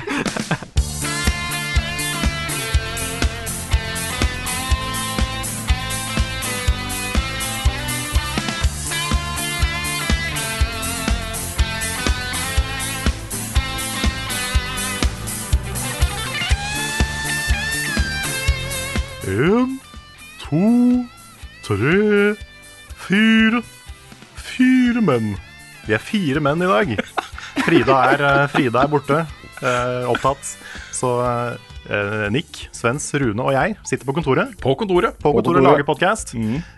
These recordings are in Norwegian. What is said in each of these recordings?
En, to, tre, fire fire menn. Vi er fire menn i dag. Frida er, eh, Frida er borte, eh, opptatt. Så eh, Nick, Svens, Rune og jeg sitter på kontoret. På kontoret. På kontoret kontoret. Mm. lager podkast.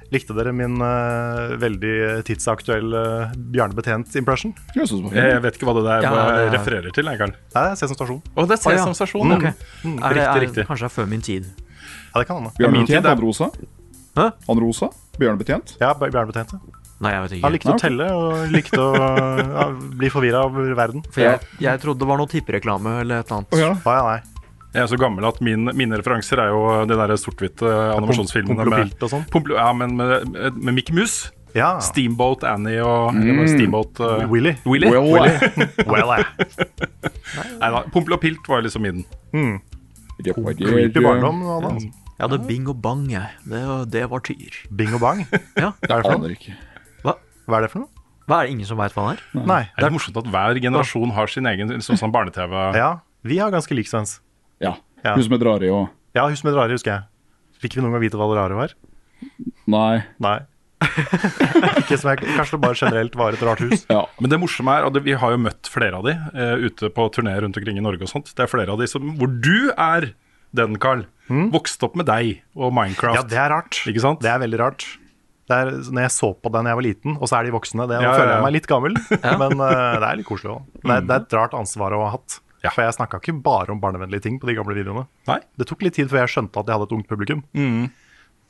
Likte dere min eh, veldig tidsaktuelle eh, Bjarne Betjent-impression? Jeg vet ikke hva det der Ja, det er- refererer til. Jeg, Karl. Nei, det er Sesam Stasjon. Å, det Å, er ja. Sesam Stasjon. Ok. Er Mm, det, Riktig, er, riktig. Kanskje det er før min tid. Ja, det kan hende. Ja, min tid Bjørnebetjent, er- han rosa. Hæ? Han rosa. Bjørnebetjent. Ja, Bj- Bjarne Betjent. ja. Nei, jeg vet Han ikke. likte å telle og likte å ja, bli forvirra av verden. For jeg, jeg trodde det var noe tippereklame eller et eller annet. Å ja. Ja, ja, nei. Jeg er så gammel at min, mine referanser er jo de der sort-hvite animasjonsfilmene Pompel og med Pilt og sånn. Pompel- ja, men med, med, med Mickey Mouse. Ja. Steamboat Annie og Mm. eller Steamboat uh, Willy. Willy. Well, Well, eh. Neida, Pompel og Pilt var liksom min. Creepy barndom. og alt, altså. Jeg hadde bing og bang, jeg. Det, var- det var tyr. Bing og bang. Ja. Hva er det for noe? Aner ikke. Hva er det for noe? Hva er det ingen som veit hva det er? Nei. Det er litt morsomt at hver generasjon har sin egen liksom, sånn barne-TV. Ja, vi har ganske lik svens. Ja. Ja. Hun som het Rari og Ja, husk med rare, husker jeg. Fikk vi noen gang vite hva det rare var? Nei. Nei. Ikke som jeg, Kanskje det bare generelt var et rart hus. Ja. Men det morsomme er at vi har jo møtt flere av de eh, ute på turné rundt omkring i Norge og sånt. Det er flere av de som, hvor du er den, Carl. Vokste opp med deg og Minecraft. Mm. Ja, det er rart. Ikke sant? Det er veldig rart. Det er, når jeg så på den da jeg var liten, og så er de voksne. Det, Ja, Nå ja, ja. føler Mm. jeg meg litt gammel, men eh, det er litt koselig òg. Det, er- det er et rart ansvar å ha hatt. Ja. For jeg snakka ikke bare om barnevennlige ting på de gamle videoene. Nei? Det tok litt tid før jeg skjønte at jeg hadde et ungt publikum. Mm.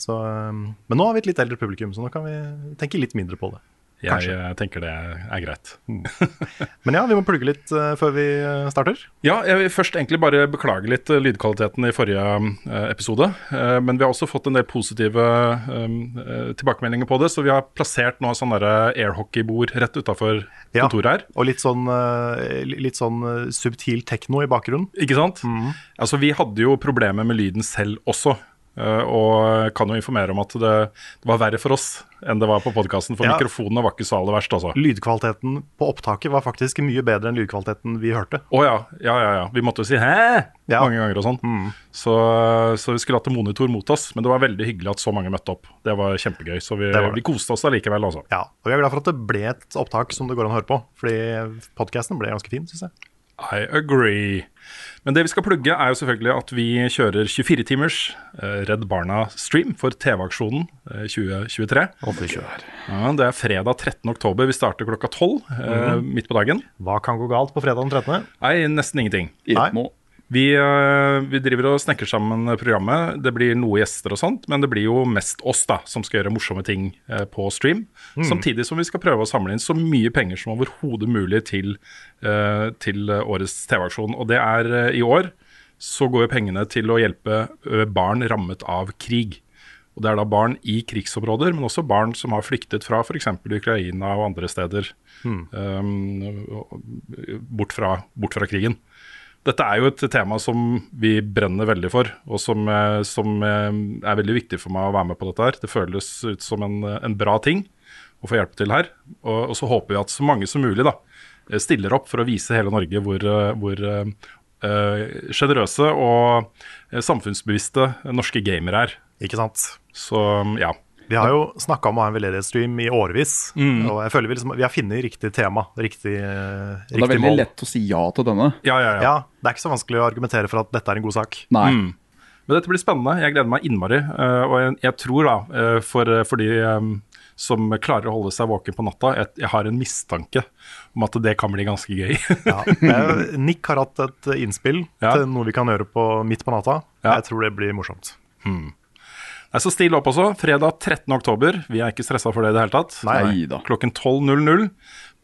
Så, eh, men nå har vi et litt eldre publikum, så nå kan vi tenke litt mindre på det. Jeg eh, tenker det er greit. Mm. Men ja, vi må plugge litt eh, før vi eh, starter. Ja, jeg vil først egentlig bare beklage litt eh, lydkvaliteten i forrige eh, episode. Eh, Men vi har også fått en del positive eh, eh, tilbakemeldinger på det, så vi har plassert nå sånn derre airhockeybord rett utafor Ja, kontoret her. Og litt sånn, eh, li- litt sånn eh, subtil tekno i bakgrunnen. Ikke sant? Mm. Altså, vi hadde jo problemer med lyden selv også. eh, Og kan jo informere om at det, det var verre for oss enn det var på podkasten. For Ja. mikrofonene var ikke så aller verst, altså. Lydkvaliteten på opptaket var faktisk mye bedre enn lydkvaliteten vi hørte. Å ja, ja, ja, ja. Vi måtte jo si 'hæ' Ja. Mm. mange ganger og sånn. Så, så vi skulle hatt en monitor mot oss, men det var veldig hyggelig at så mange møtte opp. Det var kjempegøy, så vi, Det var det. vi koste oss allikevel, altså. Ja, Og vi er glad for at det ble et opptak som det går an å høre på, fordi podkasten ble ganske fin, syns jeg. I agree. Men det vi skal plugge, er jo selvfølgelig at vi kjører 24-timers eh, Redd Barna-stream for TV-aksjonen eh, 2023. Ja, det er fredag 13. oktober. Vi starter klokka 12 eh, Mhm. midt på dagen. Hva kan gå galt på fredag den 13.? Nei, nesten ingenting. Nei. Ikke noe. Vi, eh, vi driver og snekker sammen programmet. Det blir noe gjester og sånt, men det blir jo mest oss da, som skal gjøre morsomme ting eh, på stream. Samtidig som vi skal prøve å samle inn så mye penger som overhodet mulig til, eh, til eh, årets TV-aksjon. Og det er eh, i år så går jo pengene til å hjelpe eh, barn rammet av krig. Og Det er da barn i krigsområder, men også barn som har flyktet fra f.eks. Ukraina og andre steder. eh, og- bort, fra, bort fra krigen. Dette er jo et tema som vi brenner veldig for, og som, eh, som eh, er veldig viktig for meg å være med på dette her. Det føles ut som en, eh, en bra ting å få hjelp til her. Og, og så håper vi at så mange som mulig da, eh, stiller opp for å vise hele Norge hvor, eh, hvor eh, eh, sjenerøse og eh, samfunnsbevisste norske gamere er. Ikke sant? Så mm, ja. Vi har jo snakka om å ha en veldedighetsstream i årevis. Og jeg føler vi, liksom, vi har funnet riktig tema, riktig, eh, Mm. Det er riktig veldig mål. lett å si ja til denne. Ja, ja, ja. Ja, Det er ikke så vanskelig å argumentere for at dette er en god sak. Nei. Mm. Men dette blir spennende. Jeg gleder meg innmari. eh, og jeg, jeg tror, da, eh, for, for de eh, som klarer å holde seg våken på natta, jeg, jeg har en mistanke om at det kan bli ganske gøy. Ja. Eh, Nick har hatt et innspill Ja. til noe vi kan gjøre på midt på natta. Ja. Jeg tror det blir morsomt. Nei, så still opp også. Fredag 13. oktober. Vi er ikke stressa for det i det hele tatt. Nei da. Klokken 12.00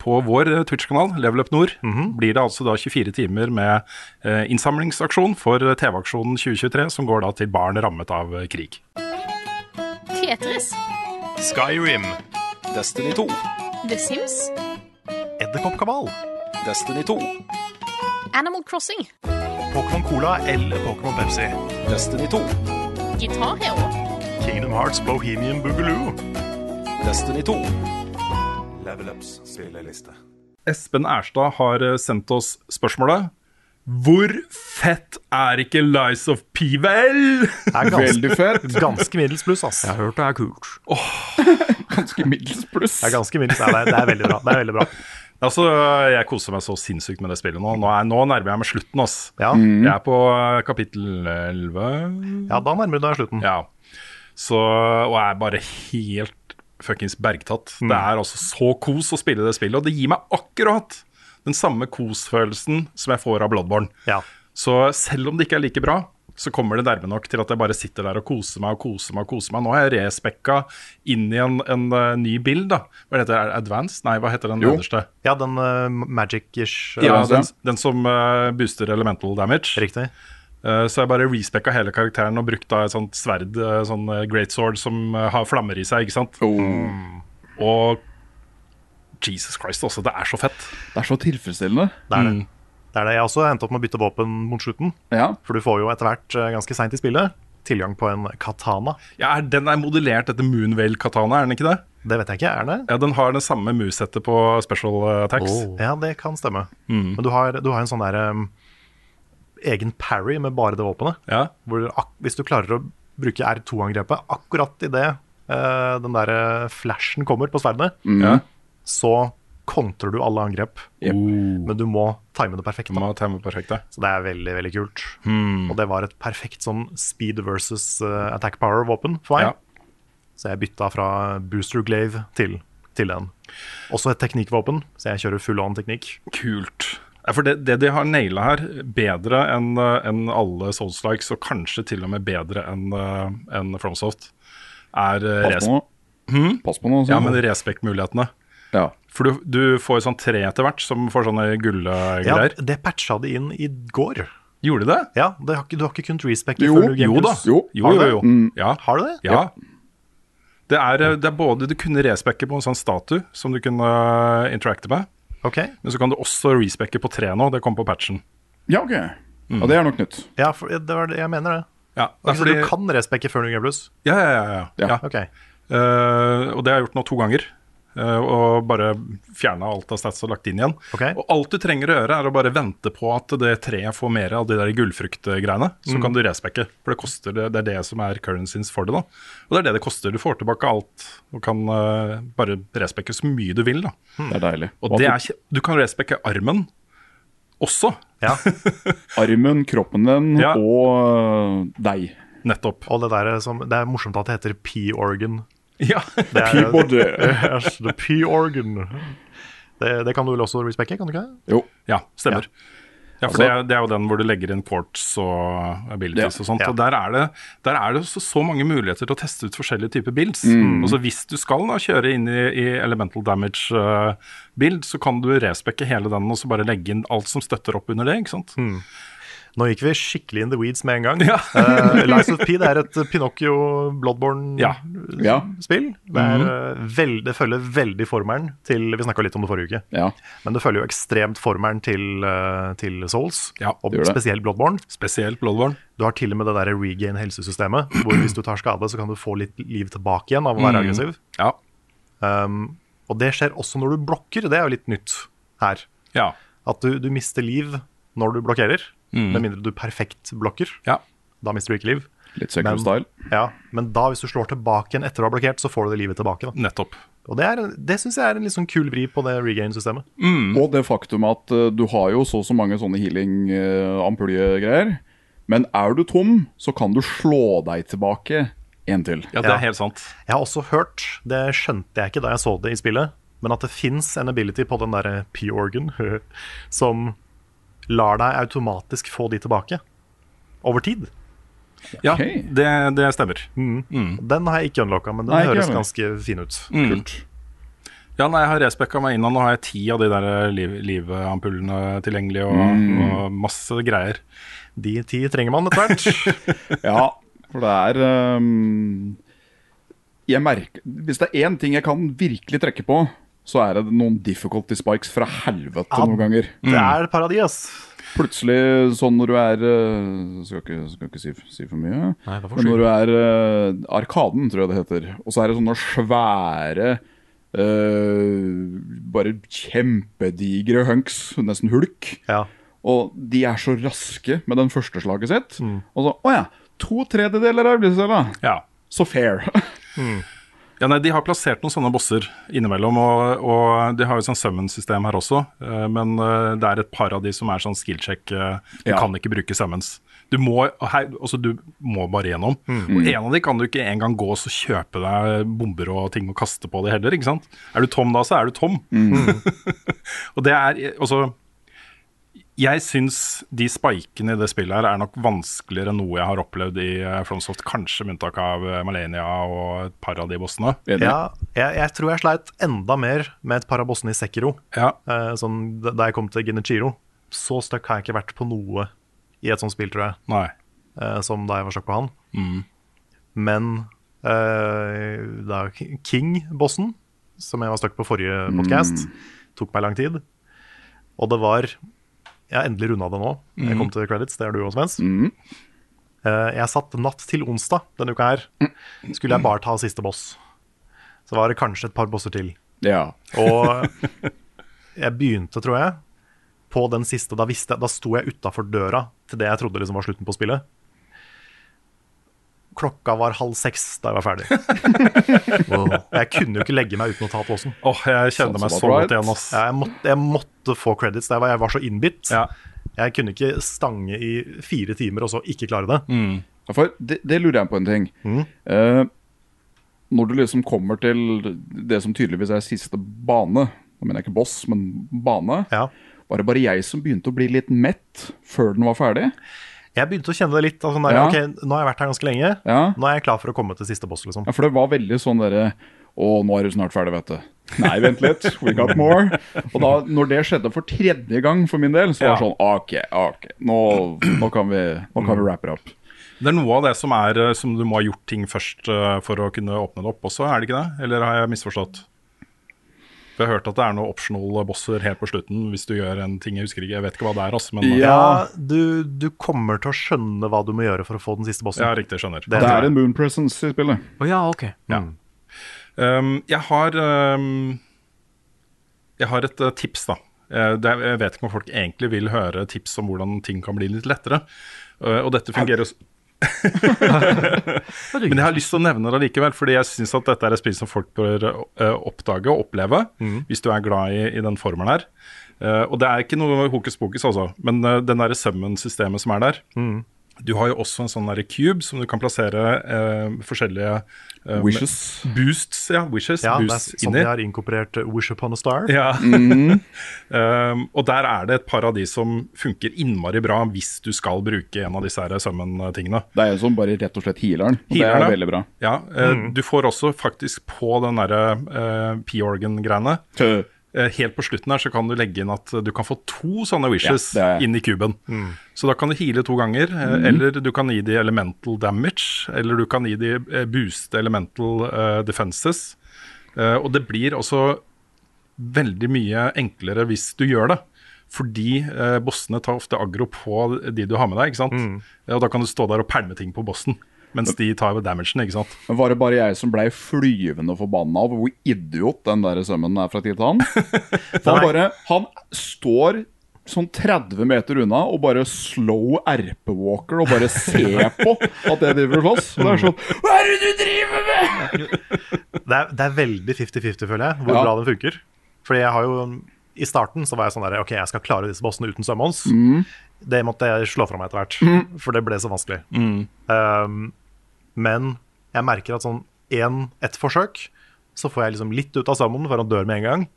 på vår eh, Twitch-kanal, Level Up Nord, blir det altså da 24 timer med eh, innsamlingsaksjon for eh, TV-aksjonen 2023, som går da til barn rammet av eh, krig. Tetris, Skyrim, Destiny 2. The Sims, Edderkoppkabal, Destiny 2. Animal Crossing, Pokémon Cola eller Pokémon Pepsi. Destiny 2. Guitar Hero, Kingdom Hearts Bohemian Boogaloo. Destiny 2. Level Ups spilleliste. Espen Erstad har eh, sendt oss spørsmålet. Hvor fett er ikke Lies of P, vel? Det er ganske, Veldig fett. ganske middels pluss, ass. Jeg har hørt det er kult. Ganske middels pluss. Det er ganske middels, ja, det, er, det er veldig bra. Det er veldig bra. Altså, Jeg koser meg så sinnssykt med det spillet nå. Nå, er, nå nærmer jeg meg slutten. ass. Ja, Jeg er på eh, kapittel 11 ja da nærmer du deg slutten. Ja. Så, og jeg er bare helt fuckings bergtatt. Det er altså så kos å spille det spillet, og det gir meg akkurat den samme kosfølelsen som jeg får av Bloodborne. Ja. Så selv om det ikke er like bra, så kommer det nærme nok til at jeg bare sitter der og koser meg og koser meg. og koser meg Nå har jeg respekka inn i en, en eh, ny bild. da Hva heter det? Advanced? Nei, hva heter den Jo. nederste? Ja, den eh, magic-ish. eh, Ja, Advanced, den, den som eh, booster elemental damage. Riktig. Eh, Så jeg bare respekka hele karakteren og brukte da et sånt sverd, eh, sånn eh, great sword, som eh, har flammer i seg, ikke sant. Åh, Og Jesus Christ, også, det er så fett. det er så tilfredsstillende. Det er det. det er det. Jeg har også hendt opp med å bytte våpen mot slutten. Ja. For du får jo etter hvert, eh, ganske seint i spillet, tilgang på en katana. Ja, er- Den er modellert etter Moonvale Katana, er den ikke det? Det vet jeg ikke, er det? Ja, Den har den samme movesettet på special eh, attacks. Ja, det kan stemme. Men du har, du har en sånn der em, egen parry med bare det våpenet. Ja. Hvor ak hvis du klarer å bruke R2-angrepet akkurat idet uh, den der eh, flashen kommer på sverdet, Mm. Ja. så kontrer du alle angrep. Jep. Men du må time det perfekt. Den Da. må Hmm. time perfekt, det. Så det er veldig veldig kult. Og det var et perfekt sånn speed versus eh, attack power-våpen for meg. Ja. Så jeg bytta fra booster glaive til, til den. Også et teknikkvåpen, så jeg kjører full on teknikk. Kult. Ja, for det, det de har naila her, bedre enn eh, enn alle Souls-likes, og kanskje til og med bedre enn eh, enn FromSoft, er eh, res Pass Hmm? på nå. Pass på nå. sier ja, men jeg. respekt-mulighetene. ja. For du, du får sånn tre etter hvert som får sånne Ja, gullgreier. det patcha de inn i går. Gjorde det? Ja, det har ikke, Du har ikke kunnet respecte Jo, før du Game Jo da. Plus. Jo. jo, Har du jo. det? Mm. jo. Ja. Har du det? ja. Det, er, eh, det er både Du kunne respekke på en sånn statue som du kunne eh, interacte med, Ok. men så kan du også respekke på tre nå. Det kom på patchen. ja, ok. Hmm. Ja, det er nok nytt. Ja, for, det var det, jeg mener det. Ja, det Ok, er så fordi, du kan respecte før du Game Plus? ja, ja, ja, ja. ja. Ja. Ok. Eh, og det har jeg gjort nå to ganger. eh, og bare fjerna alt av stats og lagt inn igjen. Ok. Og alt du trenger å gjøre, er å bare vente på at det treet får mer av de der gullfruktgreiene. Så kan du respekke. For det, koster, det, det er det som er currencies for det. da Og det er det det koster. Du får tilbake alt og kan eh, bare respekke så mye du vil. da Det er deilig. Hmm. Og det er, kje- du kan respekke armen også. Ja, Armen, kroppen din Ja. og øh, deg. Nettopp. og Det der er som, det er morsomt at det heter P-organ. Ja. Det er- Keyboardet. Yes, the P-organ. Det, det kan du vel også respecte, kan du ikke det? Jo. Ja, stemmer. Ja, for Altså- det, er- det er jo den hvor du legger inn quartz og abilities Ja. og sånt. Ja. Og der er det, der er det så, så mange muligheter til å teste ut forskjellige typer builds. Og så hvis du skal da kjøre inn i, i elemental damage-build, så kan du respekke hele den og så bare legge inn alt som støtter opp under det. ikke sant? Nå gikk vi skikkelig in the weeds med en gang. Ja. Eh, Lies of P det er et Pinocchio Bloodborne-spill. Ja. Ja. Det, er, eh, vel- det følger veldig formelen til Vi snakka litt om det forrige uke. ja. Men det følger jo ekstremt formelen til, eh, til Souls, Ja, og det gjør det. spesielt Bloodborne. Spesielt Bloodborne. Du har til og med det der regain helsesystemet, hvor hvis du tar skade, så kan du få litt liv tilbake igjen av å være aggressiv. Ja. Um, og det skjer også når du blokker, det er jo litt nytt her. ja. At du, du mister liv når du blokkerer. Mm. Med mindre du perfekt blokker. Da mister du ikke liv. Litt Sekiro style. Ja, men da hvis du slår tilbake igjen etter å ha blokkert, så får du det livet tilbake. Da. Nettopp. Og Det, er- det syns jeg er en litt sånn kul vri på det regain-systemet. Og det faktum at eh, du har jo så og så mange sånne healing-ampulje-greier. Men er du tom, så kan du slå deg tilbake en til. Ja, det er helt sant. Jeg har også hørt, det skjønte jeg ikke da jeg så det i spillet, men at det fins en ability på den derre P-organ som lar deg automatisk få de tilbake. Over tid. Ja, det, det stemmer. Den har jeg ikke unlocka, men den Nei, ikke høres heller. ganske fin ut. Mm. Ja, nei, jeg har respekka meg innan. Nå har jeg ti av de der liv, livampulene tilgjengelig og, Mm. og masse greier. De ti trenger man etter hvert. ja, for det er ehm, Jeg merker Hvis det er én ting jeg kan virkelig trekke på, så er det noen difficulty spikes fra helvete Ja, noen ganger. Mm. det er paradis. Plutselig, sånn når du er eh, Skal ikke, skal ikke si, si for mye. Nei, det er for Men sent. når du er eh, Arkaden, tror jeg det heter. Og så er det sånne svære eh, Bare kjempedigre hunks, nesten hulk. Og de er så raske med den første slaget sitt. Og så Å ja! To tredjedeler av Blizzella. Ja. Så fair. Ja, nei, De har plassert noen sånne bosser innimellom, og, og de har jo sånn summon-system her også. eh, Men eh, det er et par av de som er sånn skill-check. eh, Du Ja. kan ikke bruke summons. Du må, og her, altså, du må bare gjennom. Og en av de kan du ikke engang gå og så kjøpe deg bomber og ting å kaste på det heller. ikke sant? Er du tom da, så er du tom. og det er eh, altså jeg syns de spikene i det spillet her er nok vanskeligere enn noe jeg har opplevd i eh, Fromsoft, kanskje med unntak av eh, Malenia og et par av de bossene. Mm. Ja, jeg, jeg tror jeg sleit enda mer med et par av bossene i Sekiro. Eh, sånn, da- da jeg kom til Genichiro. Så stuck har jeg ikke vært på noe i et sånt spill, tror jeg. Eh, som da jeg var stuck på han. Mm. Men eh, da K- King-bossen, som jeg var stuck på forrige podcast, tok meg lang tid. Og det var Jeg har endelig runda det nå. Jeg kom til credits, det er du også, Svens. Eh, jeg satt natt til onsdag denne uka her. Skulle jeg bare ta siste boss. Så var det kanskje et par bosser til. Ja. Og jeg begynte, tror jeg, på den siste. Da, visste jeg, da sto jeg utafor døra til det jeg trodde liksom var slutten på spillet. Klokka var halv seks da jeg var ferdig. Jeg kunne jo ikke legge meg uten å ta posen. Åh, jeg kjenner Sånn meg så godt igjen, ass. Jeg måtte, jeg måtte få credits. Der var, jeg var så innbitt. Jeg kunne ikke stange i fire timer og så ikke klare det. Mm. Ja, For det, det lurer jeg på en ting. Eh, når du liksom kommer til det som tydeligvis er siste bane Nå mener jeg ikke boss, men bane. Var det bare jeg som begynte å bli litt mett før den var ferdig? Jeg begynte å kjenne det litt. Altså, der, Ja. ok, nå har jeg vært her ganske lenge. Ja. Nå er jeg klar for å komme til siste boss, liksom. Ja, For det var veldig sånn derre Å, nå er du snart ferdig, vet du. Nei, vent litt. We got more. Og da, når det skjedde for tredje gang for min del, så var det sånn OK, OK. Nå, nå kan vi, nå kan vi wrap it up. Det er noe av det som er eh, som du må ha gjort ting først eh, for å kunne åpne det opp også, er det ikke det? Eller har jeg misforstått? For Jeg har hørt at det er noen optional bosser helt på slutten hvis du gjør en ting jeg husker ikke, jeg vet ikke hva det er, altså, men Ja, du, du kommer til å skjønne hva du må gjøre for å få den siste bossen. Ja, riktig, skjønner. Det, Det Mm. er en moon presence i spillet. Å ja, ok. Ja. Um, jeg har um, Jeg har et eh, tips, da. Eh, det, jeg vet ikke om folk egentlig vil høre tips om hvordan ting kan bli litt lettere. Eh, og dette fungerer jo s- Men jeg har lyst til å nevne det likevel, fordi jeg syns at dette er et spill som folk bør eh, oppdage og oppleve, Mm. hvis du er glad i, i den formen her. Eh, og det er ikke noe hokus pokus, altså, men eh, den derre summon-systemet som er der Mm. Du har jo også en sånn derre cube som du kan plassere eh, forskjellige eh, Wishes. Boosts, ja. Wishes. Ja, det er boosts sånn inni. de har inkorporert eh, Wish Upon a Star. Ja. um, og der er det et par av de som funker innmari bra hvis du skal bruke en av disse her summon-tingene. Det er jo som bare rett og slett healeren. Og det Healerne. er veldig bra. Ja, eh, Du får også faktisk på den derre eh, P-organ-greiene Tø. eh, Helt på slutten her så kan du legge inn at du kan få to sånne wishes Ja, det Mhm. er- inn i kuben. Så da kan du heale to ganger, eh, eller du kan gi de elemental damage, eller du kan gi de eh, boost elemental eh, defenses. Eh, og det blir også veldig mye enklere hvis du gjør det. Fordi eh, bossene tar ofte aggro på de du har med deg, ikke sant. Ja, Og da kan du stå der og pælme ting på bossen, mens de tar damagen, ikke sant. Men Var det bare jeg som blei flyvende forbanna av hvor idiot den der sømmen er fra Titan? For han bare Han står sånn 30 meter unna og bare slow RP-walker og bare ser på at jeg driver og slåss. Og Det er sånn Hva er det du driver med?! Det er, det er veldig 50-50, føler jeg, hvor Ja. bra den funker. Fordi jeg har jo I starten så var jeg sånn der OK, jeg skal klare disse bossene uten summons. Mm. Det måtte jeg slå fra meg etter hvert, for det ble så vanskelig. Mm. Um, men jeg merker at sånn en, ett forsøk, så får jeg liksom litt ut av summonen før han dør med en gang.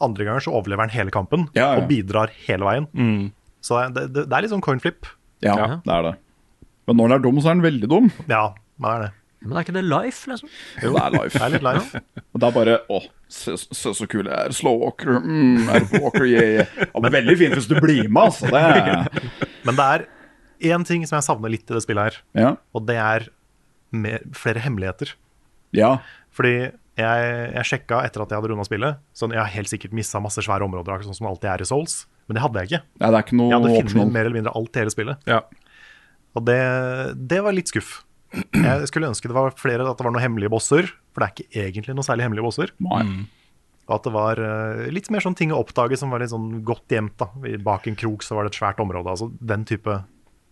Andre ganger så overlever han hele kampen Ja, Mm. ja. og bidrar hele veien. Så det, det, det er litt sånn coinflip. Ja, det er det. Men når den er dum, så er den veldig dum. Ja, det er det. Men er ikke det life, liksom? Jo, det er life. Det er litt life. Og det er bare Å, se, se så kul jeg er. Slow walker. Mm, er du walker, yeah, yeah. Ja, men veldig fint hvis du blir med, altså. Det er Men det er én ting som jeg savner litt i det spillet her, Ja. og det er mer, flere hemmeligheter. ja. Fordi jeg, jeg sjekka etter at jeg hadde runda spillet. Sånn, jeg har helt sikkert missa masse svære områder, akkurat sånn som det alltid er i Souls. Men det hadde jeg ikke. Nei, det er ikke Jeg noe hadde optional. funnet mer eller mindre alt i hele spillet. Ja. Og det, det var litt skuff. Jeg skulle ønske det var flere at det var noen hemmelige bosser, for det er ikke egentlig noen særlig hemmelige bosser. Nei. Og at det var eh, litt mer sånn ting å oppdage som var litt sånn godt gjemt. da I- Bak en krok så var det et svært område. Altså den type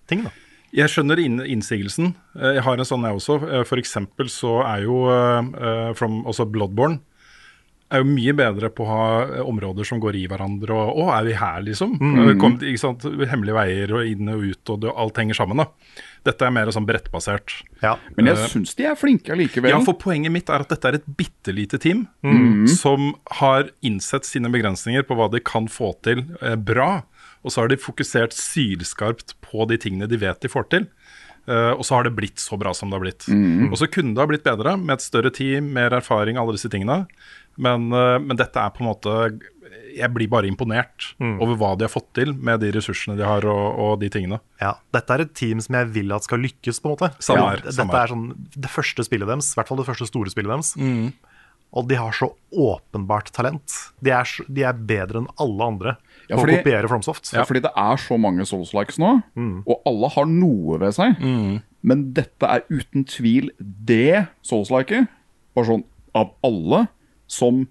ting, da. Jeg skjønner inn, innsigelsen. Eh, Jeg har en sånn, jeg også. Eh, For eksempel så er jo eh, eh, from, også Bloodborne er jo mye bedre på å ha eh, områder som går i hverandre. Og 'Å, er vi her', liksom? Mm. Eh, Kom, ikke sant? Hemmelige veier og inn og ut, og det, alt henger sammen. da. Dette er mer sånn brettbasert. Ja. Men jeg Eh, syns de er flinke allikevel. Ja, for poenget mitt er at dette er et bitte lite team Mm. som har innsett sine begrensninger på hva de kan få til eh, bra. Og så har de fokusert sylskarpt på de tingene de vet de får til. Eh, og så har det blitt så bra som det har blitt. Mm. Og så kunne det ha blitt bedre med et større team, mer erfaring, alle disse tingene. Men, eh, men dette er på en måte Jeg blir bare imponert Mm. over hva de har fått til med de ressursene de har, og, og de tingene. ja. Dette er et team som jeg vil at skal lykkes, på en måte. Samme her, Dette samme her. Mm. er sånn det første spillet deres, i hvert fall det første store spillet deres. Og de har så åpenbart talent. De er, så- de er bedre enn alle andre Ja, på fordi- å kopiere Flomsoft. Ja. Fordi det er så mange Souls-likes nå, Mm. og alle har noe ved seg. Men dette er uten tvil det Souls-liket, bare sånn av alle, som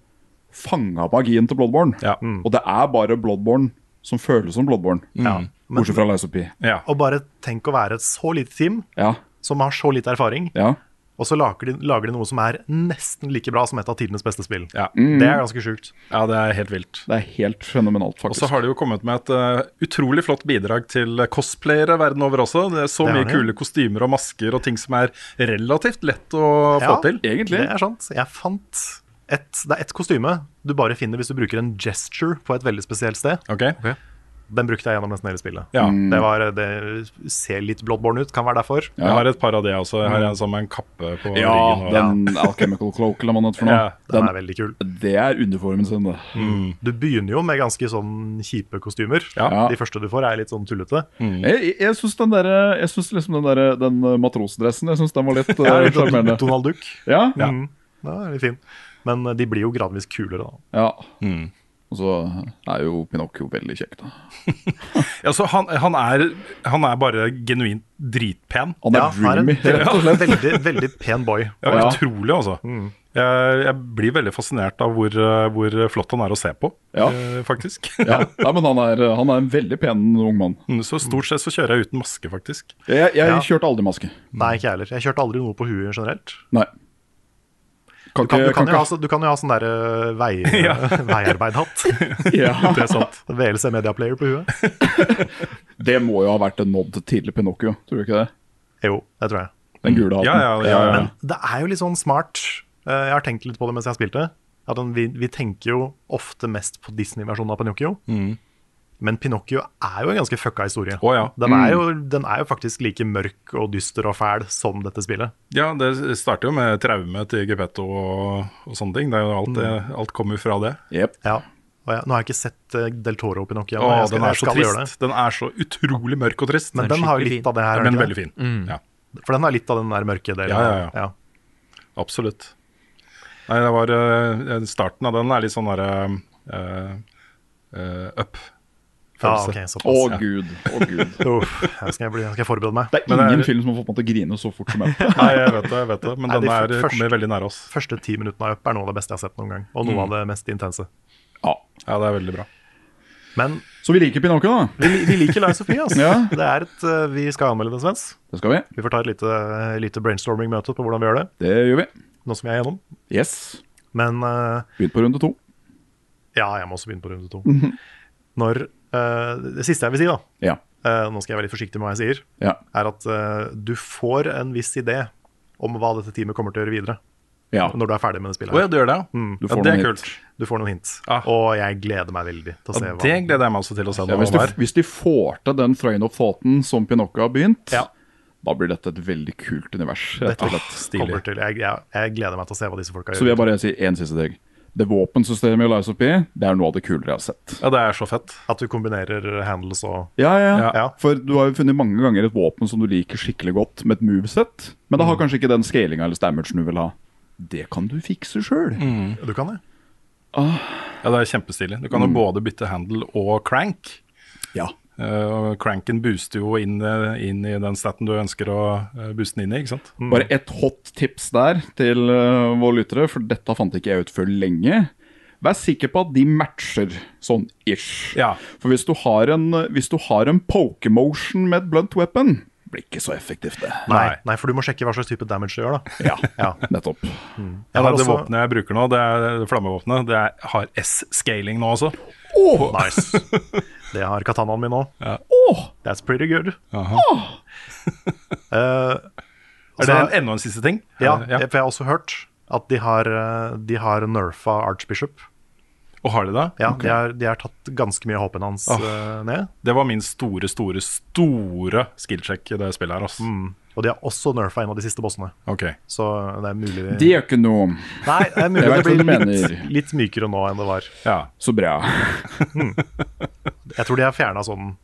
fanga magien til Bloodborne. Mm. Og det er bare Bloodborne som føles som Bloodborne, Mm. Ja, men- bortsett fra Lysopi. Og bare tenk å være et så lite team Ja. som har så lite erfaring, Ja. og så lager de, lager de noe som er nesten like bra som et av tidenes beste spill. Ja. Mm. Det er ganske sjukt. Ja, det er helt vilt. Det er helt fenomenalt, Og så faktisk. har de jo kommet med et eh, utrolig flott bidrag til cosplayere verden over også. Det er så Det har mye de. kule kostymer og masker og ting som er relativt lett å få til. Egentlig. Det er sant. Jeg fant et, Det er ett kostyme du bare finner hvis du bruker en gesture på et veldig spesielt sted. Ok. Den brukte jeg gjennom nesten hele spillet. Ja. Mm. Det, var, det ser litt Bloodborne ut, kan være derfor. Jeg har et par av det også. Jeg har en som har en kappe på ryggen. Ja, Og, den Alchemical Cloak eller hva det heter for noe. Ja, Mm. Den den- er veldig kul. Det er uniformen sin, det. Du begynner jo med ganske sånn kjipe kostymer. Ja. Mm. De første du får, er litt sånn tullete. Jeg, jeg syns den der, jeg synes liksom den, der, den eh, matrosdressen jeg synes den var litt eh, Ja, litt sånn sjarmerende. Donald Duck. Ja. Ja. Mm. Ja, det er litt fin. Men eh, de blir jo gradvis kulere, da. Ja. Og så er jo Pinocchio veldig kjekk, da. ja, så han, han, er, han er bare genuint dritpen. Han er Ja, han er en dreamy, rett og slett. veldig, veldig pen boy. Ja, Ja. Utrolig, altså. Jeg, jeg blir veldig fascinert av hvor, eh, hvor flott han er å se på, Ja. eh, faktisk. Ja. Nei, men han er, han er en veldig pen ung mann. Mm, Så stort sett så kjører jeg uten maske, faktisk. Jeg, jeg Ja. kjørte aldri maske. Nei, ikke jeg heller. Jeg kjørte aldri noe på huet generelt. Nei. Du kan, du kan, jo, ha, ikke- så- du kan jo ha sånn der eh, vei, veiarbeidhatt. ja. Det er sant. VLC Media Player på huet. Det må jo ha vært en nod til Pinocchio, tror du ikke det? Jo, det tror jeg. Den gule hatten. Ja, ja, ja, ja. Men det er jo litt sånn smart eh, Jeg har tenkt litt på det mens jeg har spilt det. At den- vi, vi tenker jo ofte mest på Disney-versjonen av Pinocchio. Mm. Men Pinocchio er jo en ganske fucka historie. Å ja. Den, er jo, Mm. den er jo faktisk like mørk og dyster og fæl som dette spillet. Ja, det starter jo med traume til Gepetto og, og sånne ting. Det er jo alt, det, alt kommer jo fra det. Jep. Ja. Og jeg, nå har jeg ikke sett eh, Del Toro og Pinocchio. Å, men jeg skal- den er jeg så skal gjøre trist. Den er så utrolig mørk og trist. Men den har jo litt av det her. Ja, har men den ikke veldig det? fin. Ja, For den har litt av den der mørke delen. Ja, ja, ja. Ja. absolutt. Nei, det var eh, Starten av den er litt sånn derre eh, eh, up. Ja, Følelse. Ah, ok, Å, såpass. ja. gud. Å, gud. Uff, her skal, jeg bli, her skal jeg forberede meg. Det er Men det er- ingen film som har fått meg til å grine så fort som jeg. Nei, jeg vet det, jeg vet det. Men Nei, de den er, første- kommer veldig nære oss. første ti Mm. minuttene av Up er noe av det beste jeg har sett noen gang. Og noe av det mest intense. Ja. Ja, det er veldig bra. Så vi liker Pinocchio, da. Vi, li- vi liker Lies of P. Altså. Ja. Det er et, eh, vi skal anmelde den, Svens. Det skal vi. Vi får ta et lite, eh, lite brainstorming-møte på hvordan vi gjør det. Det gjør vi. Nå som jeg er gjennom. Yes. Men eh, Begynn på runde to. ja, jeg må også begynne på runde to. Mhm. Når, eh, det siste jeg vil si, da Ja. eh, Nå skal jeg være litt forsiktig med hva jeg sier. Ja. Er at eh, du får en viss idé om hva dette teamet kommer til å gjøre videre. Ja. Når du er ferdig med det spillet. Å ja, du gjør det, ja. Mm. Du får Ja, det er noen hint. Du får noen hint. Og jeg gleder meg veldig til å se hva Det gleder jeg meg også til å se. Ja, hvis, de, hvis de får til den train of thoughten som Pinocchio har begynt, Ja. da blir dette et veldig kult univers. Rett dette og slett. kommer til. Jeg, jeg, jeg gleder meg til å se hva disse folka Så vil gjør. jeg bare si én siste ting. Det våpensystemet i Lies of P det er noe av det kulere jeg har sett. Ja, Det er så fett. At du kombinerer handles og Ja, ja, ja. Ja. For du har jo funnet mange ganger et våpen som du liker skikkelig godt, med et movesett, Mm. men det har kanskje ikke den scalinga eller damagen du vil ha. Det kan du fikse sjøl. Du kan det. Ja, det er kjempestilig. Du kan jo både bytte handle og crank. Ja. Eh, og cranken booster jo inn, eh, inn i den staten du ønsker å eh, booste den inn i, ikke sant? Mm. Mm. Bare et hot tips der til eh, våre lyttere, for dette fant ikke jeg ut før lenge. Vær sikker på at de matcher sånn ish. Ja. For hvis du har en, hvis du har en pokemotion med et blunt weapon, blir ikke så effektivt, det. Nei. Nei, for du må sjekke hva slags type damage du gjør, da. Ja, Ja. nettopp. Ja, har det også- våpenet jeg bruker nå, det er det flammevåpenet, det er, har S-scaling nå også. Nice. Det har katanaen min òg. Åh, That's pretty good. Eh, Er det en, enda en siste ting? Altså- Eh, Ja, Er det- for jeg har også hørt at de har, eh, de har nerfa Archbishop. Og har de det? Ja, de, har, de har tatt ganske mye av håpen hans eh, ned. Det var min store, store, store skillcheck i det spillet her, ass. Og de har også nerfa en av de siste bossene. Ok. Så det er mulig vi Det gjør ikke noe. Nei, det er mulig Jeg det vet hva du blir litt, mener. litt mykere nå enn det var. Ja. Så bra. Jeg tror de har fjerna sånn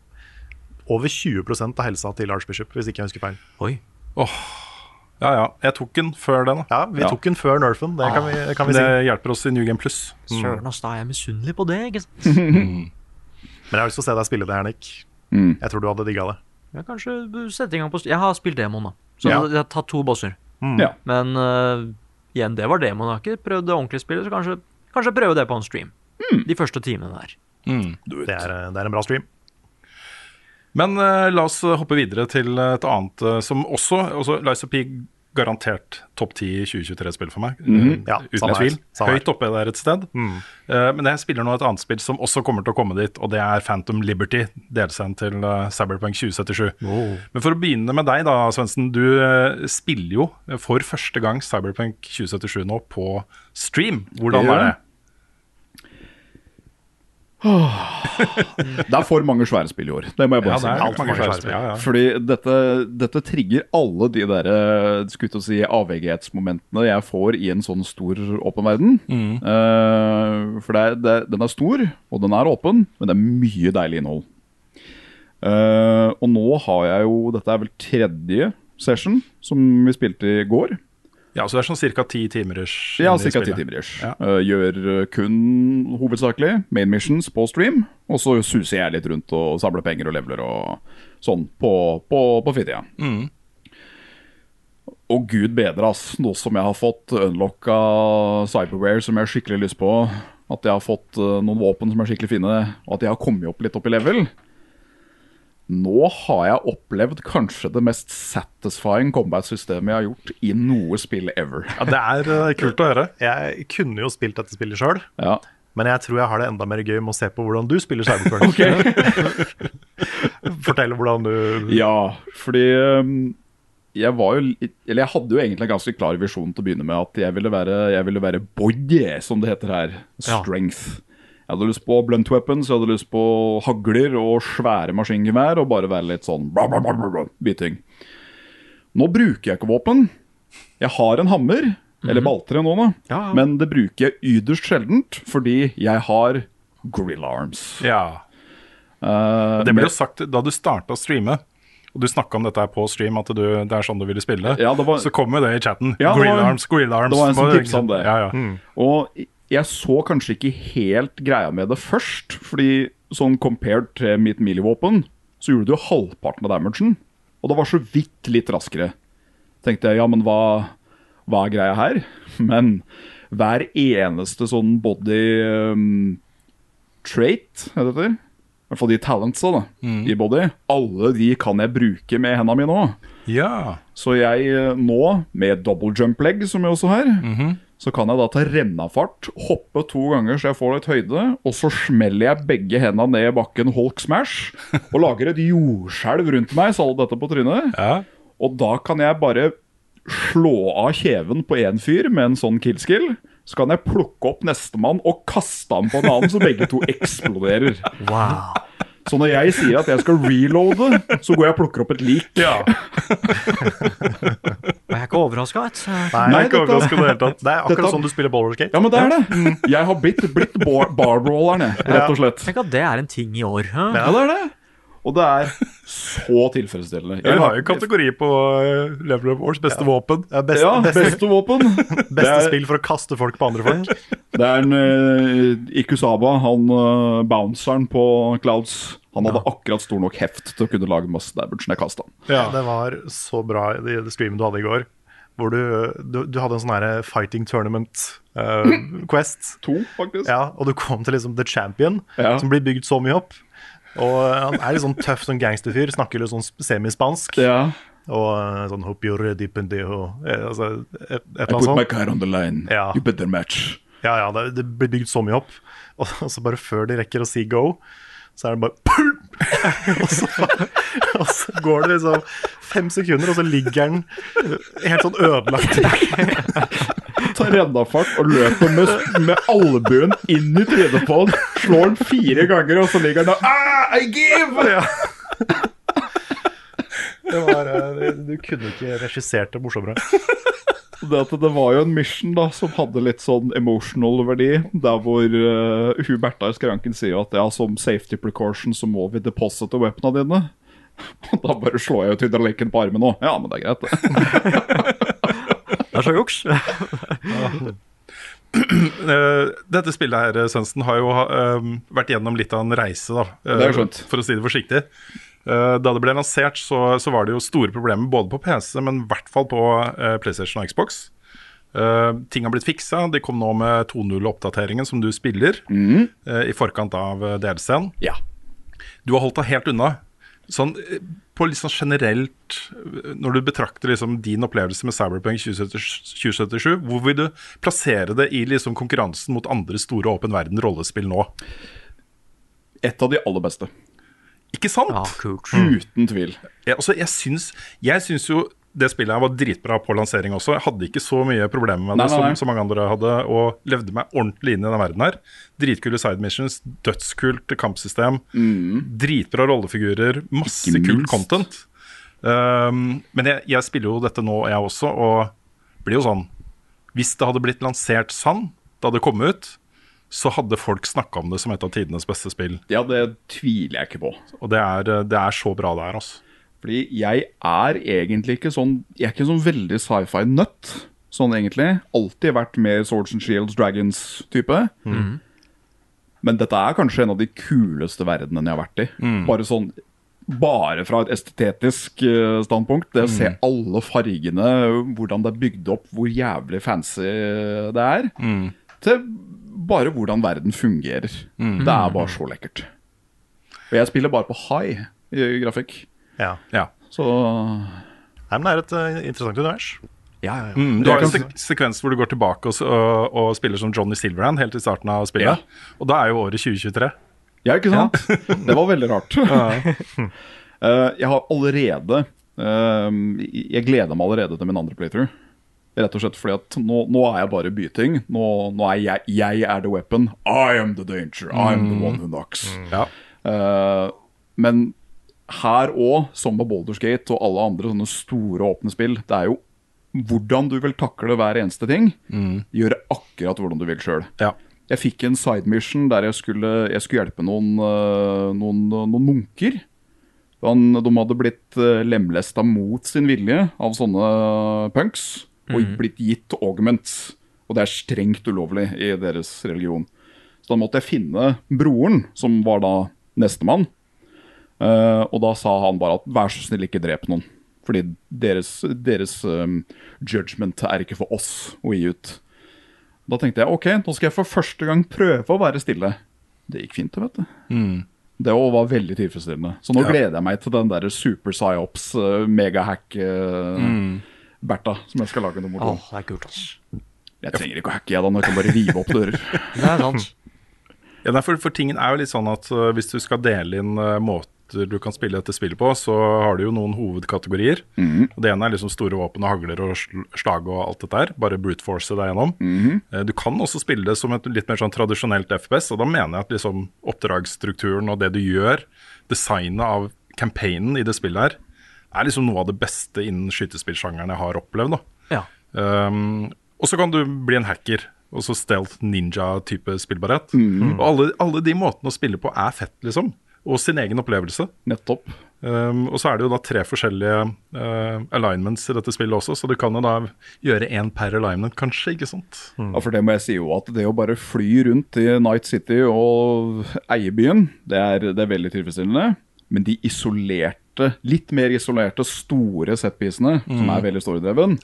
over 20 av helsa til Archbishop, hvis ikke jeg husker feil. Oi. ja, ja. Jeg tok den før den, da. Ja, vi Ja. tok den før nerfen, det kan vi, kan vi si. Ah, Det hjelper oss i New Game Plus. Mm. Søren, ass, da er jeg misunnelig på det, ikke sant? Men jeg har lyst til å se deg spille det her, Nick. Jeg tror du hadde digga det. Jeg, kanskje bør sette i gang på Jeg har spilt demoen, da. Så Ja. jeg har tatt to bosser. Mm. Ja. Men øh, igjen, det var demoen. Jeg har ikke prøvd det ordentlige spillet, så kanskje, kanskje prøve det på en stream. De første timene der. Det er, eh, det er en bra stream. Men eh, la oss eh, hoppe videre til eh, et annet eh, som også, også Lies of P garantert topp 10 i 2023-spill for meg. eh, Ja, uten samme her, tvil. samme her. Høyt oppe der et sted. Eh, men jeg spiller nå et annet spill som også kommer til å komme dit, og det er Phantom Liberty, delsendt til eh, Cyberpunk 2077. Men for å begynne med deg da, Svendsen. Du eh, spiller jo for første gang Cyberpunk 2077 nå på stream. Hvordan Det gjør er det? jeg. Det er for mange svære spill i år. Det må jeg bare Ja, det er si. alt mange svære spill. Ja, ja. Fordi dette, dette trigger alle de der eh, skulle til å si, avhengighetsmomentene jeg får i en sånn stor åpen verden. Mm. Eh, for det er, det, den er stor, og den er åpen, men det er mye deilig innhold. Eh, og nå har jeg jo Dette er vel tredje session som vi spilte i går. Ja, så det er sånn ca. ti timer ish. Ja, inn i ca. ti spillet. timer ish. Ja. Eh, gjør eh, kun hovedsakelig main missions på stream, og så suser jeg litt rundt og samler penger og leveler og sånn på, på, på fritida. Mm. Og gud bedre, ass, nå som jeg har fått unlocka cyberware som jeg har skikkelig lyst på, at jeg har fått eh, noen våpen som er skikkelig fine, og at jeg har kommet opp litt opp i level. Nå har jeg opplevd kanskje det mest satisfying combat-systemet jeg har gjort i noe spill ever. Ja, det er eh, kult å høre. Jeg kunne jo spilt dette spillet sjøl, Ja. men jeg tror jeg har det enda mer gøy med å se på hvordan du spiller Cyberpunk. Fortell hvordan du Ja, fordi um, jeg var jo litt Eller jeg hadde jo egentlig en ganske klar visjon til å begynne med at jeg ville være, jeg ville være body, som det heter her. Ja. Strength. Jeg hadde lyst på blunt weapons, jeg hadde lyst på hagler og svære maskingevær og bare være litt sånn bla, bla, bla, bla, bla, biting. Nå bruker jeg ikke våpen. Jeg har en hammer, eller baltre nå, da, Mhm. Ja, ja. men det bruker jeg ytterst sjeldent fordi jeg har grill arms. Ja. Eh, det ble jo sagt da du starta å streame, og du snakka om dette her på stream, at du, det er sånn du ville spille, Ja, det var- så kom jo det i chatten. Ja, det grill var- arms, grill arms. Det var en som Bare- tipsa om det. Mm. Ja, ja. Og jeg så kanskje ikke helt greia med det først, fordi sånn compared til mitt melee-våpen, så gjorde du jo halvparten av damagen. Og det var så vidt litt raskere. Tenkte jeg, ja, men hva, hva er greia her? Men hver eneste sånn body um, trait, er det det? heter? hvert fall de talentsa da, i Body, alle de kan jeg bruke med hendene mine òg. Så jeg eh, nå, med double jump leg, som jeg også har, så kan jeg da ta rennafart, hoppe to ganger så jeg får litt høyde, og så smeller jeg begge hendene ned i bakken Hulk smash, og lager et jordskjelv rundt meg, så alle dette på trynet. Og da kan jeg bare slå av kjeven på én fyr med en sånn killskill. Så kan jeg plukke opp nestemann og kaste han på en annen, så begge to eksploderer. Wow. Så når jeg sier at jeg skal reloade, så går jeg og plukker opp et lik. Og jeg er ikke overraska, vet du. Nei, jeg er ikke overrasket i det hele tatt. Det er akkurat dette- sånn du spiller boulderskate. Ja, men det er det. Jeg har blitt, blitt bar- barbrawleren, jeg, rett og slett. Tenk at det er en ting i år. hæ? Ja, det er det. Og det er så tilfredsstillende. Vi har jo kategori på eh, Level Up Wars, beste våpen. Ja, best, ja, beste, beste våpen. Det beste er- spill for å kaste folk på andre folk. Det er en eh, Ikusaba, han eh, bounceren på Clouds. Han hadde akkurat stor nok heft til å kunne lage masse damage når jeg kastet han. Det var så bra i det- det streamet du hadde i går, hvor du, du, du hadde en sånn her fighting tournament eh, quest. To, faktisk. Ja, og du kom til liksom The Champion, Ja. som blir bygd så mye opp. Og eh, han er litt sånn tøff sånn gangsterfyr, snakker litt sånn sp- semispansk. Ja. Og eh, sånn hope you're deep in the hole», eh, altså, et, et I eller annet put my sånt. car on the line. sånn. Ja. You better match. Ja, ja, det, det blir bygd så mye opp. Og, og så bare før de rekker å si go, så er det bare «Pum!» og, så, og så går det liksom fem sekunder, og så ligger han eh, helt sånn ødelagt. Ta reddafart og løper med, med albuen inn i trynet på han. Slår han fire ganger, og så ligger han der. Ah, I give! Ja. Det var, eh, det- du kunne ikke regissert det morsommere. Det, at det var jo en mission da som hadde litt sånn emotional verdi. Der hvor eh, hun Bertha i skranken sier at ja, som safety precaution så må vi deposite våpna dine. Og da bare slår jeg jo tydeligvis på armen òg. Ja, men det er greit, det. Det er så juks. Eh, Dette spillet her, Svendsen, har jo eh, vært gjennom litt av en reise, da. eh, Det er jo skjønt. For å si det forsiktig. Eh, Da det ble lansert, så, så var det jo store problemer både på PC, men i hvert fall på eh, PlayStation og Xbox. Eh, ting har blitt fiksa. De kom nå med 2.0-oppdateringen som du spiller, Mhm. eh, i forkant av eh, DLC-en. Ja. Du har holdt deg helt unna. Sånn, eh, på litt sånn generelt eh, Når du betrakter liksom din opplevelse med Cyberpunk 2077, 2077, hvor vil du plassere det i liksom konkurransen mot andre store åpen verden-rollespill nå? Et av de aller beste. Ikke sant? Ja, kult. Uten tvil. Jeg, altså, jeg, syns, jeg syns jo det spillet her var dritbra på lansering også. Jeg hadde ikke så mye problemer med det Nei, nei, nei. Som, som mange andre hadde, og levde meg ordentlig inn i den verden her. Dritkule side missions, dødskult kampsystem, dritbra rollefigurer, masse Mm. Ikke kult minst. content. Um, men jeg, jeg spiller jo dette nå, jeg også, og blir jo sånn Hvis det hadde blitt lansert sann da det kom ut, så hadde folk snakka om det som et av tidenes beste spill. Ja, det tviler jeg ikke på. Og det er, det er så bra det er, altså. Fordi jeg er egentlig ikke sånn Jeg er ikke sånn veldig sci-fi-nøtt, sånn egentlig. Alltid vært mer Swords and Shields, Dragons-type. Men dette er kanskje en av de kuleste verdenene jeg har vært i. Bare sånn bare fra et estetisk eh, standpunkt. Det å se alle fargene, hvordan det er bygd opp, hvor jævlig fancy det er. Til bare hvordan verden fungerer. Det er bare så lekkert. Og jeg spiller bare på high i grafikk. Ja. Ja. Så Nei, men det er et eh, interessant univers. ja, ja, ja. Mm, du har Jeg en kan- sek sekvens hvor du går tilbake og, s- og, og spiller som Johnny Silverhand helt i starten av spillet. Ja. Og da er jo året 2023. Ja, ikke sant? det var veldig rart. Eh, jeg har allerede eh, Jeg gleder meg allerede til min andre playthrough. Rett og slett fordi at nå, nå er jeg bare byting. Nå, nå er jeg, jeg er the weapon. I am the danger. I am the one who knocks. Ja. Eh, men her òg, som med Baldur's Gate og alle andre sånne store åpne spill, det er jo hvordan du vil takle hver eneste ting. Gjøre akkurat hvordan du vil sjøl. Ja. Jeg fikk en side mission der jeg skulle, jeg skulle hjelpe noen, øh, noen, noen munker. Han, de hadde blitt øh, lemlesta mot sin vilje av sånne punks, og blitt gitt augments. Og det er strengt ulovlig i deres religion. Så da måtte jeg finne broren, som var da nestemann. Eh, og da sa han bare at vær så snill, ikke drep noen. Fordi deres, deres øhm, judgment er ikke for oss å gi ut. Da tenkte jeg ok, nå skal jeg for første gang prøve å være stille. Det gikk fint, det, vet du. Det òg var veldig tilfredsstillende. Så Mm. nå Ja. gleder jeg meg til den der Super Psyops eh, megahack eh, Mm. Bertha, som jeg skal lage nummer to. Åh, det er kult, ass. Jeg trenger ikke å hacke, jeg da. Nå kan jeg bare rive opp dører. Ja, nei, for, for tingen er jo litt sånn at øh, hvis du skal dele inn øh, måter du kan spille dette spillet på, så har du jo noen hovedkategorier. Og Det ene er liksom store våpen og hagler og sl slag og alt dette her. Bare brute force deg gjennom. Eh, Du kan også spille det som et litt mer sånn tradisjonelt FPS, og da mener jeg at liksom oppdragsstrukturen og det du gjør, designet av campaignen i det spillet her, er liksom noe av det beste innen skytespillsjangeren jeg har opplevd. da. Ja. Um, og så kan du bli en hacker, og så stealth ninja-type spillbarhet. Mhm. Og alle, alle de måtene å spille på er fett, liksom. Og sin egen opplevelse. Nettopp. Um, og så er det jo da tre forskjellige uh, alignments i dette spillet også, så du kan jo da gjøre én per alignment, kanskje, ikke sant? Ja, for det må jeg si jo at det å bare fly rundt i Night City og eie byen, det er, det er veldig tilfredsstillende. Men de isolerte, litt mer isolerte, store setpisene, som Mm. er veldig storedreven,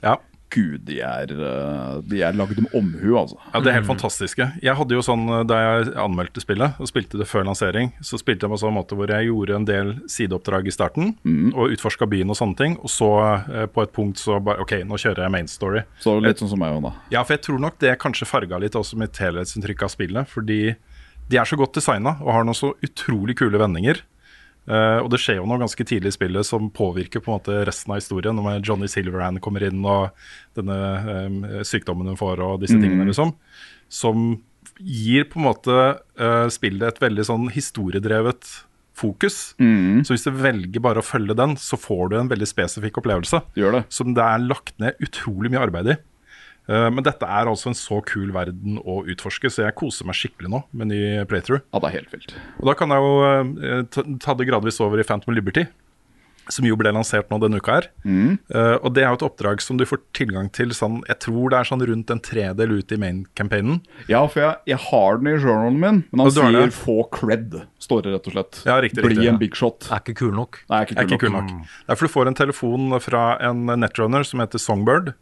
gud, de er, eh, de er lagd med omhu, altså. Ja, Det er helt fantastiske. Jeg hadde jo sånn, eh, Da jeg anmeldte spillet og spilte det før lansering, så spilte jeg på en sånn måte hvor jeg gjorde en del sideoppdrag i starten. Og utforska byen og sånne ting. Og så eh, på et punkt så bare OK, nå kjører jeg main story. Så litt sånn som meg òg, da. Ja, for jeg tror nok det kanskje farga litt også mitt helhetsinntrykk av spillet. Fordi de er så godt designa og har noen så utrolig kule vendinger. Eh, og det skjer jo noe ganske tidlig i spillet som påvirker på en måte resten av historien. Når Johnny Silverhand kommer inn og denne eh, sykdommen hun får og disse Mm. tingene, liksom. Som gir på en måte eh, spillet et veldig sånn historiedrevet fokus. Så hvis du velger bare å følge den, så får du en veldig spesifikk opplevelse. Som det er lagt ned utrolig mye arbeid i. Eh, Men dette er altså en så kul verden å utforske, så jeg koser meg skikkelig nå med ny playthrough. Ja, det er helt vilt. Og da kan jeg jo eh, ta- ta det gradvis over i Phantom Liberty, som jo ble lansert nå denne uka her. Mm. Eh, og det er jo et oppdrag som du får tilgang til sånn, jeg tror det er sånn rundt en tredel ut i main-campaignen. Ja, for jeg, jeg har den i journalen min, men han Og du har sier det. få cred, står det rett og slett. Ja, riktig, Bli riktig. en big shot. Er ikke kul nok. Nei, er ikke Er kul ikke kul nok. nok. Det er for du får en telefon fra en netrunner som heter Songbird,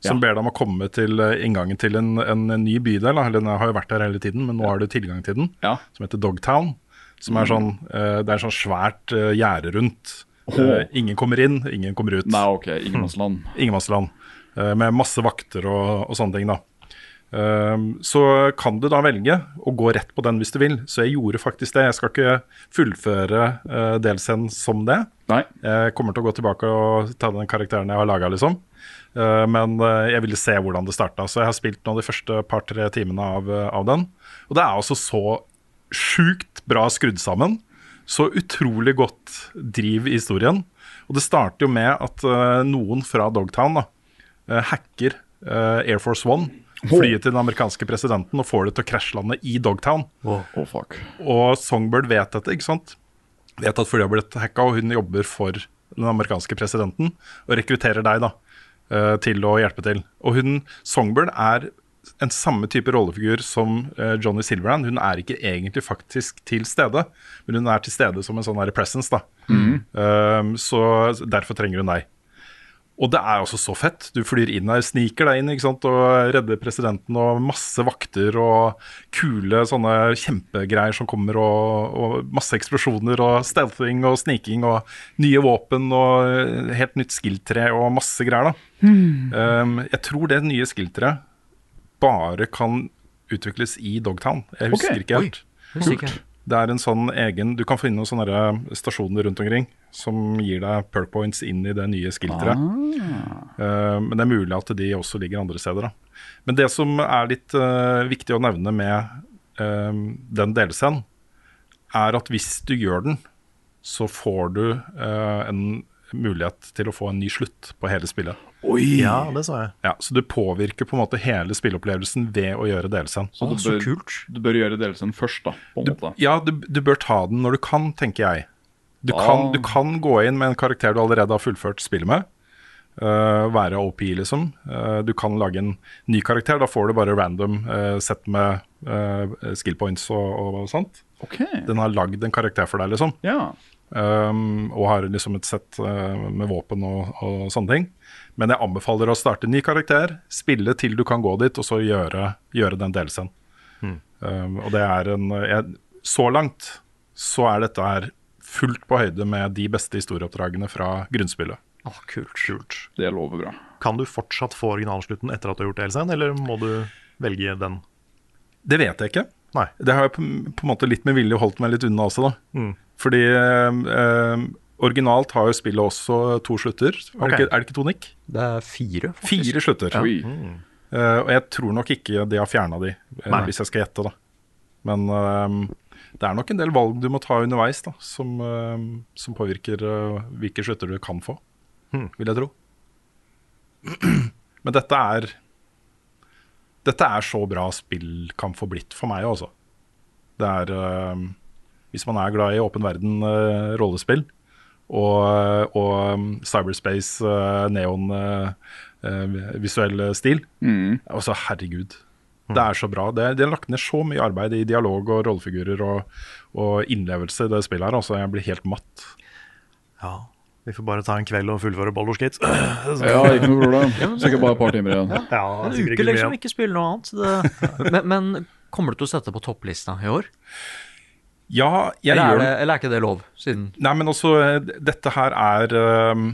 som Ja. ber deg om å komme til eh, inngangen til en, en ny bydel. da. Eller den har jo vært der hele tiden, men nå har du tilgang til den. Som heter Dogtown. Som Mm. er sånn, eh, det er sånn svært eh, gjerde rundt. Åh. Eh, Ingen kommer inn, ingen kommer ut. Nei, ok, ingenmannsland. Mm. Ingenmannsland. Eh, Med masse vakter og, og sånne ting, da. Ehm, Så kan du da velge å gå rett på den hvis du vil. Så jeg gjorde faktisk det. Jeg skal ikke fullføre uh, delscenen som det. Jeg kommer til å gå tilbake og ta den karakteren jeg har laga, liksom. Eh, men eh, jeg ville se hvordan det starta, så jeg har spilt nå de første par-tre timene av, eh, av den. Og det er altså så sjukt bra skrudd sammen. Så utrolig godt driv i historien. Og det starter jo med at eh, noen fra Dogtown da, eh, hacker eh, Air Force One, flyet til den amerikanske presidenten, og får det til å krasjlande i Dogtown. Å, fuck. Og Songbird vet dette, ikke sant? Vet at flyet har blitt hacka, og hun jobber for den amerikanske presidenten. Og rekrutterer deg, da, eh, til å hjelpe til. Og hun, Songbird er en samme type rollefigur som eh, Johnny Silverhand. Hun er ikke egentlig faktisk til stede, men hun er til stede som en sånn her presence, da. Mhm. Um, så derfor trenger hun deg. Og det er også så fett. Du flyr inn her, sniker deg inn ikke sant? og redder presidenten og masse vakter og kule sånne kjempegreier som kommer og, og masse eksplosjoner og stealthing og sniking og nye våpen og eh, helt nytt skill-tre og masse greier, da. Hmm. Um, jeg tror det nye skill-treet bare kan utvikles i Dogtown. Jeg husker Ok. ikke helt. Oi, det husker ikke jeg. Det er en sånn egen Du kan finne noen sånne der eh, stasjoner rundt omkring som gir deg perk points inn i det nye skill-treet. Eh, men det er mulig at de også ligger andre steder. Da. Men det som er litt eh, viktig å nevne med eh, den delscenen, er at hvis du gjør den, så får du eh, en mulighet til å få en ny slutt på hele spillet. Oi! Ja, det så jeg. Ja, så du påvirker på en måte hele spilleopplevelsen ved å gjøre delscenen. Så du bør, du bør gjøre delelsen først, da. På en måte. Ja, du, du bør ta den når du kan, tenker jeg. Du kan, Ah. du kan gå inn med en karakter du allerede har fullført spillet med. eh, være OP, liksom. Eh, du kan lage en ny karakter. Da får du bare random eh, sett med eh, skill points og, og, sånt. Den har lagd en karakter for deg, liksom. Um, og har liksom et sett eh, med våpen og, og sånne ting. Men jeg anbefaler å starte en ny karakter, spille til du kan gå dit, og så Hmm. Ehm, gjøre, gjøre den delscenen. Um, og det er en jeg, Så langt så er dette her fullt på høyde med de beste historieoppdragene fra grunnspillet. kult. Det lover bra. Kan du fortsatt få originalslutten etter at du har gjort DLC-en, eller må du velge den? Det vet jeg ikke. Det har jeg på, på en måte litt med vilje holdt meg litt unna også, da. Hmm. Mm. Fordi eh, originalt har jo spillet også to slutter. Er, Ok. det, ikke, er det ikke to, Nick? Det er fire, faktisk. Fire slutter. Ja. Mm. Eh, og jeg tror nok ikke de har fjerna de, eh, Nei. hvis jeg skal gjette, da. Men eh, det er nok en del valg du må ta underveis, da, som, eh, som påvirker eh, hvilke slutter du kan få, Mm. vil jeg tro. Men dette er Dette er så bra spill kan få blitt for meg, altså. Det er eh, Hvis man er glad i åpen verden, eh, rollespill og, og eh, cyberspace, eh, neon, eh, eh, visuell eh, stil Mm. Altså, herregud. Mm. Det er så bra. Det, de har lagt ned så mye arbeid i dialog og rollefigurer og, og innlevelse i det spillet her. Altså, jeg blir helt matt. Ja. Vi får bare ta en kveld og fullføre Baldur's Gate. Ja, ikke noe problem. Sikkert bare et par timer igjen. Ja, En sikkert uke mye liksom igjen. ikke spille noe annet. så Det, men, men kommer du til å sette det på topplista i år? Ja, jeg eller, er gjør det, det. eller er ikke det lov? Siden Nei, men også eh, Dette her er eh,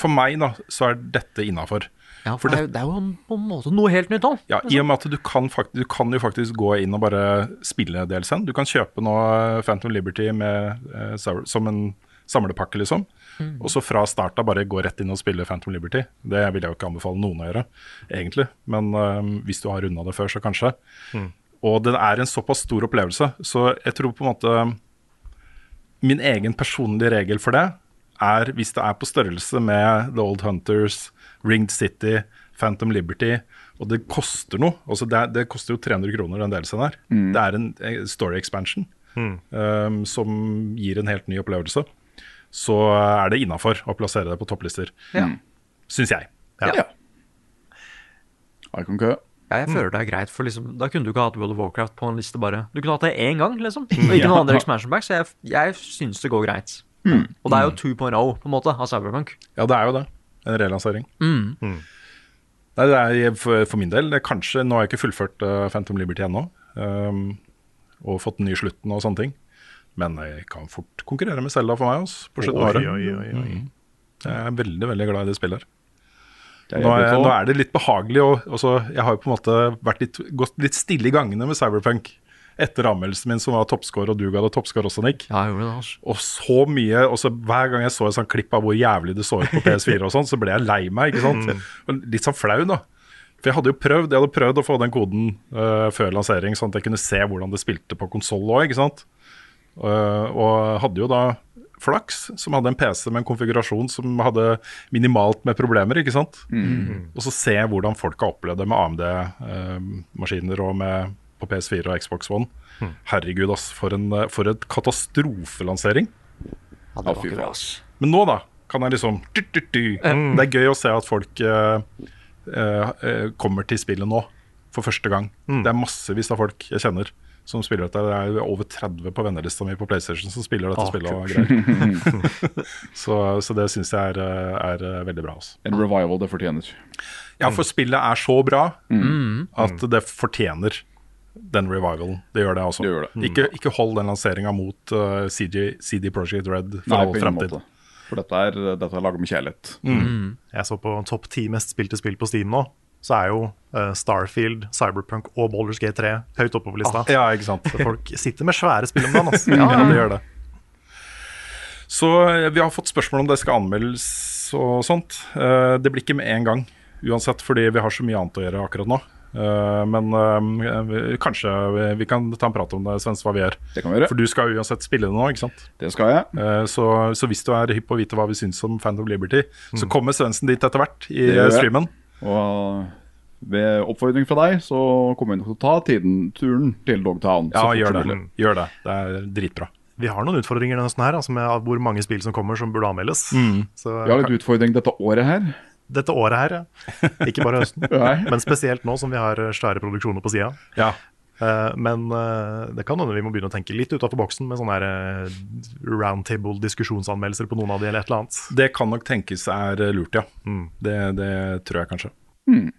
For meg, da, så er dette innafor. ja, for det, er jo- det er jo en- på en måte noe helt nytt òg. Ja, I og med at du kan, fakt du kan jo faktisk gå inn og bare spille DLC-en. Du kan kjøpe nå eh, Phantom Liberty med, eh, sau- som en samlepakke, liksom. Mm. Og så fra start av bare gå rett inn og spille Phantom Liberty. Det vil jeg jo ikke anbefale noen å gjøre, egentlig. Men eh, hvis du har runda det før, så kanskje. Mm. Og det er en såpass stor opplevelse, så jeg tror på en måte Min egen personlige regel for det er hvis det er på størrelse med The Old Hunters, Ringed City, Phantom Liberty, og det koster noe altså Det, det koster jo 300 kroner, den delelsen her. Mm. Det er en eh, story expansion um, som gir en helt ny opplevelse. Så er det innafor å plassere det på topplister, Ja. syns jeg. Ja. I can go. Ja, jeg føler det er greit, for liksom, da kunne du ikke hatt World of Warcraft på en liste bare. Du kunne hatt det én gang, liksom. Og ikke Ja. noen andre expansion back, så jeg, jeg syns det går greit. Mm. Og det er jo 2.0 på en måte av Cyberpunk. Ja, det er jo det. En relansering. Mm. Nei, det er jeg- for, for min del det er kanskje Nå har jeg ikke fullført eh, Phantom Liberty ennå, um, og fått den nye slutten og sånne ting. Men jeg kan fort konkurrere med Selda for meg, altså, på slutten av Oi, året. oi, oi, oi. Mm. Jeg er veldig, veldig glad i det spillet her. Det er Nå er, jævlig tall. nå er det litt behagelig å også- Jeg har jo på en måte vært litt, gått litt stille i gangene med Cyberpunk etter anmeldelsen min, som var toppscore, og du ga det toppscore også, Nick. Ja, jeg gjorde det, altså. Og så mye og så Hver gang jeg så et sånt klipp av hvor jævlig det så ut på PS4, og sånn, så ble jeg lei meg. ikke sant? Mm. Og Litt sånn flau, da. For jeg hadde jo prøvd jeg hadde prøvd å få den koden eh, før lansering, sånn at jeg kunne se hvordan det spilte på konsoll òg. Eh, og hadde jo da flaks, som hadde en PC med en konfigurasjon som hadde minimalt med problemer. ikke sant? Mm. Og så se hvordan folk har opplevd det med AMD-maskiner eh, og med, på PS4 og Xbox One. Mm. Herregud, ass, for en, eh, for et katastrofelansering. Ja, det var ikke bra, ass. Men nå, da, kan jeg liksom du, du, du. Mm. Det er gøy å se at folk eh, eh, eh, kommer til spillet nå, for første gang. Det er massevis av folk jeg kjenner som spiller dette. Det er jo over 30 på vennelista mi på PlayStation som spiller dette Å, spillet. og kult. greier. så, så det syns jeg er, eh, er eh, veldig bra. Altså. En revival det fortjener. Ja, for spillet er så bra Mm. at det fortjener den revivalen. Det gjør det, altså. Ikke, ikke hold den lanseringa mot eh, CG, CD Projekt Red for Nei, all på ingen fremtid. måte. For dette er, dette er laget med kjærlighet. Mm. Jeg så på topp ti mest spilte spill på Steam nå, så er jo eh, Starfield, Cyberpunk og Baldur's Gate 3 høyt oppe på lista. Ah, ja, ikke sant. Så folk sitter med svære spill om dagen. Altså. Ja, ja, det gjør det. Så eh, vi har fått spørsmål om det skal anmeldes og sånt. Eh, Det blir ikke med en gang uansett, fordi vi har så mye annet å gjøre akkurat nå. Eh, Men eh, vi- kanskje vi- vi kan ta en prat om det, Svens, hva vi gjør. Det kan vi gjøre. Mm. For du skal uansett spille det nå, ikke sant? Det skal jeg. Eh, Så, så hvis du er hypp på å vite hva vi syns om Phantom Liberty, så Mm. kommer Svendsen dit etter hvert i Det gjør eh, jeg. streamen. Og ved oppfordring fra deg, så kommer vi nok til å ta tiden, turen til Dogtown. Ja, så fort gjør som det. mulig. Gjør det. Det er dritbra. Vi har noen utfordringer denne høsten her, altså med hvor mange spill som kommer som burde anmeldes. Så, Vi har litt utfordring dette året her. Dette året her, ja. Ikke bare høsten. Nei. men spesielt nå som vi har eh, svære produksjoner på sida. Ja. men eh, det kan hende vi må begynne å tenke litt utafor boksen med sånne her, eh, roundtable diskusjonsanmeldelser på noen av de, eller et eller annet. Mm. Det kan nok tenkes er eh, lurt, ja. Det, det tror jeg kanskje.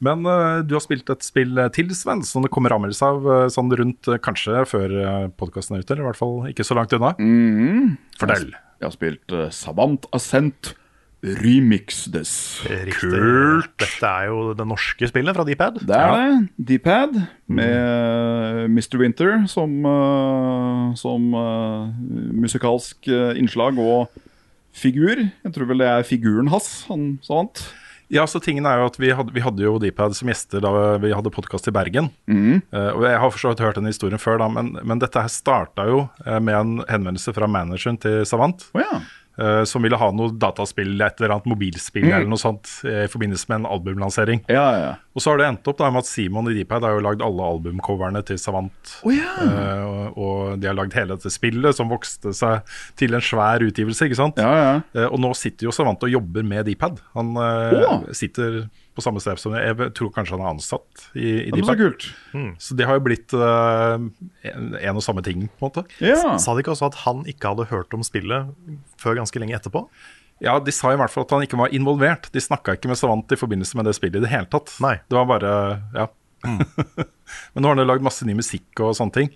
Men eh, du har spilt et spill eh, til, Sven, som det kommer anmeldelse av eh, sånn rundt eh, kanskje før uh, podkasten er ute, eller i hvert fall ikke så langt unna. Fortell. Jeg har spilt eh, Savant Ascent Remixes. Kult! Dette er jo det norske spillet fra Dpad. Det er det. D-pad med Mr. Winter som, eh, som eh, musikalsk eh, innslag og figur. Jeg tror vel det er figuren hans, han som vant. Ja, så tingen er jo at Vi hadde, vi hadde jo Dpad som gjester da vi hadde podkast i Bergen. Eh, og Jeg har for så vidt hørt den historien før, da, men, men dette her starta jo eh, med en henvendelse fra manageren til Savant. eh, som ville ha noe dataspill, et eller annet mobilspill Mm. eller noe sånt eh, i forbindelse med en albumlansering. Og så har det endt opp da med at Simon i Dpad har jo lagd alle albumcoverne til Savant. Eh, og, og de har lagd hele dette spillet, som vokste seg til en svær utgivelse. ikke sant? Eh, og nå sitter jo Savant og jobber med Dpad. Han eh, sitter på samme sted som jeg, jeg tror kanskje han er ansatt i, i Ja, men så Dpad. kult. Så det har jo blitt eh, en, en og samme ting, på en måte. Sa de ikke også at han ikke hadde hørt om spillet før ganske lenge etterpå? Ja, De sa i hvert fall at han ikke var involvert. De snakka ikke med Savant i forbindelse med det spillet i det hele tatt. Det var bare, ja. Mm. Men nå har han jo lagd masse ny musikk og sånne ting.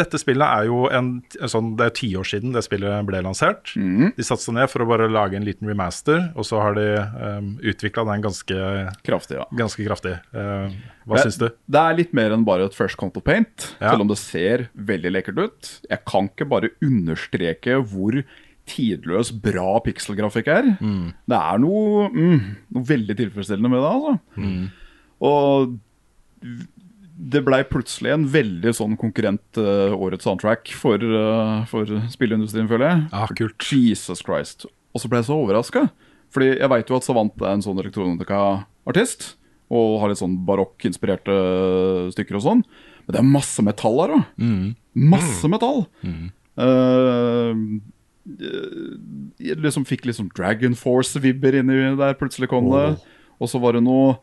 Dette spillet er jo en, en sånn, Det er ti år siden det spillet ble lansert. Mm. De satte seg ned for å bare lage en liten remaster, og så har de um, utvikla den ganske Kraftig, ja. Ganske kraftig. Eh, hva Det- syns du? Det er litt mer enn bare et fresh coat of paint, selv om det ser veldig lekkert ut. Jeg kan ikke bare understreke hvor tidløs bra pikselgrafikk er. Det er noe, mm, noe veldig tilfredsstillende med det, altså. Mm. Og det blei plutselig en veldig sånn konkurrent eh, årets soundtrack for, eh, for spillindustrien, føler jeg. Ah, kult. Jesus Christ. Og så ble jeg så overraska. Fordi jeg veit jo at Savant er en sånn elektronika-artist. Og har litt sånn barokk-inspirerte stykker og sånn. Men det er masse metall her òg. Masse metall! Eh, jeg liksom fikk litt sånn Dragon Force-vibber inni der plutselig kom det. Og så var det noe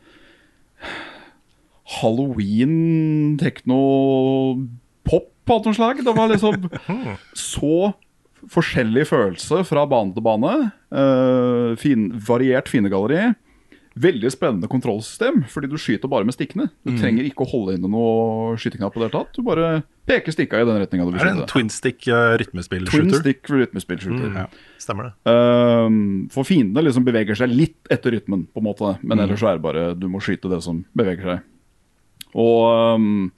Halloween, tekno, pop av noe slag. Det var liksom så forskjellig følelse fra bane til bane. Eh, fin, variert finegalleri. Veldig spennende kontrollsystem, fordi du skyter bare med stikkene. Du Mm. trenger ikke å holde inne noe skyteknapp i det hele tatt. Du bare peker stikka i den retninga du vil Er det en Mm, skyte. twin stick eh, rytmespill-shooter? Twin stick rytmespill-shooter. Stemmer det. Ehm, for fiendene liksom beveger seg litt etter rytmen, på en måte. Men Mm. ellers så er det bare du må skyte det som beveger seg. Og ehm,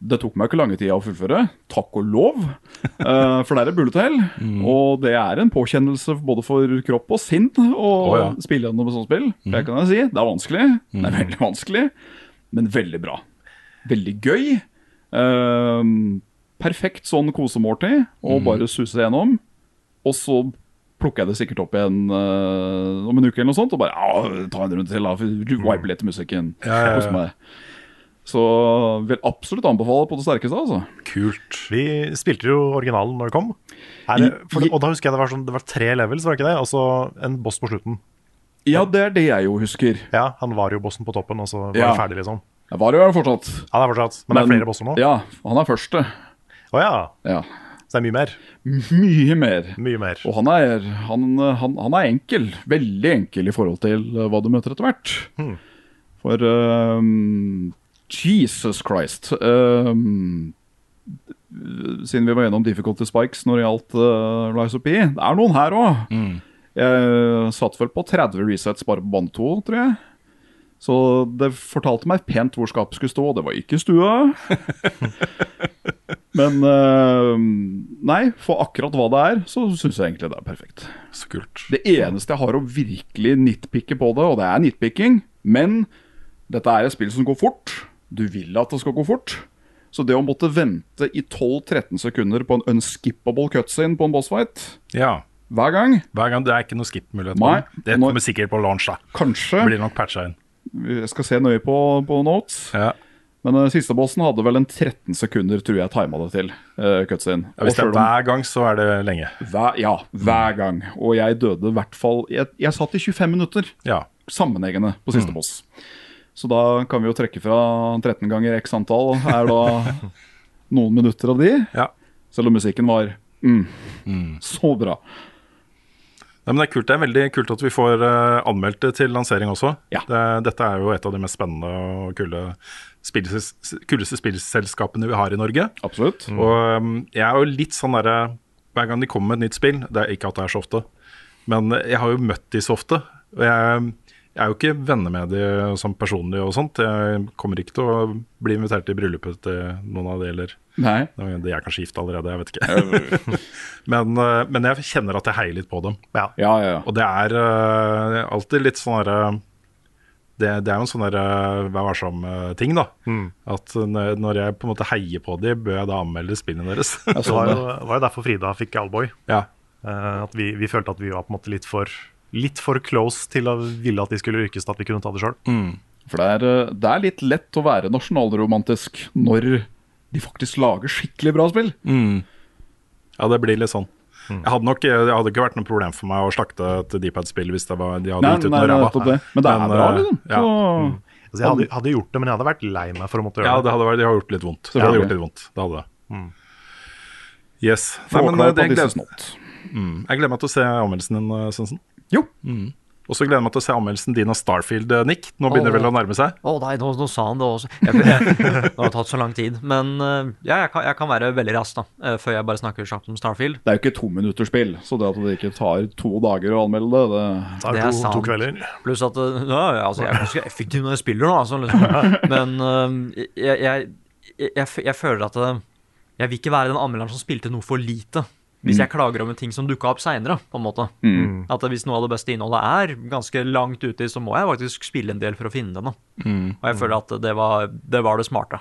det tok meg ikke lange tida å fullføre, takk og lov. eh, for det er et buletell. Mm. Og det er en påkjennelse både for kropp og sinn å Å, ja. Mm. spille gjennom et sånt spill. Det kan jeg si. Det er vanskelig. Det er veldig vanskelig, men veldig bra. Veldig gøy. Ehm, perfekt sånn kosemåltid, og Mm. bare suse gjennom. Og så plukker jeg det sikkert opp igjen eh, om en uke eller noe sånt, og bare «Ja, ta en runde til, da. for- Wipe litt musikken. Mm. Ja, ja, ja. Kos meg. Så vil absolutt anbefale på det sterkeste, altså. Kult. Vi spilte jo originalen når det kom. Er det, for, og da husker jeg det var, sånn, det var tre levels, var det ikke det? Og så en boss på slutten. Ja, det er det jeg jo husker. Ja, Han var jo bossen på toppen, og så var det Ja. ferdig, liksom. Jeg var jo her fortsatt. Han er fortsatt, men, det er flere bosser nå? Ja, han er første. Å ja. Så det er mye mer? Mye mer. Og han er, han, han, han er enkel. Veldig enkel i forhold til eh, hva du møter etter hvert. For ehm, Jesus Christ ehm, Siden vi var gjennom difficulty spikes når det gjaldt uh, Rise of P Det er noen her òg. Jeg eh, satt vel på 30 resets bare på bane 2, tror jeg. Så det fortalte meg pent hvor skapet skulle stå, og det var ikke i stua. Men eh, nei, for akkurat hva det er, så syns jeg egentlig det er perfekt. Så kult. Det eneste jeg har å virkelig nitpikke på det, og det er nitpikking, men dette er et spill som går fort. Du vil at det skal gå fort. Så det å måtte vente i 12-13 sekunder på en unskippable cutscene på en bossfight Ja. Hver gang. Hver gang, Det er ikke noe skip-mulighet. Nei, på den. Det kommer sikkert på launch, da. Kanskje. Blir nok patcha inn. Jeg skal se nøye på, på notes. Men eh, siste bossen hadde vel en 13 sekunder, tror jeg tima det til. eh, cutscene. Ja, hvis det Og er selv om- hver gang, så er det lenge. Hver, ja, hver gang. Og jeg døde i hvert fall jeg, jeg satt i 25 minutter sammenhengende på siste Mm. boss. Så da kan vi jo trekke fra 13 ganger x antall, er da noen minutter Mm. av de. Selv om musikken var mm, så bra. Nei, men det er kult. Det er veldig kult at vi får eh, anmeldt det til lansering også. Det, dette er jo et av de mest spennende og kule spillses, kuleste spillselskapene vi har i Norge. Absolutt. Og um, jeg er jo litt sånn derre Hver gang de kommer med et nytt spill Det er ikke at det er så ofte, men jeg har jo møtt de så ofte. Og jeg, jeg er jo ikke venner med de sånn personlig og sånt. Jeg kommer ikke til å bli invitert til bryllupet til noen av de, eller Nei. De er kanskje gift allerede, jeg vet ikke. men, eh, men jeg kjenner at jeg heier litt på dem. Og det er eh, alltid litt sånn derre det, det er jo en sånn der, eh, vær varsom-ting, da. Mm. At eh, når når jeg på en måte heier på de, bør jeg da anmelde spillene deres? Det var jo, var jo derfor Frida fikk Alboy. Ja. Eh, at vi, vi følte at vi var på en måte litt for, litt for close til å ville at de skulle lykkes til at vi kunne ta det sjøl. Mm. For det er, eh, det er litt lett å være nasjonalromantisk når de faktisk lager skikkelig bra spill. Mm. Ja, det blir litt sånn. Jeg hadde nok, eh, det hadde ikke vært noe problem for meg å slakte et Deepad-spill hvis det var, de hadde Nei, gitt ut nei, noe nei, ræva. nettopp det. Men det er bra, eh, liksom. Ja. Så- Mm. Altså, jeg hadde, hadde gjort det, men jeg hadde vært lei meg for å måtte gjøre ja, det hadde vært, de har gjort litt vondt. Det hadde Selvfølgelig. gjort litt vondt, det hadde det. Yes. eh, Få klar på disse mm. Jeg gleder meg til å se anmeldelsen din, eh, Svendsen. Jo. Mm. Og så gleder jeg meg til å se anmeldelsen din av Starfield, eh, Nick. Nå begynner det vel å nærme seg? Å nei, nå, nå sa han det også. Jeg, jeg, det har tatt så lang tid. Men eh, ja, jeg kan, jeg kan være veldig rask da, eh, før jeg bare snakker kjapt om Starfield. Det er jo ikke tominutterspill, så det at det ikke tar to dager å anmelde det, det Det er sant. Pluss at eh, ja, ja, altså, Jeg er ganske effektiv når jeg spiller nå, altså. Liksom. Men eh, jeg, jeg, jeg, jeg, f- jeg føler at eh, jeg vil ikke være den anmelderen som spilte noe for lite. Hvis Mm. jeg klager om en ting som dukka opp seinere, på en måte. Mm. At eh, hvis noe av det beste innholdet er ganske langt ute, så må jeg faktisk spille en del for å finne det. Da. Mm. Og jeg føler at det var det, var det smarte.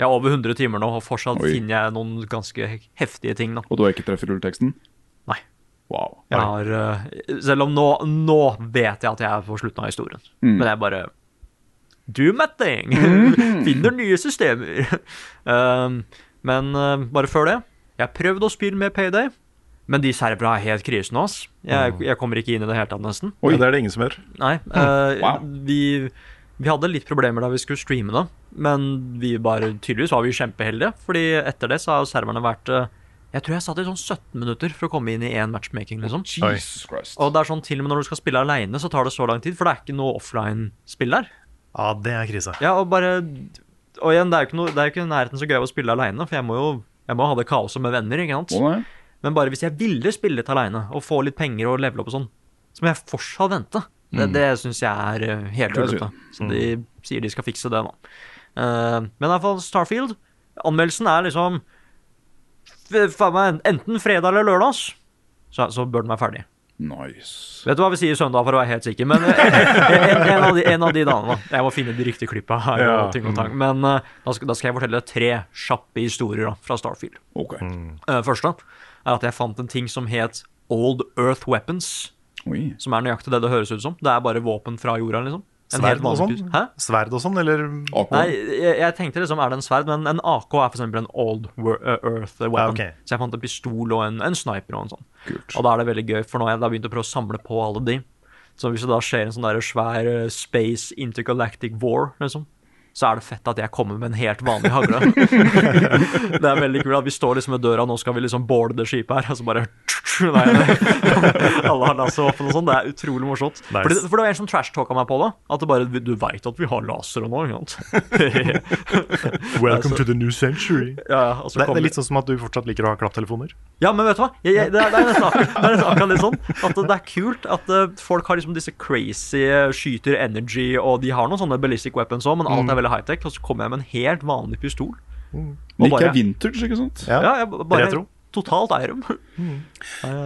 Jeg er over 100 timer nå, og fortsatt Oi. finner jeg noen ganske heftige ting. da. Og du har ikke treffet rulleteksten? Nei. Wow. Jeg har, eh, selv om nå, nå vet jeg at jeg er på slutten av historien, Mm. men jeg bare Do my thing! Finner nye systemer. Um, men eh, bare før det Jeg prøvde å spille med Payday, men de serverne er helt krise nå, ass. Jeg, jeg kommer ikke inn i det hele tatt, nesten. Oi. Det er det ingen som gjør. Nei. eh, vi, vi hadde litt problemer da vi skulle streame det, men vi bare, tydeligvis var vi kjempeheldige. Fordi etter det så har jo serverne vært eh, Jeg tror jeg satt i sånn 17 minutter for å komme inn i én matchmaking, liksom. Jesus Christ. Og det er sånn til og med når du skal spille aleine, så tar det så lang tid, for det er ikke noe offline-spill der. Ja, det er krise. Ja, og bare Og igjen, det er jo ikke, noe, det er jo ikke i nærheten så gøy å spille aleine, for jeg må jo jeg må ha det kaoset med venner, ikke sant. Å, nei. Men bare hvis jeg ville spille litt aleine, og få litt penger og levele opp og sånn, så må jeg fortsatt vente. Det, Mm. det syns jeg er eh, helt Det er tullete. Så synd. Mm. de sier de skal fikse det nå. Eh, men i hvert fall Starfield. Anmeldelsen er liksom f- faen meg, enten fredag eller lørdag, ass. så, så bør den være ferdig. Nice. Vet du hva vi sier søndag, for å være helt sikker, men eh, en, en, av, de, en av de dagene, da. Jeg må finne de riktige klippa her. Ja. og ting og tang. Men eh, da, skal, da skal jeg fortelle tre kjappe historier da, fra Starfield. Ok. Eh, første er at jeg fant en ting som het Old Earth Weapons. Oi. Som er nøyaktig det det høres ut som. Det er bare våpen fra jorda, liksom. En helt Sverd og vanlig sånn? pus- Hæ? Sverd og sånn, eller Nei, jeg, jeg tenkte liksom, er det en sverd? Men en AK er for eksempel en old wor- uh, earth weapon. ok. Så jeg fant en pistol og en, en sniper og en sånn. Og da er det veldig gøy, for nå har jeg da begynt å prøve å samle på alle de. Så hvis det da skjer en sånn der svær uh, space intergalactic war, liksom, så er det fett at jeg kommer med en helt vanlig hagle. det er veldig kult at vi står liksom ved døra, nå skal vi liksom boarde det skipet her, og så bare Nei, nei. Alle har laservåpen og sånn. Det er utrolig morsomt. Nice. Fordi, for det var en sånn som trashtalka meg på det. At det bare Du veit at vi har lasere nå, ikke sant? Welcome Altså, to the new century. Ja, ja, og så det, det kommer- er litt sånn som at du fortsatt liker å ha klapptelefoner. Ja, men vet du hva? Jeg, jeg, det, er, det, er nesten akkurat, det er nesten akkurat litt sånn at det er kult at eh, folk har liksom disse crazy eh, skyter energy, og de har noen sånne ballistic weapons òg, men alt er Mm. veldig high-tech. Og så kommer jeg med en helt vanlig pistol. Og Liker bare- jeg vintage, ikke sant? Ja, jeg b- bare totalt eier dem.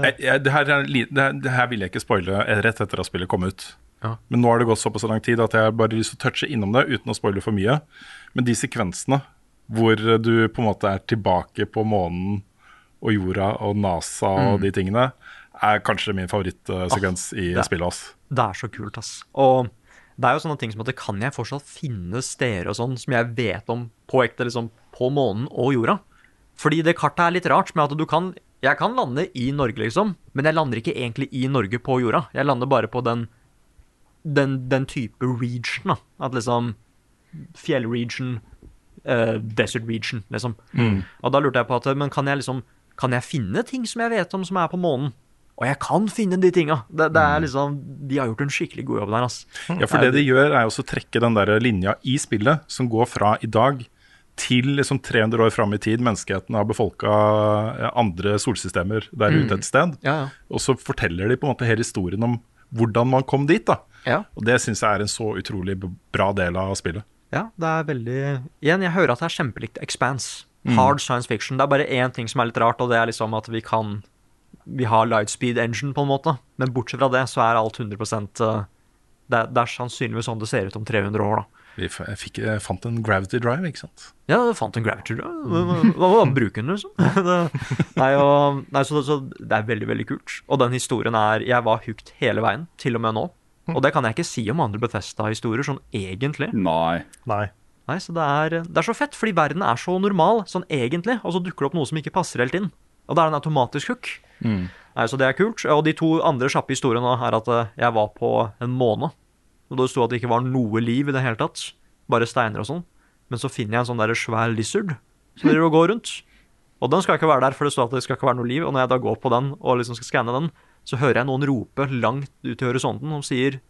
Jeg, jeg, det, her er, li- det, her- det her vil jeg ikke spoile eh, rett etter at spillet kom ut. Ja. Men nå har det gått såpass lang tid at jeg har bare lyst til å touche innom det uten å spoile for mye. Men de sekvensene hvor eh, du på en måte er tilbake på månen og jorda og NASA og Mm. Ah, de tingene, er kanskje min favorittsekvens i det er- spillet. ass. Det er så kult, ass. Og det er jo sånne ting som at det kan jeg fortsatt finne steder og sånn som jeg vet om på ekte, liksom på månen og jorda. Fordi det kartet er litt rart med at du kan Jeg kan lande i Norge, liksom, men jeg lander ikke egentlig i Norge på jorda. Jeg lander bare på den den, den type region, da. At liksom Fjellregion, eh, desert region, liksom. Mm. Og da lurte jeg på at Men kan jeg liksom Kan jeg finne ting som jeg vet om som er på månen? Og jeg kan finne de tinga! Det, det er liksom, de har gjort en skikkelig god jobb der. ass. Mm. Ja, for det de gjør, er jo også å trekke den der linja i spillet som går fra i dag til liksom 300 år fram i tid. Menneskeheten har befolka andre solsystemer der Mm. ute et sted. Ja, ja. Og så forteller de på en måte hele historien om hvordan man kom dit. da. Og det syns jeg er en så utrolig b- bra del av spillet. Ja, det er veldig Igjen, jeg hører at det er kjempelikt Expanse. Mm. Hard science fiction. Det er bare én ting som er litt rart, og det er liksom at vi kan Vi har lightspeed engine, på en måte. Men bortsett fra det, så er alt 100 eh, det er, det er sannsynligvis sånn det ser ut om 300 år, da. Vi f jeg fikk, jeg fant en gravity drive, ikke sant. Ja, jeg fant en gravity drive. Hva- Hva hva- bruke den, liksom? Det, nei, og, nei så, så det er veldig, veldig kult. Og den historien er Jeg var hooked hele veien, til og med nå. Og det kan jeg ikke si om andre Bethesda-historier, sånn egentlig. Nei. Nei. Nei, så det er, det er så fett, fordi verden er så normal, sånn egentlig, og så dukker det opp noe som ikke passer helt inn. Og det er en automatisk hook. Mm. Nei, så det er kult. Og de to andre kjappe historiene er at eh, jeg var på en måned, og det sto at det ikke var noe liv i det hele tatt, bare steiner og sånn. Men så finner jeg en sånn der svær lizard som driver og går rundt. Og den skal ikke være der, for det står at det skal ikke være noe liv. Og når jeg da går på den og liksom skal skanne den, så hører jeg noen rope langt ut i horisonten som sier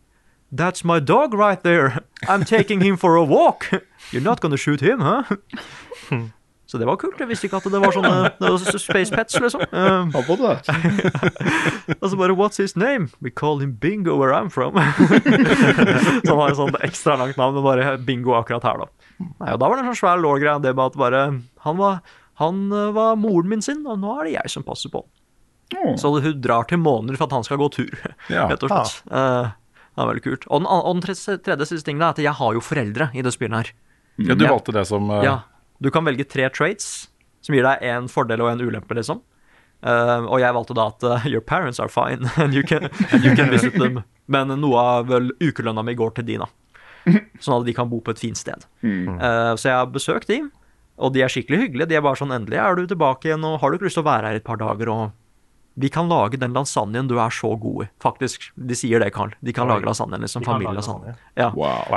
That's my dog right there. I'm taking him for a walk. You're not gonna shoot him, huh? Så det var kult. Jeg visste ikke at det var sånne det var sånne space pets, liksom. Um, og så bare What's his name? We call him Bingo where I'm from. så han har et sånt ekstra langt navn, men bare Bingo akkurat her, da. Nei, og da var det en sånn svær lårgreie, det med at bare han var, han eh, var moren min sin, og nå er det jeg som passer på. han. Så hun drar til måneder for at han skal gå tur, Mm. Ja. rett og slett. Eh, det er veldig kult. Og den, an- og den tredje, tredje siste tingen er at jeg har jo foreldre i det spillet her. Ja, du valgte det som eh, Mm. Ja. Du kan velge tre traits, som gir deg en fordel og en ulempe, liksom. Eh, og jeg valgte da at eh, your parents are fine, and you can, and you can visit them. Men noe av vel ukelønna mi går til de, da. Sånn at de kan bo på et fint sted. Mm. Eh, så jeg har besøkt de, og de er skikkelig hyggelige. De er bare sånn endelig er du tilbake igjen, og har du ikke lyst til å være her et par dager, og vi kan lage den lasagnen du er så god i, faktisk. De sier det, Carl. De kan Oi. lage lasagnen, liksom. De kan lage Familielasagne. lasagne. Ja.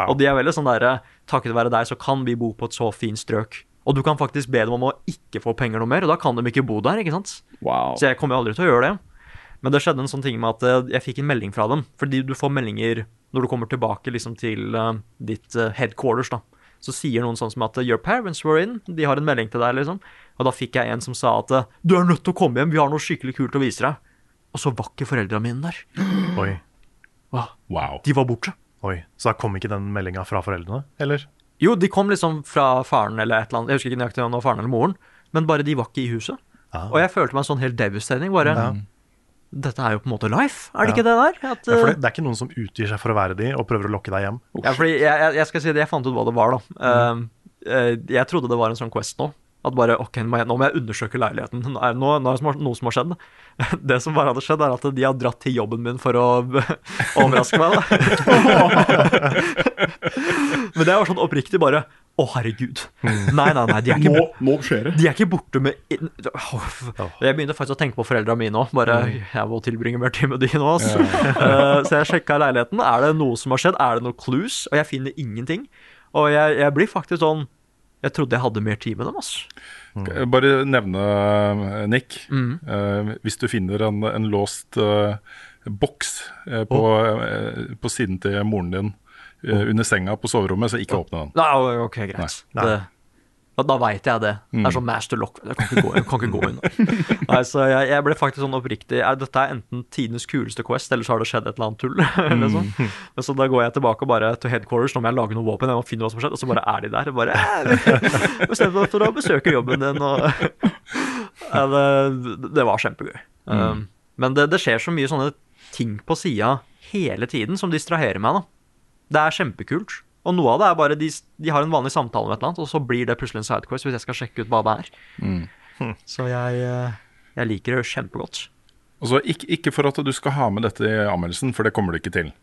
Og de er veldig sånn derre Takket være deg så kan vi bo på et så fint strøk. Og du kan faktisk be dem om å ikke få penger noe mer, og da kan de ikke bo der, ikke sant? Så jeg kommer jo aldri til å gjøre det. Men det skjedde en sånn ting med at eh, jeg fikk en melding fra dem. Fordi du får meldinger når du kommer tilbake liksom til eh, ditt eh, headquarters, da. Så sier noen sånn som at eh, 'your parents were in', de har en melding til deg, liksom. Og da fikk jeg en som sa at eh, 'du er nødt til å komme hjem, vi har noe skikkelig kult å vise deg'. Og så var ikke foreldra mine der. Oi. Wow. Wow. De var borte. Oi, Så da kom ikke den meldinga fra foreldrene? Eller? Jo, de kom liksom fra faren eller et eller annet. Jeg husker ikke nøyaktig om det var faren eller moren, men bare de var ikke i huset. Ah. Og jeg følte meg sånn helt devastating. Bare Ja. Dette er jo på en måte life, er det ikke det Mm. Ja. der? At, ja, for det, eh, det er ikke noen som utgir seg for å være de, og prøver å lokke deg hjem? ja, fordi jeg, jeg, jeg skal si det, jeg fant ut hva det var, da. Eh, eh, jeg trodde det var en sånn quest nå. At bare ok, nå må jeg, nå må jeg undersøke leiligheten. Nå er nå, nå er det som har- noe som har skjedd. Det som bare hadde skjedd, er at de har dratt til jobben min for å overraske meg, da. Men det var sånn oppriktig bare Å, herregud. Nei, nei, nei, de er ikke Nå- skjer det. De er ikke borte med inn- Åh, Jeg begynte faktisk å tenke på foreldra mine òg. Bare jeg må tilbringe mer tid med de nå. ass. Eh, så jeg sjekka leiligheten. Er det noe som har skjedd? Er det noen clues? Og jeg finner ingenting. Og jeg, jeg blir faktisk sånn Jeg trodde jeg hadde mer tid med dem, altså. ass. Skal jeg Bare nevne, eh, Nick, eh, hvis du finner en, en låst eh, boks eh, på, eh, på siden til moren din eh, under senga på soverommet, så ikke åpne den. Nei, o- ok, greit. Nei. Det, da da veit jeg det. Det er sånn master lock. Jeg kan ikke gå, jeg kan ikke gå inn. Nei, så jeg, jeg ble faktisk sånn oppriktig er, Dette er enten tidenes kuleste Quest, eller så har det skjedd et eller annet tull. eller sånn. Men Så da går jeg tilbake og bare til headquarters, nå må jeg lage noe våpen, jeg må finne hva som har skjedd, og så bare er de der. og Bare «Eh, vi bestemte oss for å besøke jobben din, og ja, det, det var kjempegøy. Um, men det, det skjer så mye sånne ting på sida hele tiden som distraherer meg, da. Det er kjempekult. Og noe av det er bare de, de har en vanlig samtale om et eller annet, og så blir det plutselig en sidequest hvis jeg skal sjekke ut hva det er. Så jeg, eh, jeg liker det kjempegodt. Altså, ikke, ikke for at du skal ha med dette i anmeldelsen, for det kommer du ikke til.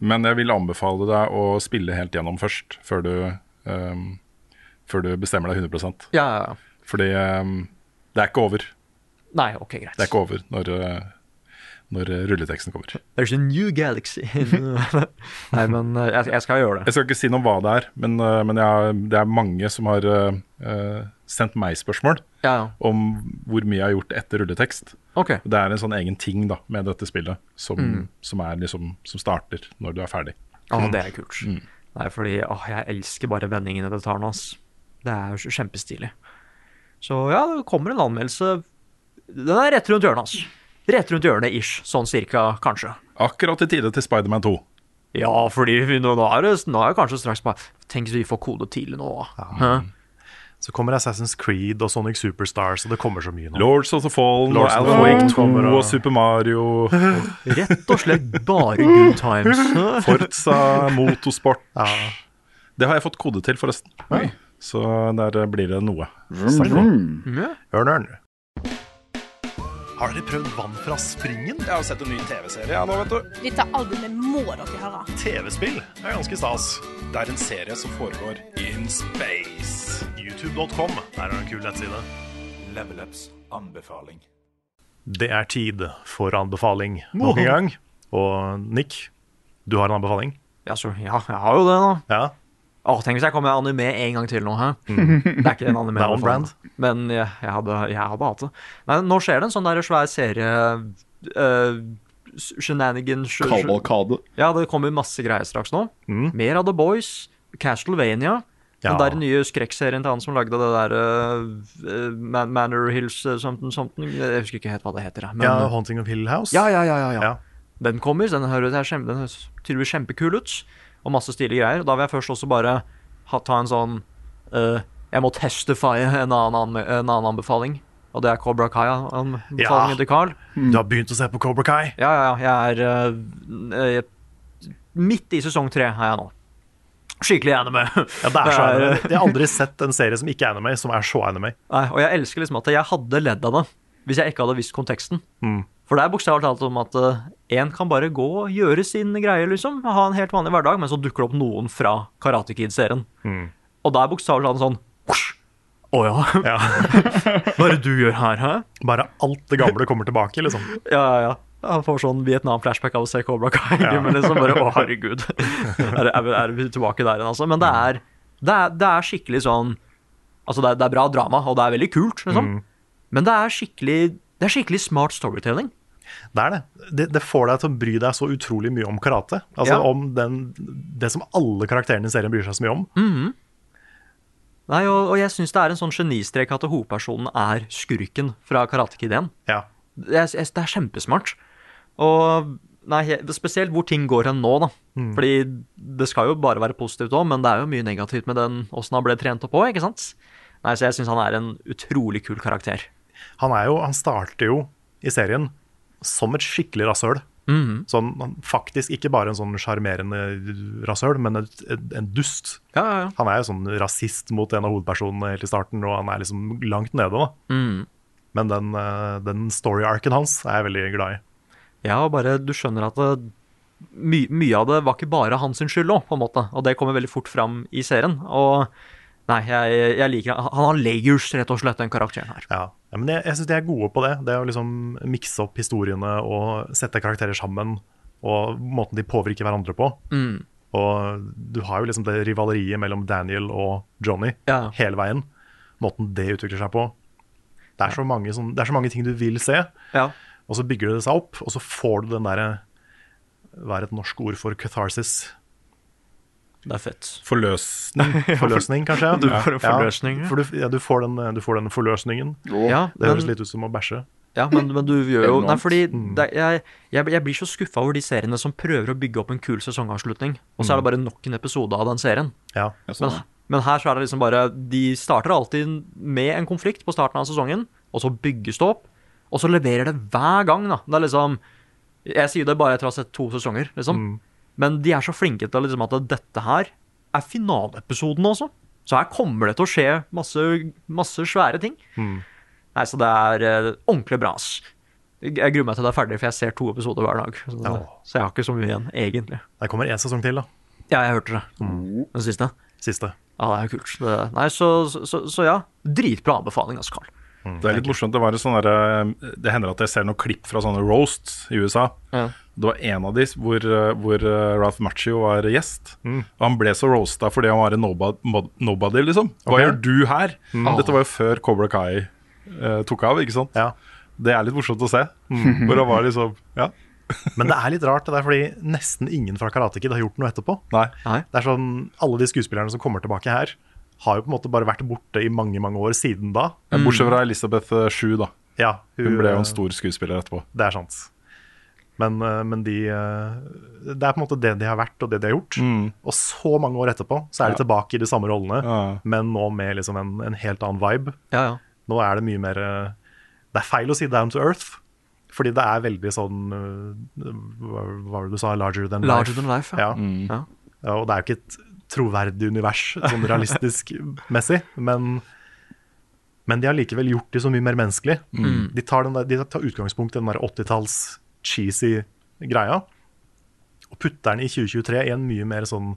Men jeg vil anbefale deg å spille helt gjennom først, før du, ehm, før du bestemmer deg 100 Ja, ja, ja. Fordi ehm, det er ikke over. Nei, ok, greit. Det er ikke over når, eh, når eh, rulleteksten kommer. There's a new galaxy. Nei, men eh, jeg, jeg skal gjøre det. Jeg skal ikke si noe om hva det er, men, eh, men jeg, har- det er mange som har eh, eh, sendt meg spørsmål om hvor mye jeg har gjort etter rulletekst. Ok. Det er en sånn egen ting da med dette spillet som, Mm. som, er liksom, som starter når du er ferdig. Å, det er kult. Nei, fordi åh, jeg elsker bare vendingene det tar nå, ass. Det er jo så kjempestilig. Så ja, det kommer en anmeldelse. Den er rett rundt hjørnet, ass. Rett rundt hjørnet ish, sånn cirka, kanskje. Mm. Akkurat i tide til Spiderman 2. Ja, fordi vi- nå, nå er det nå er det kanskje straks bare Tenk hvis vi får kode tidlig nå. Hæ? Så kommer Assassin's Creed og Sonic Superstars, og det kommer så mye nå. Lords of the Fallen Lords og of the Alan Wake Fallen 2 kommer, og... og- Super Mario. Rett og slett bare good times. Forza, motorsport. Det har jeg fått kode til, forresten. Oi. Så der blir det noe. Vroom, vroom. Ørn, ørn. Har dere prøvd vann fra springen? Jeg har sett en ny TV-serie ja, nå, vet du. Dette albumet må dere høre. TV-spill er ganske stas. Det er en serie som foregår in space. YouTube.com, der er det en kul nettside. Level Ups anbefaling. Det er tid for anbefaling nok en gang. Og Nick, du har en anbefaling. Ja, så, ja, jeg har jo det, da. Ja. Å, tenk hvis jeg kommer med anime en gang til nå, hæ? Mm. Det er ikke en anime. Det er on brand. Men jeg, jeg, hadde, jeg hadde hatt det. Nei, nå skjer det en sånn der svær serie uh, Shenanigans sj- sj- Kavalkade. Ja, det kommer masse greier straks nå. Mer av The Boys, Castlevania. Den Ja. der nye skrekkserien til han som lagde det der eh, eh, Man Manor Hills eh, something, something. Jeg husker ikke helt hva det heter. jeg, Men, ja, Haunting of Hill House. ja, ja, ja, ja, ja. Den kommer, den høres, er kjempe, den høres tydeligvis kjempekul ut. Og masse stilige greier. Da vil jeg først også bare ha, ta en sånn eh, Jeg må testifye en annen, anme- en annen anbefaling. Og det er Cobra Kai-anbefalingen Ja. til Carl. Du har begynt å se på Cobra Kai? Ja, ja, ja. Jeg er eh, jeg, midt i sesong tre er jeg nå. Skikkelig anime. Ja, det er så Det er- anime. Jeg har aldri sett en serie som ikke er anime, som er så anime. Nei, og jeg elsker liksom at jeg hadde ledd av det hvis jeg ikke hadde visst konteksten. Mm. For det er bokstavelig talt om at én kan bare gå og gjøre sin greie, liksom. Ha en helt vanlig hverdag, men så dukker det opp noen fra Karate Kid-serien. Mm. Og da er bokstavelig talt sånn Å ja. Hva er det du gjør her, hæ? Bare alt det gamle kommer tilbake, liksom. Ja, ja, ja. Han får sånn Vietnam-flashback av å se Cobra Kai. Ja. Men liksom bare, å herregud. er, det- er, vi- er vi tilbake der igjen, altså? Men det er, det er, det er skikkelig sånn Altså, det er, det er bra drama, og det er veldig kult, liksom. Men det er skikkelig Det er skikkelig smart storytelling. Det er det. det. Det får deg til å bry deg så utrolig mye om karate. Altså Ja. om den, det som alle karakterene i serien bryr seg så mye om. Mhm. Nei, og, og jeg syns det er en sånn genistrek at hovedpersonen er skurken fra Karate Kid 1. Ja. Jeg, jeg, det er kjempesmart. Og nei, he- spesielt hvor ting går hen nå, da. Mm. Fordi det skal jo bare være positivt òg, men det er jo mye negativt med den åssen han ble trent opp òg, ikke sant? Nei, så jeg syns han er en utrolig kul karakter. Han, er jo, han starter jo i serien som et skikkelig rasshøl. Mhm. Sånn, han- faktisk ikke bare en sånn sjarmerende rasshøl, men et, et, en dust. Han er jo sånn rasist mot en av hovedpersonene helt i starten, og han er liksom langt nede. da. Mhm. Men den, eh, den story-arken hans er jeg veldig glad i. Ja, og bare du skjønner at det, my, mye av det var ikke bare hans skyld òg, på en måte. Og det kommer veldig fort fram i serien. Og nei, jeg, jeg liker han. Han har layers, rett og slett, den karakteren her. Ja, ja men jeg, jeg syns de er gode på det. Det å liksom mikse opp historiene og sette karakterer sammen. Og måten de påvirker hverandre på. Mm. Og du har jo liksom det rivaleriet mellom Daniel og Johnny Ja. hele veien. Måten det utvikler seg på. Det er så mange, sånn, det er så mange ting du vil se, Ja. og så bygger det seg opp. Og så får du den derre Hva er et norsk ord for catharsis? Det er fett. Forløsning. Forløsning, kanskje. Du får en forløsning, Ja, ja. for du, ja, du, får den, du får den forløsningen. Ja, det høres men- litt ut som å bæsje. Ja, men, men du gjør jo Nei, Enormt. fordi det, jeg, jeg, jeg blir så skuffa over de seriene som prøver å bygge opp en kul sesongavslutning, og så er det bare nok en episode av den serien. Ja. Men, Sånn. men her så er det liksom bare De starter alltid med en konflikt på starten av sesongen, og så bygges det opp, og så leverer det hver gang, da. Det er liksom Jeg sier det bare etter å ha sett to sesonger, liksom. Men de er så flinke til liksom at dette her er finaleepisoden også. Så her kommer det til å skje masse, masse svære ting. Nei, så det er eh, ordentlig bra, ass. Jeg jeg gruer meg til det er ferdig, for jeg ser to episoder hver dag. Så, Ja. så jeg har ikke så mye igjen, egentlig. Det kommer én sesong til, da. Ja, jeg hørte det. Den siste. Siste. Ja, det er kult. Det, nei, så, så, så, så ja. Dritbra anbefaling, altså, ass, Carl. Det er litt morsomt. Det, var en sånn derre- det hender at jeg ser noen klipp fra sånne roasts i USA. Ja. Det var en av de hvor, eh, hvor Ralph Macchio var gjest. Mm. Og han ble så roasta fordi han var en nobody, nobody liksom. Hva Ok. gjør du her? Mm. Dette var jo før Cobra Kai eh, tok av, ikke sant? Det er litt morsomt å se. Mm. Hvor han var liksom Ja. Men det er litt rart, det der, fordi nesten ingen fra Karate Kid har gjort noe etterpå. Det er sånn, Alle de skuespillerne som kommer tilbake her, har jo på en måte bare vært borte i mange mange år siden da. Ja, bortsett fra Elisabeth eh, Shue, da. Mm. Ja, hun, ble jo en stor skuespiller etterpå. Det er sant. Men, eh, men de eh, Det er på en måte det de har vært, og det de har gjort. Mm. Og så mange år etterpå så er de Ja. tilbake i de samme rollene, men nå med liksom en, en helt annen vibe. Nå er det mye mer eh, Det er feil å si down to earth, fordi det er veldig sånn eh, Hva hva var det du sa? Larger than Larger life. than life, ja. ja. Ja, og det er jo ikke et troverdig univers, sånn realistisk-messig, men men de har likevel gjort det så mye mer menneskelig. Mm. De, tar den der, de tar utgangspunkt i den der 80-talls cheesy greia, og putter den i 2023 i en mye mer sånn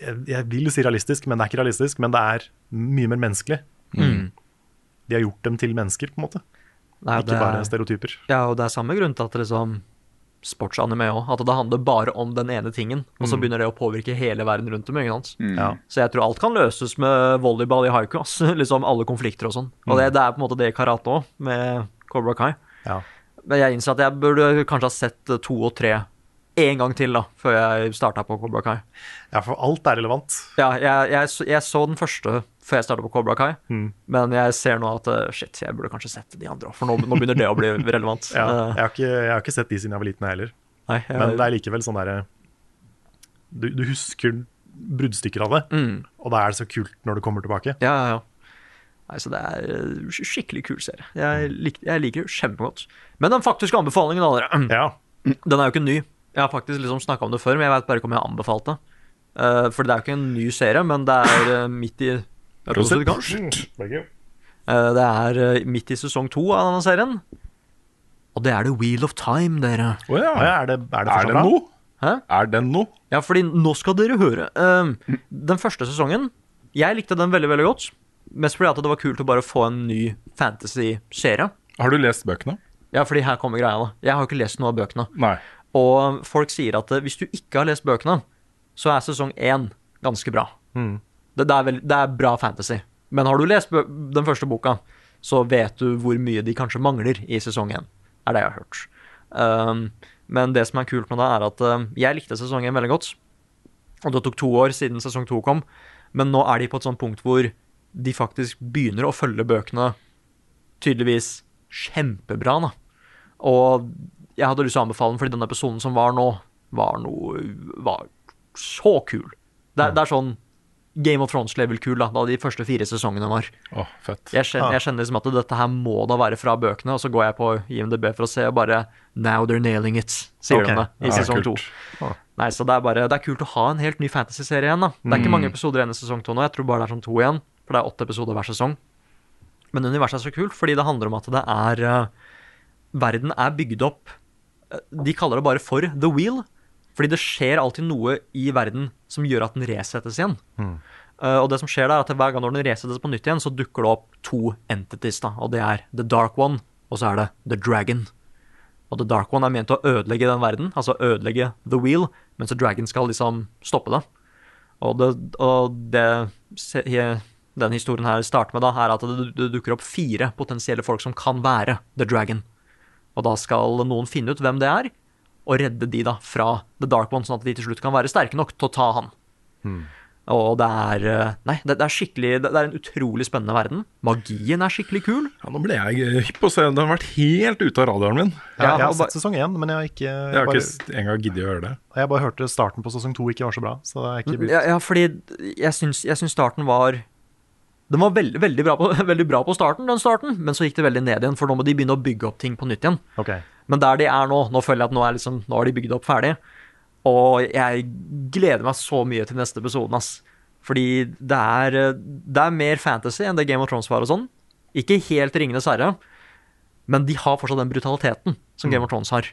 jeg, jeg vil si realistisk, men det er ikke realistisk. Men det er mye mer menneskelig. Mm. De har gjort dem til mennesker, på en måte. Nei, ikke det er- bare stereotyper. Ja, og det er samme grunn til at liksom sportsanime òg. At det handler bare om den ene tingen, og så Mm. begynner det å påvirke hele verden rundt dem. ikke sant? Mm. Ja. Så jeg tror alt kan løses med volleyball i haiku. ass. Liksom alle konflikter og sånn. Og det, det er på en måte det i karate òg, med Cobra Kai. Men jeg innser at jeg burde kanskje ha sett to og tre én gang til da, før jeg starta på Cobra Kai. Ja, for alt er relevant. Ja, jeg, jeg, så- jeg så den første før jeg starta på Cobra Kai, Mm. men jeg ser nå at eh, shit, jeg burde kanskje sett de andre òg, for nå, nå begynner det å bli relevant. Ja, Eh, jeg, har ikke, jeg har ikke sett de siden jeg var liten, jeg heller. Nei, jeg- Men det er likevel sånn derre du, du husker bruddstykker av det, Mm. og da er det så kult når du kommer tilbake. Ja, ja, ja. Nei, så det er eh, sk- skikkelig kul serie. Jeg, Mm. lik, jeg liker det kjempegodt. Men den faktiske anbefalingen av dere, den er jo ikke ny. Jeg har faktisk liksom snakka om det før, men jeg veit bare ikke om jeg har anbefalt det. Eh, for det er jo ikke en ny serie, men det er eh, midt i Ja, Prosit, Mm. kanskje? Eh, det er eh, midt i sesong to av denne serien. Og det er The Wheel of Time, dere. ja. Ja, er det- er det fortsatt bra? noe? Hæ? Er den noe? Ja, fordi nå skal dere høre. Ehm, den første sesongen Jeg likte den veldig veldig godt. Mest fordi at det var kult å bare få en ny fantasy-serie. Har du lest bøkene? Ja, fordi her kommer greia. da Jeg har ikke lest noe av bøkene. Nei. Og folk sier at eh, hvis du ikke har lest bøkene, så er sesong én ganske bra. Det, det, er veld, det er bra fantasy. Men har du lest bø den første boka, så vet du hvor mye de kanskje mangler i sesong én. Er det jeg har hørt. Um, men det som er kult med det, er at um, jeg likte sesong én veldig godt. Og det tok to år siden sesong to kom, men nå er de på et sånt punkt hvor de faktisk begynner å følge bøkene tydeligvis kjempebra, da. Og jeg hadde lyst til å anbefale den, fordi den episoden som var nå, var noe var så kul. Det, er- det er sånn Game of Thrones-level-kul, da, da de første fire sesongene var. Jeg Ja. kjenner, jeg kjenner liksom at dette her må da være fra bøkene, og så går jeg på IMDb for å se, og bare Now they're nailing it, sier Ok. de det i Ja, sesong to. kult. Ah. Ja. Nei, så det er bare Det er kult å ha en helt ny fantasy-serie igjen, da. Det er Mm. ikke mange episoder igjen i sesong to nå, jeg tror bare det er sånn to igjen, for det er åtte episoder hver sesong. Men universet er så kult fordi det handler om at det er eh, Verden er bygd opp eh, De kaller det bare for The Wheel. Fordi det skjer alltid noe i verden som gjør at den resettes igjen. Eh, og det som skjer da er at Hver gang når den resettes på nytt igjen, så dukker det opp to entities. da, Og det er The Dark One, og så er det The Dragon. Og The Dark One er ment å ødelegge den verden, altså ødelegge The Wheel, mens The Dragon skal liksom stoppe det. Og det, og det se- he- den historien her starter med, da, er at det, det dukker opp fire potensielle folk som kan være The Dragon. Og da skal noen finne ut hvem det er, og redde de da fra The Dark One, sånn at de til slutt kan være sterke nok til å ta han. Og det er eh, Nei, det, det er skikkelig det, det er en utrolig spennende verden. Magien er skikkelig kul. Ja, nå ble jeg eh, hypp på å se den. Den har vært helt ute av radaren min. Jeg, jeg har sett sesong én, men jeg har ikke Jeg har bare, ikke s- engang giddet å gjøre det. jeg bare hørte starten på sesong to ikke var så bra. Så det er ikke begynt. Mm, Ja, ja fordi jeg syns, jeg syns starten var Den var veldig, veldig, bra på, veldig bra på starten, den starten, men så gikk det veldig ned igjen, for nå må de begynne å bygge opp ting på nytt igjen. Ok. Men der de er nå, nå føler jeg at nå er, liksom, nå er de bygd opp ferdig. Og jeg gleder meg så mye til neste episoden, ass. Fordi det er, eh, det er mer fantasy enn det Game of Thrones var og sånn. Ikke helt Ringenes herre, men de har fortsatt den brutaliteten som Game of Thrones har.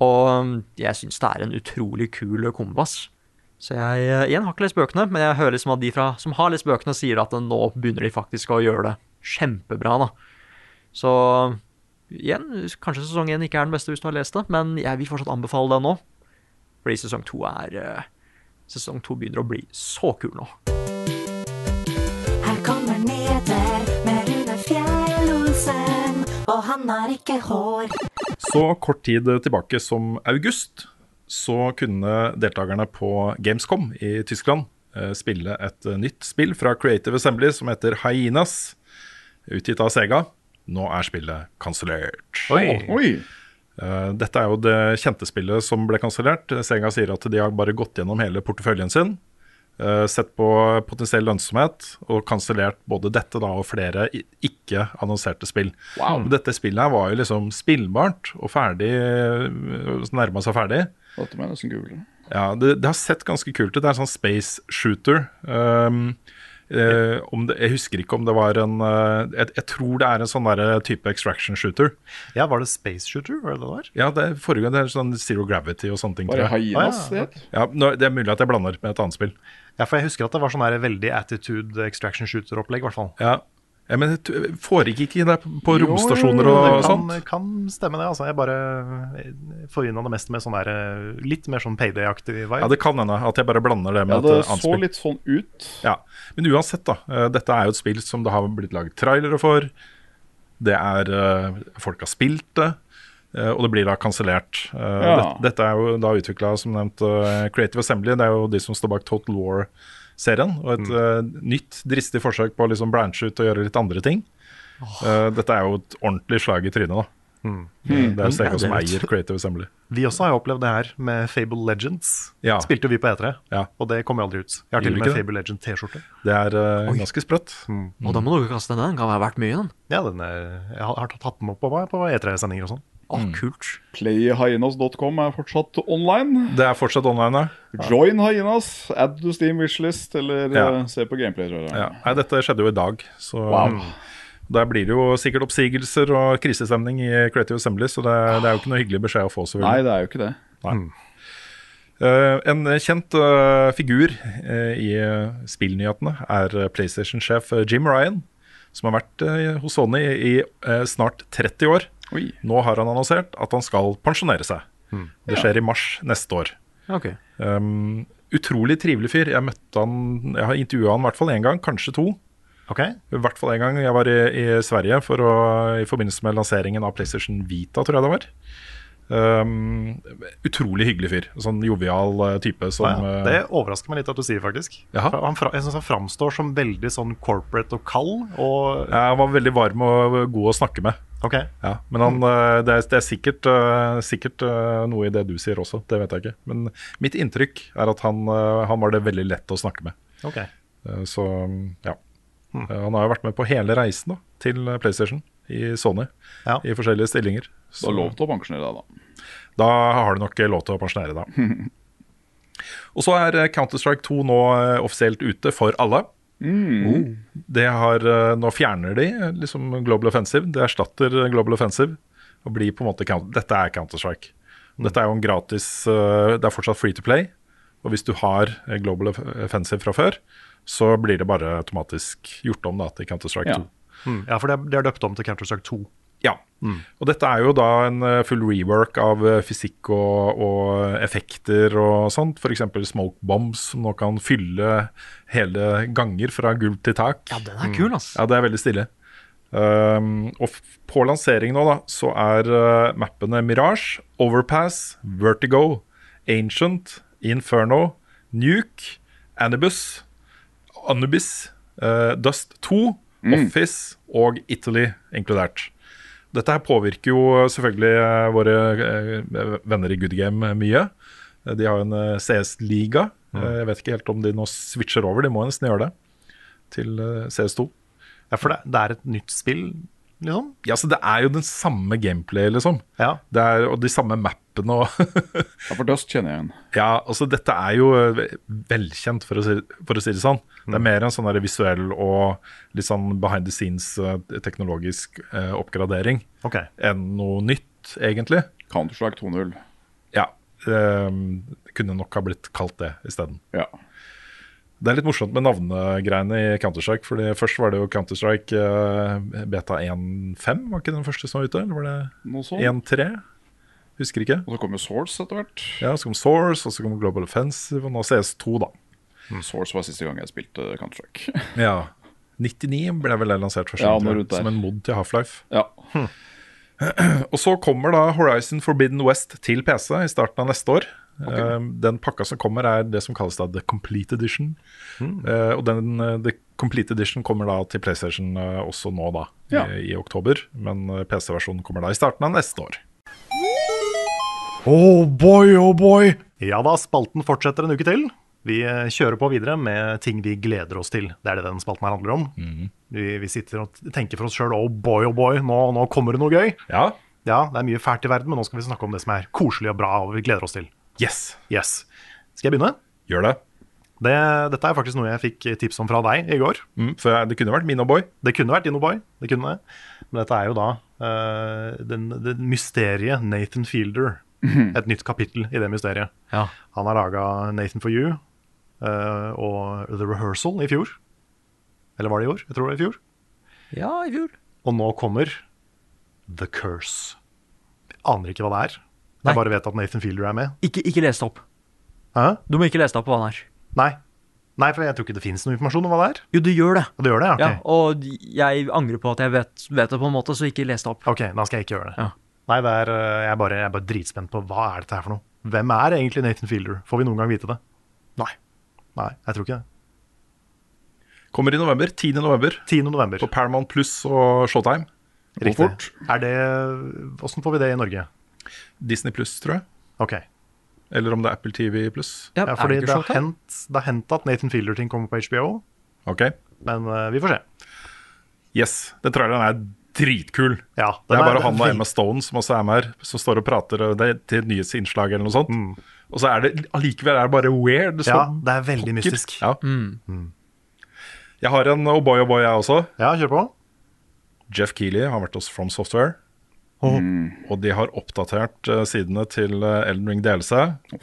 Og um, jeg syns det er en utrolig kul kombo, ass. Så jeg eh, igjen har ikke lest bøkene, men jeg hører liksom at de fra, som har lest bøkene, sier at nå begynner de faktisk å gjøre det kjempebra, da. Så igjen, kanskje sesong én ikke er den beste hvis du har lest det, men jeg vil fortsatt anbefale den nå. Fordi sesong to er eh, Sesong to begynner å bli så kul nå. Her kommer nyheter. Og han har ikke hår. Så kort tid eh, tilbake som august, så kunne deltakerne på Gamescom i Tyskland eh, spille et eh, nytt spill fra Creative Assembly som heter Hyenas, utgitt av Sega. Nå er spillet kansellert. Oi. Oi. Eh, Dette er jo det kjente spillet som ble kansellert. Sega sier at de har bare gått gjennom hele porteføljen sin, eh, sett på potensiell lønnsomhet, og kansellert både dette da og flere i- ikke-annonserte spill. Wow. Og Dette spillet her var jo liksom spillbart og ferdig, nærma seg ferdig. Dette må jeg nesten google. Ja, det, det har sett ganske kult ut. Det er en sånn space shooter. Um, eh, om det, jeg husker ikke om det var en eh, jeg, jeg tror det er en sånn der type extraction shooter. Ja, Var det Space Shooter? Var det det var? Ja, det er forrige gang det er sånn Zero Gravity og sånne ting. Var det tror jeg. Hyenas det het? ja, nå- Det er mulig at jeg blander med et annet spill. Ja, for jeg husker at det var sånn her veldig attitude extraction shooter-opplegg, i hvert fall. Ja, ja men det t- foregikk ikke det på Jo, romstasjoner jo, jo, og det kan, sånt? Kan stemme det, altså. Jeg bare forvinna det mest med sånn der eh, litt mer sånn payday-aktig vibe. Ja, det kan hende at jeg bare blander det med Ja, et det eh, annet så spill. litt sånn ut. Ja, Men uansett, da. eh, Dette er jo et spill som det har blitt laget trailere for. Det er eh, Folk har spilt det. eh, Og det blir da kansellert. Eh, Ja. det- Dette er jo da utvikla som nevnt eh, Creative Assembly. Det er jo de som står bak Total War-serien. Og Mm. et eh, nytt dristig forsøk på å liksom branche ut og gjøre litt andre ting. Eh, Dette er jo et ordentlig slag i trynet, da. Mm. Eh, Det er jo Mm. Ja, Sega som det vet eier du. Creative Assembly. Vi også har jo opplevd det her med Fable Legends. Ja. Spilte jo vi på E3, og det kom jo aldri ut. Jeg har til Gjorde og med ikke det? Fable Legend T-skjorte. Det er eh, Oi. Mm. ganske sprøtt. Og da må dere kaste den. Den kan være verdt mye, den. Ja, den er, jeg har- har tatt den opp på meg på E3-sendinger og sånn. kult. Playhyenas.com er fortsatt online. Det er fortsatt online, ja. Join Hyenas, add to Steam wishlist, eller Ja. eh, se på gameplay. Tror jeg. Ja. Nei, dette skjedde jo i dag, så Wow. mm, der blir det jo sikkert oppsigelser og krisestemning i Creative Assembly, så det, det er jo ikke noe hyggelig beskjed å få, Nei, selvfølgelig. det er jo ikke det. Eh, en kjent eh, figur eh, i eh, spillnyhetene er eh, PlayStation-sjef eh, Jim Ryan, som har vært eh, hos Sony i eh, snart 30 år. Nå har han annonsert at han skal pensjonere seg. Hmm. Mm. Det Ja. skjer i mars neste år. Ok. Um, utrolig trivelig fyr. Jeg møtte han Jeg har intervjua han i hvert fall én gang, kanskje to. I hvert fall en gang jeg var i, i Sverige for å, i forbindelse med lanseringen av PlayStation Vita, tror jeg det var. Um, utrolig hyggelig fyr. Sånn jovial eh, type som ja, eh, det overrasker meg litt at du sier, faktisk. Jaha. For Han fra, jeg syns han framstår som veldig sånn corporate og kald. Og eh, Ja, Han var veldig varm og god å snakke med. Ok. Ja, men han, eh, det, er, det er sikkert, eh, sikkert eh, noe i det du sier også, det vet jeg ikke. Men mitt inntrykk er at han, eh, han var det veldig lett å snakke med. Ok. Eh, Så ja. Eh, Han har jo vært med på hele reisen da, til eh, PlayStation i Sony, i forskjellige stillinger. Du har lov til å pensjonere deg, da. Da har du nok eh, lov til å pensjonere deg. Og så er eh, Counter-Strike 2 nå eh, offisielt ute for alle. Oh. Mm. Det har, eh, nå fjerner de eh, liksom Global Offensive. Det erstatter eh, Global Offensive og blir på en måte count Dette er Counter-Strike. Dette er jo en gratis eh, Det er fortsatt free to play. Og hvis du har eh, Global Off- Offensive fra før, så blir det bare automatisk gjort om da, til Counter-Strike Ja. 2. Mm, ja, for det er, det er døpt om til Counter-Strike 2. Ja. Og dette er jo da en eh, full rework av eh, fysikk og, og effekter og sånt. F.eks. smoke bombs, som nå kan fylle hele ganger fra gulv til tak. Ja, den er kul, ass. Ja, det er veldig stille. Um, og f- på lansering nå, da, så er eh, mappene Mirage, Overpass, Vertigo, Ancient, Inferno, Nuke, Anubis, Anubis eh, Dust 2, Office og Italy inkludert. Dette her påvirker jo selvfølgelig eh, våre eh, venner i Good Game mye. Eh, De har en eh, CS-liga. Eh, Jeg vet ikke helt om de nå switcher over, de må nesten gjøre det, til eh, CS2. Ja, for det, det er et nytt spill, liksom? Ja, så det er jo den samme gameplay, liksom. Det er, og de samme mappene og Ja, for Dust kjenner jeg igjen. Ja, altså dette er jo eh, velkjent, for å si, for å si det sånn. Mm. Det er mer en sånn der visuell og litt sånn behind the scenes eh, teknologisk eh, oppgradering Ok. enn noe nytt, egentlig. Counter-Strike 2.0. Ja. ehm, kunne nok ha blitt kalt det isteden. Ja. Det er litt morsomt med navnegreiene i Counter-Strike. Fordi Først var det jo Counter-Strike eh, beta 1.5, var ikke den første som var ute? Eller var Noe det sånt. 1.3? Husker ikke. Og så kom jo Source etter hvert. Ja, Så kom Source, og så kom Global Offensive, og nå CS2, da. Source var siste gang jeg spilte Counter-Strike. Ja. 99 ble vel det lansert første Ja, gang, tror noe jeg, rundt der. som en mod til Half-Life. Ja. Og så kommer da Horizon Forbidden West til PC i starten av neste år. Ok. Eh, Den pakka som kommer, er det som kalles da The Complete Edition. Mm. Eh, Og den eh, The Complete Edition kommer da til PlayStation eh, også nå, da, Ja. i, i oktober. Men eh, PC-versjonen kommer da i starten av neste år. Oh boy, oh boy! Ja da, spalten fortsetter en uke til. Vi eh, kjører på videre med ting vi gleder oss til. Det er det den spalten her handler om. Mm. Vi, vi sitter og tenker for oss sjøl oh boy, oh boy, nå, nå kommer det noe gøy. Ja. Det er mye fælt i verden, men nå skal vi snakke om det som er koselig og bra og vi gleder oss til. Yes. Yes. Skal jeg begynne? Gjør det. Dette er faktisk noe jeg fikk tips om fra deg i går. for Mm, det kunne vært min oh Boy. Det kunne vært Dino Boy. Det kunne det. Men dette er jo da eh, den, det mysteriet Nathan Fielder. Mhm. Et nytt kapittel i det mysteriet. Han har laga Nathan for you eh, og The Rehearsal i fjor. Eller var det i år? Jeg tror det var i fjor. Ja, i fjor. Og nå kommer The Curse. Jeg aner ikke hva det er. Jeg bare vet at Nathan Fielder er med. Ikke, ikke les det opp. Du må ikke lese deg opp på hva han er. Nei. Nei, for jeg tror ikke det fins noe informasjon om hva det er. Jo, det gjør det. Det gjør det, ja, ok. Ja, og jeg angrer på at jeg vet, vet det på en måte, så ikke les det opp. Ok, da skal jeg ikke gjøre det. Nei, det er, eh, jeg, er bare, jeg er bare dritspent på hva er dette her for noe. Hvem er egentlig Nathan Fielder? Får vi noen gang vite det? Nei. Nei, jeg tror ikke det. Kommer i november. 10. november. 10. november. På Paramount Pluss og Showtime. Gå Riktig. fort. Er det, hvordan får vi det i Norge? Disney Pluss, tror jeg. Ok. Eller om det er Apple TV Pluss. Ja, fordi det har hendt det har hendt at Nathan Fielder-ting kommer på HBO, Ok. men eh, vi får se. Yes, den traileren er dritkul. det den er er- bare han og den- Emma Stone som også er med her, som står og prater og det er til et nyhetsinnslag eller noe sånt. Og så er det allikevel er det bare weird. Mm. Ja, som det er veldig pokker. mystisk. Mm. Ja. Jeg har en oh boy, oh boy, jeg også. Ja, kjør på. Jeff Keeley har vært hos From Software. Og de har oppdatert eh, sidene til eh, Elden Ring DLC.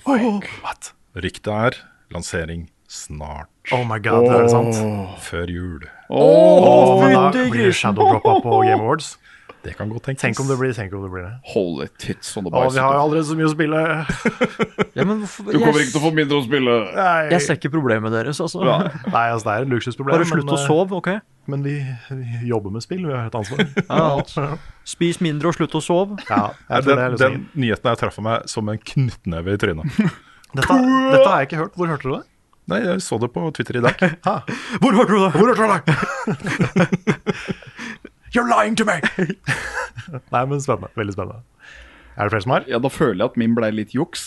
What? Ryktet er lansering snart. Oh my god, er det sant? Før jul. Åh, men da blir det shadow droppa på Game Awards. Det kan godt tenkes. Tenk om det blir, tenk om det, blir det. Holy tits on the Å, vi har jo bicycle. allerede så mye å spille. Du kommer ikke til å få mindre å spille. Nei. Jeg ser ikke problemet deres, altså. Ja. Nei, altså, det er et luksusproblem. Bare slutt men, å eh, sove, ok? Men vi, vi jobber med spill, vi har et ansvar. Ja, Spis mindre og slutt å sove. Nei, tror den, det er den løsningen. liksom nyheten her traff meg som en knyttneve i trynet. Dette, dette har jeg ikke hørt. Hvor hørte du det? Nei, jeg så det på Twitter i dag. Hvor hørte du det? Hvor hørte du det? You're lying to me! Nei, men spennende. Veldig spennende. Er det flere som har? Ja, da føler jeg at min blei litt juks.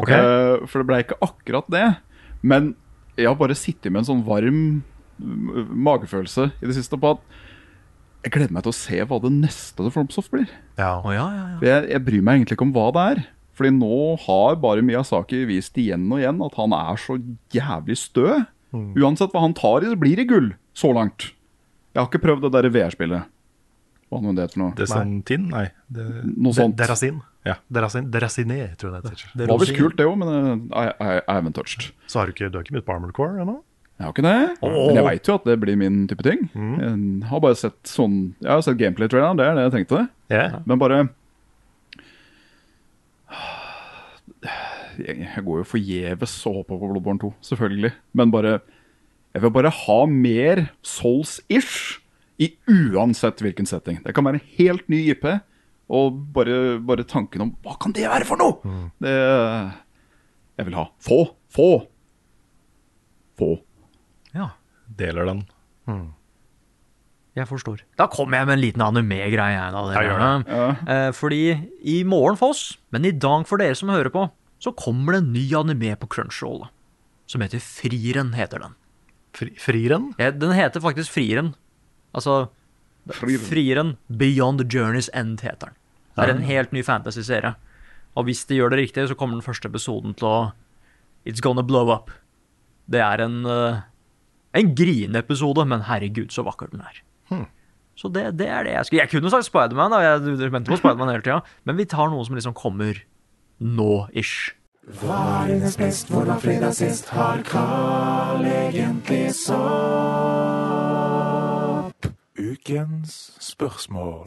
Ok. Eh, for det blei ikke akkurat det. Men jeg har bare sittet med en sånn varm mm, magefølelse i det siste på at jeg gleder meg til å se hva det neste til Flomsoft blir. For Jeg, jeg bryr meg egentlig ikke om hva det er. Fordi nå har bare Miyazaki vist igjen og igjen at han er så jævlig stø. Uansett hva han tar i, så blir det gull så langt. Jeg har ikke prøvd det derre VR-spillet. Hva nå det heter for noe? Mm, Desantin? Nei. Det... Noe sånt. De- Derasin. Ja. Derasin. Derasiné, tror jeg det heter. Det var visst kult, det òg, men eh, I, I, I haven't touched. Så har du ikke, du har ikke mye på Armored Core ennå? Jeg har ikke det. Men jeg veit jo at det blir min type ting. Jeg har bare sett sånn Jeg har sett gameplay-traileren, det er det jeg tenkte. Men bare Jeg jeg går jo forgjeves og håper på Bloodborne 2, selvfølgelig. Men bare Jeg vil bare ha mer Souls-ish i uansett hvilken setting. Det kan være en helt ny IP, og bare, bare tanken om Hva kan det være for noe?! Det Jeg vil ha. Få! Få! Få. Deler den. Jeg forstår. Da kommer jeg med en liten anime-greie. jeg da, dere. Ja, gjør Eh, Fordi i morgen for oss, men i dag for dere som hører på, så kommer det en ny anime på Crunchyroll. da, Som heter Frieren, heter den. frieren? Ja, Eh, den heter faktisk Frieren. Altså Frieren. Beyond the Journey's End heter den. Det er en helt ny fantasy-serie. Og hvis de gjør det riktig, så kommer den første episoden til å It's gonna blow up. Det er en eh, En grineepisode, men herregud, så vakker den er. Så det, det er det jeg skulle Jeg kunne sagt Spiderman, da, jeg jeg mente på Spiderman hele tida, men vi tar noe som liksom kommer nå-ish. Hva er dines best, hvordan fredag sist har Carl egentlig sopp? Ukens spørsmål.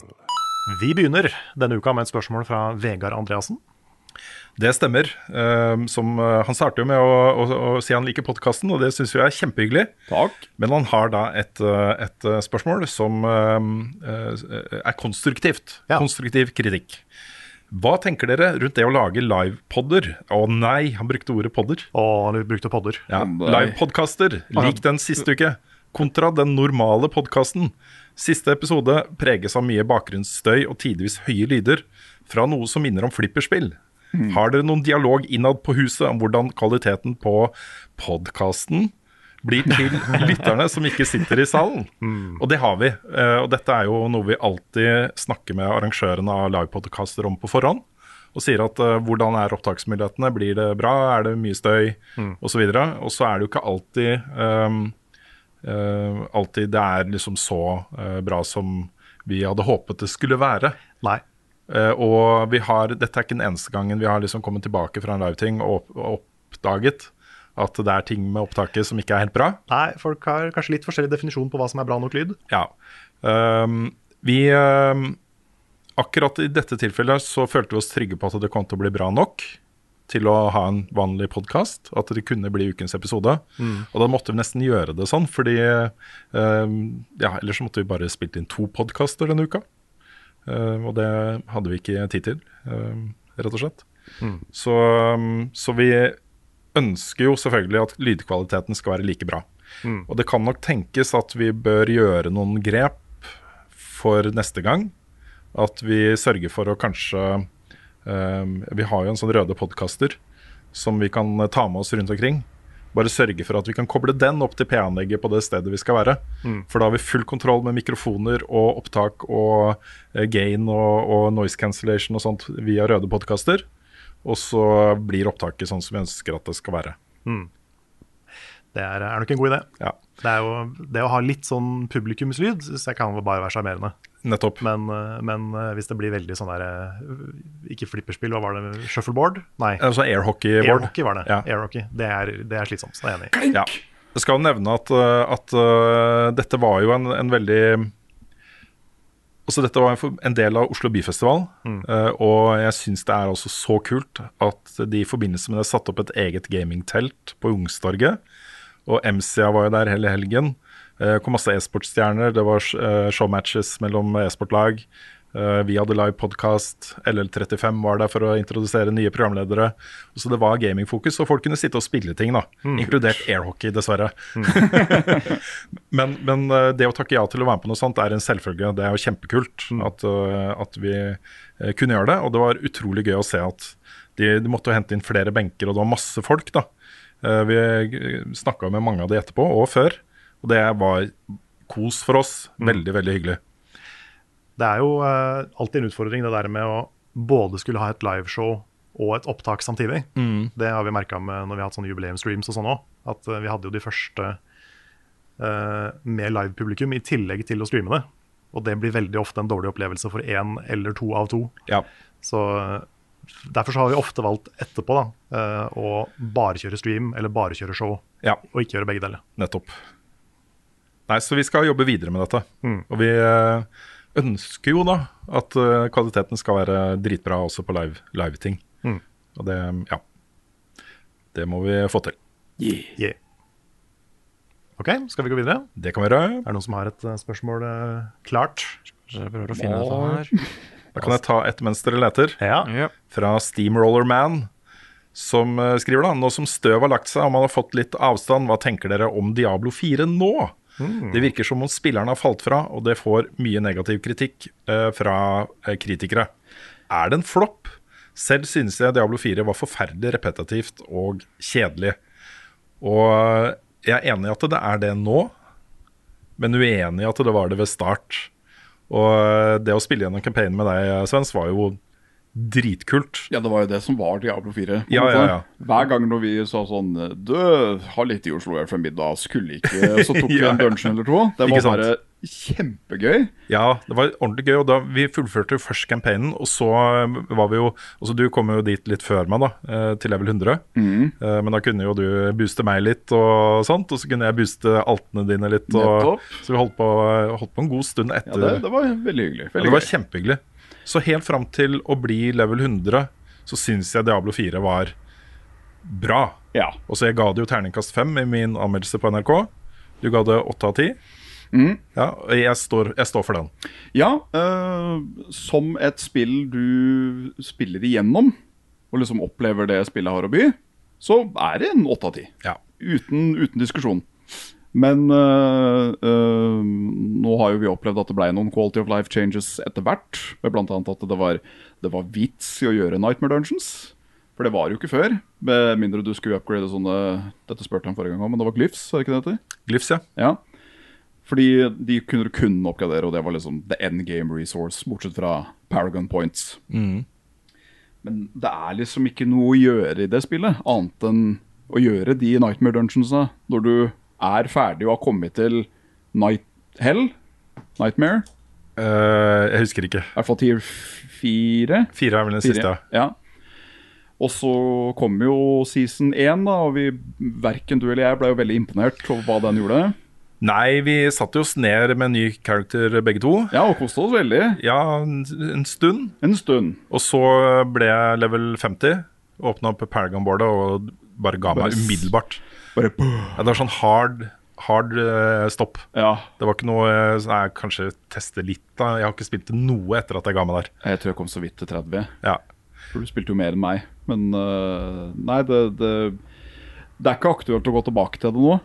Vi begynner denne uka med et spørsmål fra Vegard Andreassen. Det stemmer. Ehm, som, eh, han starter jo med å, å, å si han liker podkasten, og det syns vi er kjempehyggelig. Men han har da et, eh, et eh, spørsmål som eh, eh, er konstruktivt. Konstruktiv kritikk. Hva tenker dere rundt det å lage livepodder? Å nei, han brukte ordet podder. Å, han brukte podder. Ja, Livepodkaster, lik den siste uke. Kontra den normale podkasten. Siste episode preges av mye bakgrunnsstøy og tidvis høye lyder fra noe som minner om flipperspill. Mm. Har dere noen dialog innad på huset om hvordan kvaliteten på podkasten blir til lytterne som ikke sitter i salen? Og det har vi. eh, Og dette er jo noe vi alltid snakker med arrangørene av livepodkaster om på forhånd. Og sier at eh, hvordan er opptaksmulighetene, blir det bra, er det mye støy Mm. osv. Og så er det jo ikke alltid ehm, eh, Alltid det er liksom så eh, bra som vi hadde håpet det skulle være. Eh, Nei. og vi har, dette er ikke den eneste gangen vi har liksom kommet tilbake fra en liveting og opp- og oppdaget at det er ting med opptaket som ikke er helt bra. Nei, folk har kanskje litt forskjellig definisjon på hva som er bra nok lyd. Ja. Ehm, vi ehm, Akkurat i dette tilfellet så følte vi oss trygge på at det kom til å bli bra nok til å ha en vanlig podkast. At det kunne bli ukens episode. Mm. Og da måtte vi nesten gjøre det sånn, fordi ehm, Ja, ellers så måtte vi bare spilt inn to podkaster denne uka. Ehm, og det hadde vi ikke tid til, ehm, rett og slett. Mm. Så, ehm, så vi ønsker jo selvfølgelig at lydkvaliteten skal være like bra. Mm. Og det kan nok tenkes at vi bør gjøre noen grep for neste gang. At vi sørger for å kanskje ehm, Vi har jo en sånn røde podkaster som vi kan eh, ta med oss rundt omkring. Bare sørge for at vi kan koble den opp til P-anlegget på det stedet vi skal være. Mm. For da har vi full kontroll med mikrofoner og opptak og eh, gain og, og noise cancellation og sånt via røde podkaster. Og så blir opptaket sånn som vi ønsker at det skal være. Mm. Det er, er nok en god idé. Det, er jo, det å ha litt sånn publikumslyd syns jeg kan bare være sjarmerende. Nettopp. Men, eh, men eh, hvis det blir veldig sånn der eh, Ikke flipperspill, hva var det? Shuffleboard? Nei. Altså airhockey-board. Airhockey var det. Ja. Airhockey. Det, er, det er slitsomt. Det er jeg enig i. Ja. Jeg skal jo nevne at, uh, at uh, dette var jo en, en veldig Altså Dette var en for- en del av Oslo byfestival, Mm. uh, og jeg syns det er også så kult at de i forbindelse med det satte opp et eget gamingtelt på Youngstorget. Og MCA var jo der hele helgen. Uh, kom masse e-sportstjerner, det var uh, showmatches mellom e-sportlag. Uh, vi hadde live podkast. LL35 var der for å introdusere nye programledere. Så det var gamingfokus, og folk kunne sitte og spille ting, da. Mm. Inkludert airhockey, dessverre. men, men eh, det å takke ja til å være med på noe sånt er en selvfølge. Det er jo kjempekult at, eh, at vi eh, kunne gjøre det. Og det var utrolig gøy å se at de, de måtte jo hente inn flere benker, og det var masse folk. da. Eh, Vi snakka med mange av de etterpå, og før. Og det var kos for oss. Veldig, veldig hyggelig. Det er jo eh, alltid en utfordring det der med å både skulle ha et liveshow og et opptak samtidig. Mm. Det har vi merka med når vi har hatt sånne jubileumsstreams og sånn òg. At eh, vi hadde jo de første eh, med livepublikum i tillegg til å streame det. Og det blir veldig ofte en dårlig opplevelse for én eller to av to. Ja. Så eh, Derfor så har vi ofte valgt etterpå da, eh, å bare kjøre stream eller bare kjøre show, Ja. og ikke gjøre begge deler. Nettopp. Nei, så vi skal jobbe videre med dette. Mm. Og vi eh, ønsker jo da at eh, kvaliteten skal være dritbra også på live- live-ting. Mm. Og det, ja. Det må vi få til. Yeah. Ok, skal vi gå videre? Det kan vi gjøre. Er det noen som har et eh, spørsmål eh, klart? Jeg prøver å finne dette her. Da kan jeg ta et mens dere leter. Fra Steamroller Man, som eh, skriver da Nå som støv har lagt seg og man har fått litt avstand, hva tenker dere om Diablo 4 nå? Mm. Det virker som om spillerne har falt fra, og det får mye negativ kritikk eh, fra eh, kritikere. Er det en flopp? Selv synes jeg Diablo 4 var forferdelig repetitivt og kjedelig. Og eh, jeg er enig i at det er det nå, men uenig i at det var det ved start. Og eh, det å spille gjennom campaignen med deg, Svens, var jo dritkult. Ja, det var jo det som var Diablo 4. på en Ja, måte. ja, ja. Hver gang når vi sa sånn Du, har litt i Oslo her for middag, skulle ikke Så tok vi Ja. en dungeon eller to. Det Ikke var sant? bare kjempegøy. Ja, det var ordentlig gøy. Og da vi fullførte jo først campaignen, og så eh, var vi jo Altså, du kom jo dit litt før meg, da, eh, til level 100. Mhm. Eh, Men da kunne jo du booste meg litt, og sånt Og så kunne jeg booste altene dine litt. Nettopp. Og, så vi holdt på, holdt på en god stund Ja, etter. det, det var veldig hyggelig. Ja, Veldig det var gøy. kjempehyggelig. Så helt fram til å bli level 100, så syns jeg Diablo 4 var bra. Og så jeg ga det jo terningkast fem i min anmeldelse på NRK. Du ga det åtte av ti. Mm. Ja, og jeg står, jeg står for den. Ja, eh, som et spill du spiller igjennom, og liksom opplever det spillet har å by, så er det en åtte av ti. Uten, uten diskusjon. Men eh, eh, nå har jo vi opplevd at det ble noen quality of life changes etter hvert. med Blant annet at det var, det var vits i å gjøre Nightmare Dungeons. For det var jo ikke før. Med mindre du skulle upgrade sånne Dette spurte han forrige gang om, men det var glyphs, er det ikke det det heter? Glyphs, ja. ja. Fordi de kunne du kun oppgradere, og det var liksom the end game resource, bortsett fra Paragon Points. Men det er liksom ikke noe å gjøre i det spillet, annet enn å gjøre de Nightmare Dungeonsa når du er ferdig og har kommet til Night Hell? Nightmare? Eh, jeg husker ikke. I hvert fall tier fire. Fire er vel den Fire, siste, ja. ja. Og så kom jo season én, da, og vi, verken du eller jeg ble jo veldig imponert over hva den gjorde. Nei, vi satte oss ned med en ny character begge to. Ja, og koste oss veldig. Ja, en en stund. En stund. Og så ble jeg level 50, åpna opp Paragon-boardet og bare ga Bare meg s- umiddelbart. Bare ja, det var sånn hard, hard eh, stopp. Det var ikke noe eh, sånn, Nei, kanskje teste litt, da. Jeg har ikke spilt noe etter at jeg ga meg der. Jeg tror jeg kom så vidt til 30. Ja. For du spilte jo mer enn meg. Men øh, nei, det, det, det er ikke aktuelt å gå tilbake til det nå.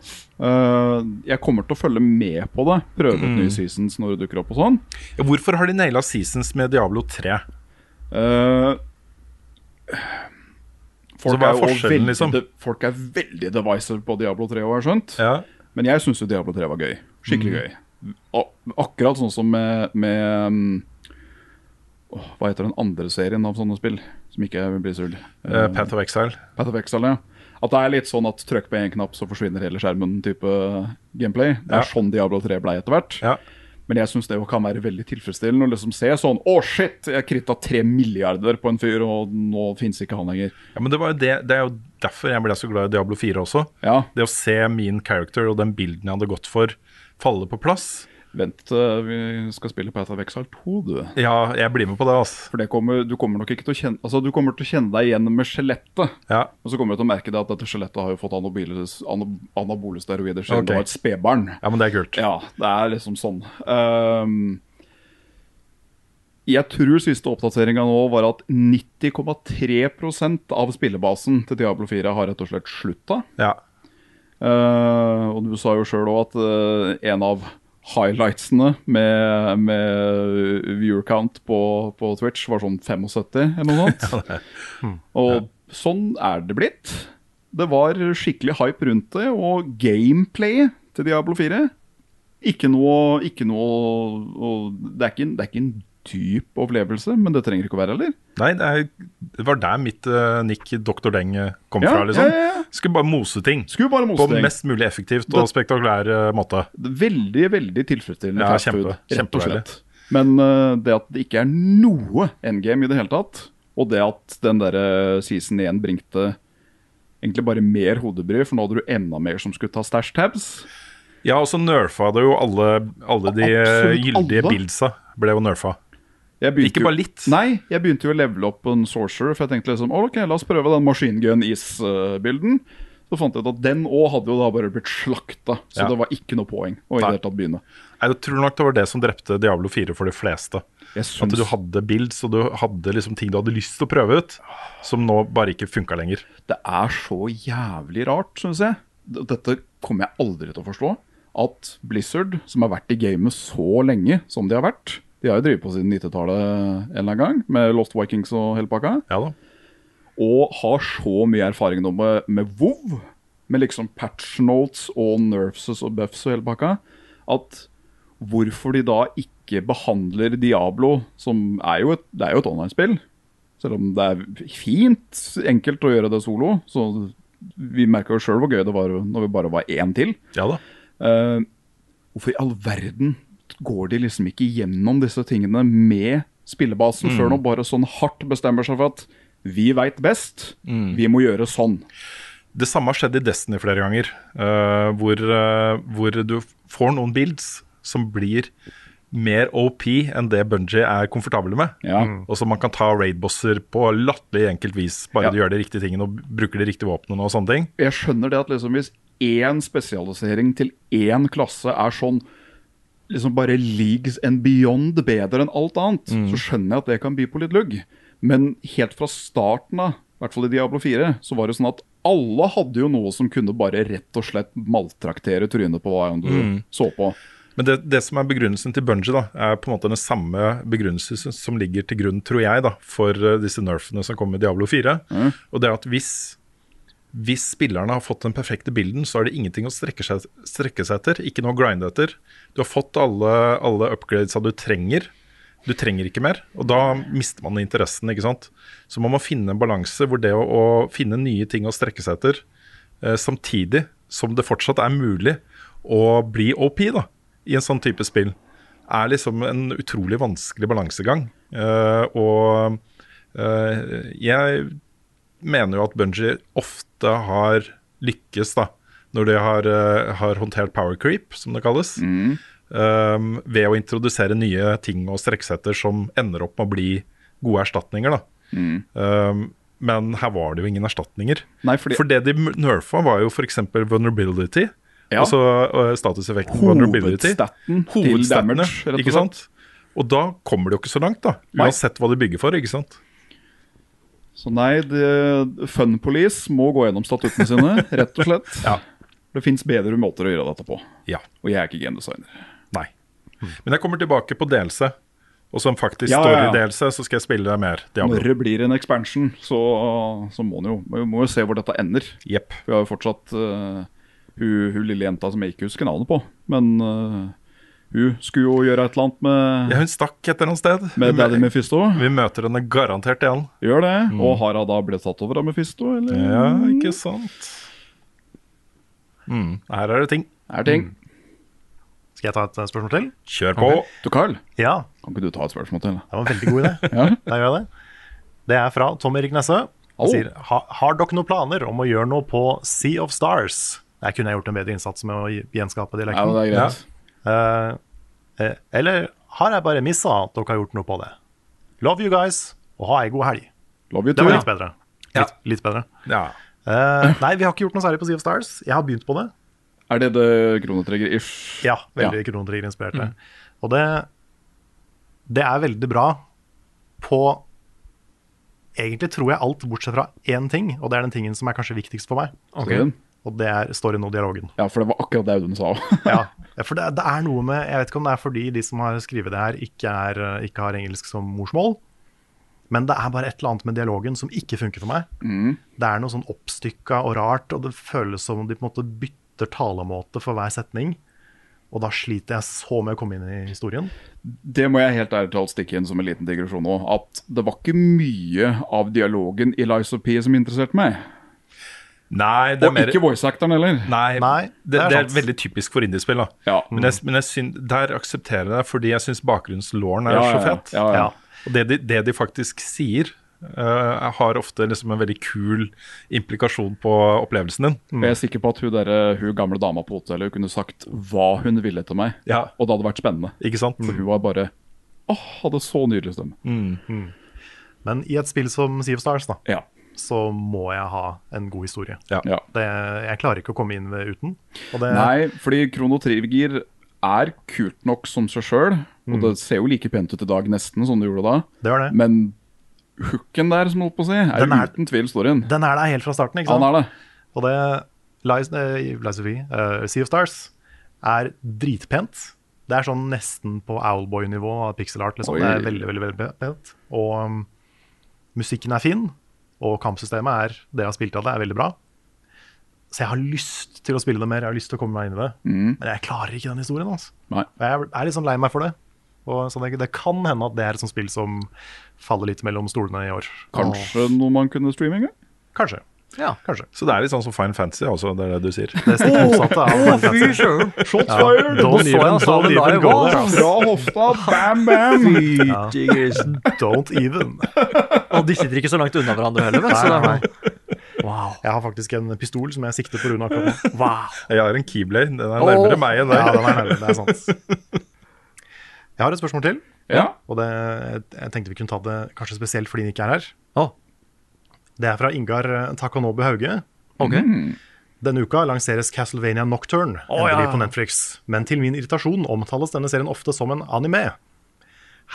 Øh, jeg kommer til å følge med på det. Prøve ut Mm. nye seasons når det dukker opp og sånn. Hvorfor har de naila seasons med Diablo 3? Så Eh, folk, hva er er jo også forskjellen, veldig, liksom? de, folk er veldig divisive på Diablo 3, har jeg skjønt. Men jeg syns jo Diablo 3 var gøy. Skikkelig Mm. gøy. Og, akkurat sånn som med, med um, åh, Hva heter den andre serien av sånne spill? Som ikke er Blizzard. Eh, Path of Exile. Path of Exile, ja. At det er litt sånn at trykk på én knapp, så forsvinner hele skjermen-type gameplay. Det Ja. er sånn Diablo 3 ble etter hvert. Men jeg syns det jo kan være veldig tilfredsstillende å liksom se sånn Å, shit! Jeg kritta tre milliarder på en fyr, og nå fins ikke han lenger. Ja, men det, var jo det, det er jo derfor jeg ble så glad i Diablo 4 også. Det å se min character og den bilden jeg hadde gått for, falle på plass. Vent, eh, vi skal spille Path of Exile 2, du. Ja, jeg blir med på det. Altså. For det kommer, du kommer nok ikke til å kjenne Altså, du kommer til å kjenne deg igjen med skjelettet. Og så kommer du til å merke deg at dette skjelettet har jo fått anabole, ana- anabole steroider siden Ok. det var et spedbarn. Ja, men det er kult. Ja, det er liksom sånn. Ehm, jeg tror siste oppdateringa nå var at 90,3 av spillebasen til Diablo 4 har rett og slett slutta. Ja. Eh, og du sa jo sjøl òg at eh, en av highlightsene med, med viewer count på, på Twitch var sånn 75 eller noe sånt. hmm. Og sånn er det blitt. Det var skikkelig hype rundt det, og gameplay til Diablo 4 Ikke noe, ikke noe og det, er ikke en, det er ikke en dyp opplevelse, men det trenger ikke å være heller. Nei, det, er, det var der mitt uh, nikk Dr. Deng eh, kom Ja, fra. liksom. ja, ja, Skulle bare mose ting. på ting. mest mulig effektivt og Det- spektakulær eh, måte. Veldig, veldig tilfredsstillende Ja, fast kjempe, food, rett og kjempedeilig. slett. Men eh, det at det ikke er noe endgame i det hele tatt, og det at den der eh, season 1 bringte egentlig bare mer hodebry, for nå hadde du enda mer som skulle ta stash tabs. Ja, og så nerfa det jo alle, alle de eh, Absolutt gyldige alle. buildsa. Ble jo nerfa. Jeg begynte Ikke jo- bare litt. Nei, jeg begynte jo å levele opp en sorcerer, for jeg tenkte liksom «Å, OK, la oss prøve den machine gun is-bilden. Så fant jeg ut at den òg hadde jo da bare blitt slakta, så Ja. det var ikke noe poeng å i det hele tatt begynne. Nei, Jeg tror nok det var det som drepte Diablo 4 for de fleste. At du hadde builds og du hadde liksom ting du hadde lyst til å prøve ut, som nå bare ikke funka lenger. Det er så jævlig rart, syns jeg. D- Dette kommer jeg aldri til å forstå. At Blizzard, som har vært i gamet så lenge som de har vært De har jo drevet på siden 90-tallet en eller annen gang, med Lost Vikings og hele pakka. Og har så mye erfaring nå med, med WoW, med liksom patch notes og nerfses og buffs og hele pakka, at hvorfor de da ikke behandler Diablo, som er jo et, det er jo et online-spill, selv om det er fint enkelt å gjøre det solo. Så vi merka jo sjøl hvor gøy det var når vi bare var én til. Ja da. Eh, hvorfor i all verden går de liksom ikke gjennom disse tingene med spillebasen Mm. før nå bare sånn hardt bestemmer seg for at vi veit best, Mm. vi må gjøre sånn? Det samme har skjedd i Destiny flere ganger, eh, hvor, eh, hvor du f- får noen builds som blir mer OP enn det Bunji er komfortable med. Ja. Og så man kan ta raid-bosser på latterlig enkelt vis, bare Ja. du gjør de riktige tingene og bruker de riktige våpnene og sånne ting. Jeg skjønner det at liksom hvis én spesialisering til én klasse er sånn liksom bare leagues and beyond bedre enn alt annet, Mm. så skjønner jeg at det kan by på litt lugg. Men helt fra starten av, i hvert fall i Diablo 4, så var det sånn at alle hadde jo noe som kunne bare rett og slett maltraktere trynet på hva enn du Mm. så på. Men det, det som er begrunnelsen til Bungie, da, er på en måte den samme begrunnelsen som- som ligger til grunn, tror jeg, da, for eh, disse nerfene som kommer i Diablo 4. Og det er at hvis, hvis spillerne har fått den perfekte bilden, så er det ingenting å strekke seg, strekke seg etter. Ikke noe å grinde etter. Du har fått alle, alle upgradesa du trenger. Du trenger ikke mer, og da mister man interessen. ikke sant? Så man må finne en balanse hvor det å, å finne nye ting å strekke seg etter, eh, samtidig som det fortsatt er mulig å bli OP da, i en sånn type spill, er liksom en utrolig vanskelig balansegang. Eh, og eh, jeg mener jo at Bungie ofte har lykkes da, når de har, eh, har håndtert power creep, som det kalles, Mm. eh, ved å introdusere nye ting og strekksetter som ender opp med å bli gode erstatninger. da. Mm. Eh, men her var det jo ingen erstatninger. For det de nerfa, var jo f.eks. vulnerability. Ja. Altså eh, statuseffekten vulnerability. Hovedstaten til Hovedstatene, damage, rett og ikke slett. sant? Og da kommer det jo ikke så langt, da. Nei. Uansett hva de bygger for, ikke sant. Så nei, det, Fun Police må gå gjennom statuttene sine, rett og slett. Det fins bedre måter å gjøre dette på. Ja. Og jeg er ikke gamedesigner. Nei. Men jeg kommer tilbake på delelse. Og som faktisk Ja, ja, ja. story-delelse, så skal jeg spille mer Diablo. Når det blir en expansion, så, så må man jo, man må jo se hvor dette ender. Vi har jo fortsatt eh, hun, hun lille jenta som jeg ikke husker navnet på, men eh, hun skulle jo gjøre et eller annet med Ja, hun stakk et eller annet sted. Med Daddy Mephisto. Vi møter henne garantert igjen. Gjør det. Og har hun da blitt tatt over av Mephisto, eller? Ja, ikke sant. Mm. Her er det ting. Her er ting. Skal jeg ta et eh, spørsmål til? Kjør på. Du, Carl, Ja. kan ikke du ta et spørsmål til? Det var en veldig god idé. Da gjør jeg det. Det er fra Tom Erik Nesse. Han Oh. sier «Ha- Har dere noen planer om å gjøre noe på Sea of Stars? Der kunne jeg gjort en bedre innsats med å gjenskape dialekten. Ja, det er greit. Eh, eh, eller har jeg bare missa at dere har gjort noe på det? Love you guys, og ha ei god helg. Love you det too, var ja. litt bedre. Litt, litt bedre. Ja. Eh, nei, vi har ikke gjort noe særlig på Sea of Stars. Jeg har begynt på det. Er det det kronetrigger-ish? Ja, veldig kronetrigger-inspirerte. Og det, det er veldig bra på Egentlig tror jeg alt bortsett fra én ting, og det er den tingen som er kanskje viktigst for meg. Ok. Og det er storyen og dialogen. Ja, for det var akkurat det Audun sa. ja, for det, det er noe med Jeg vet ikke om det er fordi de som har skrevet det her, ikke, er, eh, ikke har engelsk som morsmål, men det er bare et eller annet med dialogen som ikke funker for meg. Mm. Det er noe sånn oppstykka og rart, og det føles som om de på en måte bytter talemåte for hver setning. Og da sliter jeg så med å komme inn i historien. Det må jeg helt ærlig talt stikke inn som en liten digresjon nå. At det var ikke mye av dialogen i Lies of P som interesserte meg. Nei, det er Og mer- ikke voice-acteren heller. Nei, det, det er er sant. veldig typisk for indiespill. da Men, jeg, men jeg syn, der aksepterer jeg det, fordi jeg syns bakgrunnslåren er Ja, ja, så fett. ja, ja. Ja. Og det de, det de faktisk sier, eh, har ofte liksom en veldig kul implikasjon på opplevelsen Mm. din. Og Jeg er sikker på at hun, der, hun gamle dama på hotellet kunne sagt hva hun ville til meg. Ja. Og det hadde vært spennende. Ikke sant? For hun var bare Åh, hadde så nydelig stemme. Mm. Men i et spill som Sea of Stars, da, Ja. så må jeg ha en god historie. Ja. Det, jeg klarer ikke å komme inn ved- uten. Og det, Nei, fordi Krono Trigger er kult nok som seg sjøl. Mm. Og det ser jo like pent ut i dag nesten som det gjorde da. Det gjør det. Men hooken der, som jeg holdt på å si, er, Den er- uten tvil storyen. Den er der helt fra starten, ikke sant? Han er det. Og det Lies, eh, Lies of P, eh, Sea of Stars er dritpent. Det er sånn nesten på Owlboy-nivå av pixel art. Liksom. Oi. Det er veldig, veldig, veldig pent. Og um, musikken er fin, og kampsystemet er det jeg har spilt av det, er veldig bra. Så jeg har lyst til å spille det mer, jeg har lyst til å komme meg inn i det. Mm. Men jeg klarer ikke den historien. Altså. Nei. Og Jeg er litt sånn lei meg for det. Og så det, det kan hende at det er et sånt spill som faller litt mellom stolene i år. Kanskje noe man kunne streame en gang? Kanskje. Ja, kanskje. Så det er litt sånn som Fine Fantasy, altså, det er det du sier. Det er stikk motsatte av Final Fantasy. Shots Ja. fired! Don't even, don't even go there. ass. Bra hofta, bam, bam! Ja. Don't even. Og de sitter ikke så langt unna hverandre heller, vel? Så Nei, det er Jeg har faktisk en pistol som jeg sikter på Rune akkurat nå. Wow. Jeg har en keyblade, den er nærmere Åh. meg enn deg. Ja, den er nærmere, det er sant. Jeg har et spørsmål til. Ja. Og det, jeg tenkte vi kunne ta det kanskje spesielt fordi den ikke er her. Det er fra Ingar eh, Takonobu Hauge. Mm. Denne uka lanseres Castlevania Nocturne Å, endelig ja. på Netflix. Men til min irritasjon omtales denne serien ofte som en anime.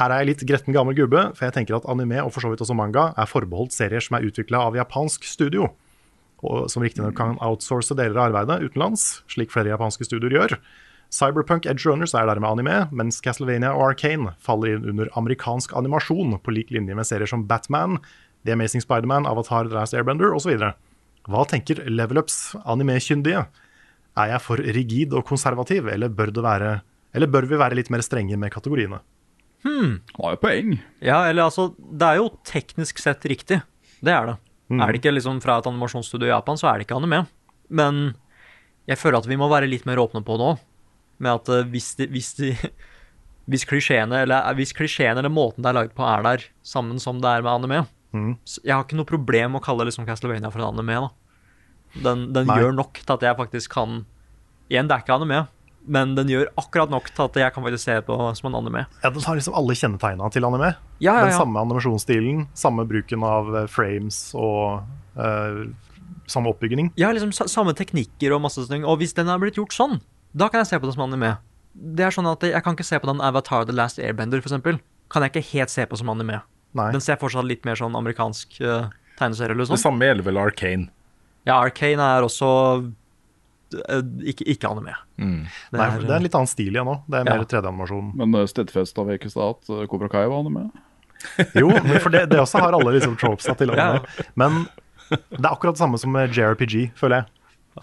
Her er jeg litt gretten gammel gubbe, for jeg tenker at anime og for så vidt også manga er forbeholdt serier som er utvikla av japansk studio, og som riktignok kan outsource deler av arbeidet utenlands, slik flere japanske studioer gjør. Cyberpunk Edge Runners er dermed anime, mens Castlevania og Arcane faller inn under amerikansk animasjon på lik linje med serier som Batman, The Amazing Spiderman, Avatar, The Last Airbender osv. Hva tenker level-ups animekyndige? Er jeg for rigid og konservativ, eller bør, det være, eller bør vi være litt mer strenge med kategoriene? Hmm. Har jo poeng. Ja, eller altså, det er jo teknisk sett riktig. Det er det. Mm. Er det ikke liksom fra et animasjonsstudio i Japan, så er det ikke anime. Men jeg føler at vi må være litt mer åpne på det òg. Med at eh, hvis, de, hvis, de, hvis klisjeene eller, eh, hvis klisjeene eller måten det er lagd på, er der sammen som det er med anime Mm. så Jeg har ikke noe problem med å kalle liksom Castlevania for en anime. da Den, den Nei. gjør nok til at jeg faktisk kan Igjen, det er ikke anime, men den gjør akkurat nok til at jeg kan faktisk se på som en anime. Ja, Den har liksom alle kjennetegna til anime. Ja, ja, Den ja. samme animasjonsstilen, samme bruken av eh, frames og eh, samme oppbygning. Ja, liksom sa- samme teknikker og masse sånne ting. Og hvis den er blitt gjort sånn, da kan jeg se på den som anime. Det er sånn at Jeg kan ikke se på den Avatar The Last Airbender, for eksempel. Kan jeg ikke helt se på som anime. Nei. Den ser fortsatt litt mer sånn amerikansk eh, tegneserie eller noe Det sånt. samme gjelder vel Arcane. Ja, Arcane er også eh, ikke, ikke anime. sånn- Det, Mm. Nei, for det er en litt annen stil igjen nå. Det er Ja. mer 3D-animasjon. Men uh, stedfest av Ekestad at eh, Cobra Kai var han med? Jo, men for det, det også har alle liksom tropesa til anime. Men det er akkurat det samme som med JRPG, føler jeg.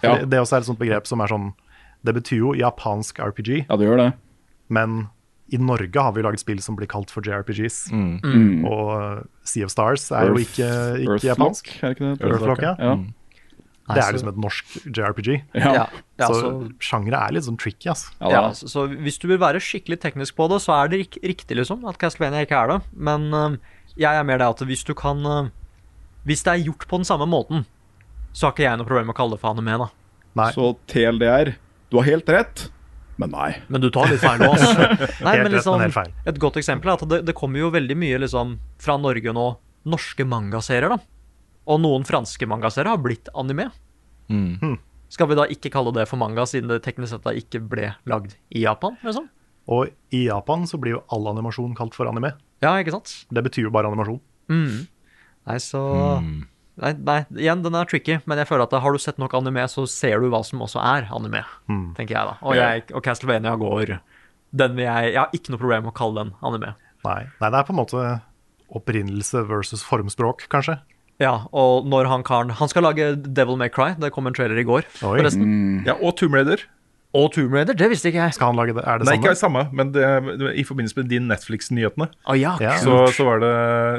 For Ja. Det, det også er et sånt begrep som er sånn Det betyr jo japansk RPG. Ja, det gjør det. Men i Norge har vi laget spill som blir kalt for JRPGs. Mm. Mm. Og uh, Sea of Stars er jo Earth- ikke, ikke Earthlock, japansk. er det ikke det? Earthlock, ja. Ja. Mm. Nei, Det så- er liksom et norsk JRPG. Ja. Ja, ja, så, så- sjangre er litt sånn tricky, ass. Ja, altså. så, så hvis du vil være skikkelig teknisk på det, så er det rik riktig liksom at Castlevania ikke er det. Men øhm, jeg er mer det at hvis du kan øhm, Hvis det er gjort på den samme måten, så har ikke jeg noe problem med å kalle det for anime, da. Så TLDR, du har helt rett, men nei. Men du tar litt feil nå, altså. Nei, Helt men rett, liksom, men helt feil. et godt eksempel er at det, det kommer jo veldig mye liksom, fra Norge nå, norske mangaserier, da. Og noen franske mangaserier har blitt anime. Mm. Hm. Skal vi da ikke kalle det for manga, siden det teknisk sett da ikke ble lagd i Japan? liksom? Og i Japan så blir jo all animasjon kalt for anime. Ja, ikke sant? Det betyr jo bare animasjon. Mm. Nei, så Hmm. nei, nei, igjen, den er tricky, men jeg føler at har du sett nok anime, så ser du hva som også er anime, Mm. tenker jeg da. Og, Ja. jeg, og Castlevania går den vil jeg Jeg har ikke noe problem med å kalle den anime. Nei. Nei, det er på en måte opprinnelse versus formspråk, kanskje. Ja, og når han karen Han skal lage Devil May Cry. Det kom en trailer i går. Oi. Hmm. Mhm. forresten. Ja, og Tomb Raider. Og Tomb Raider, det visste ikke jeg. Skal han lage det? Er Nei, ikke det samme, men det, det, i forbindelse med de Netflix-nyhetene Å ja, kult. så, så var det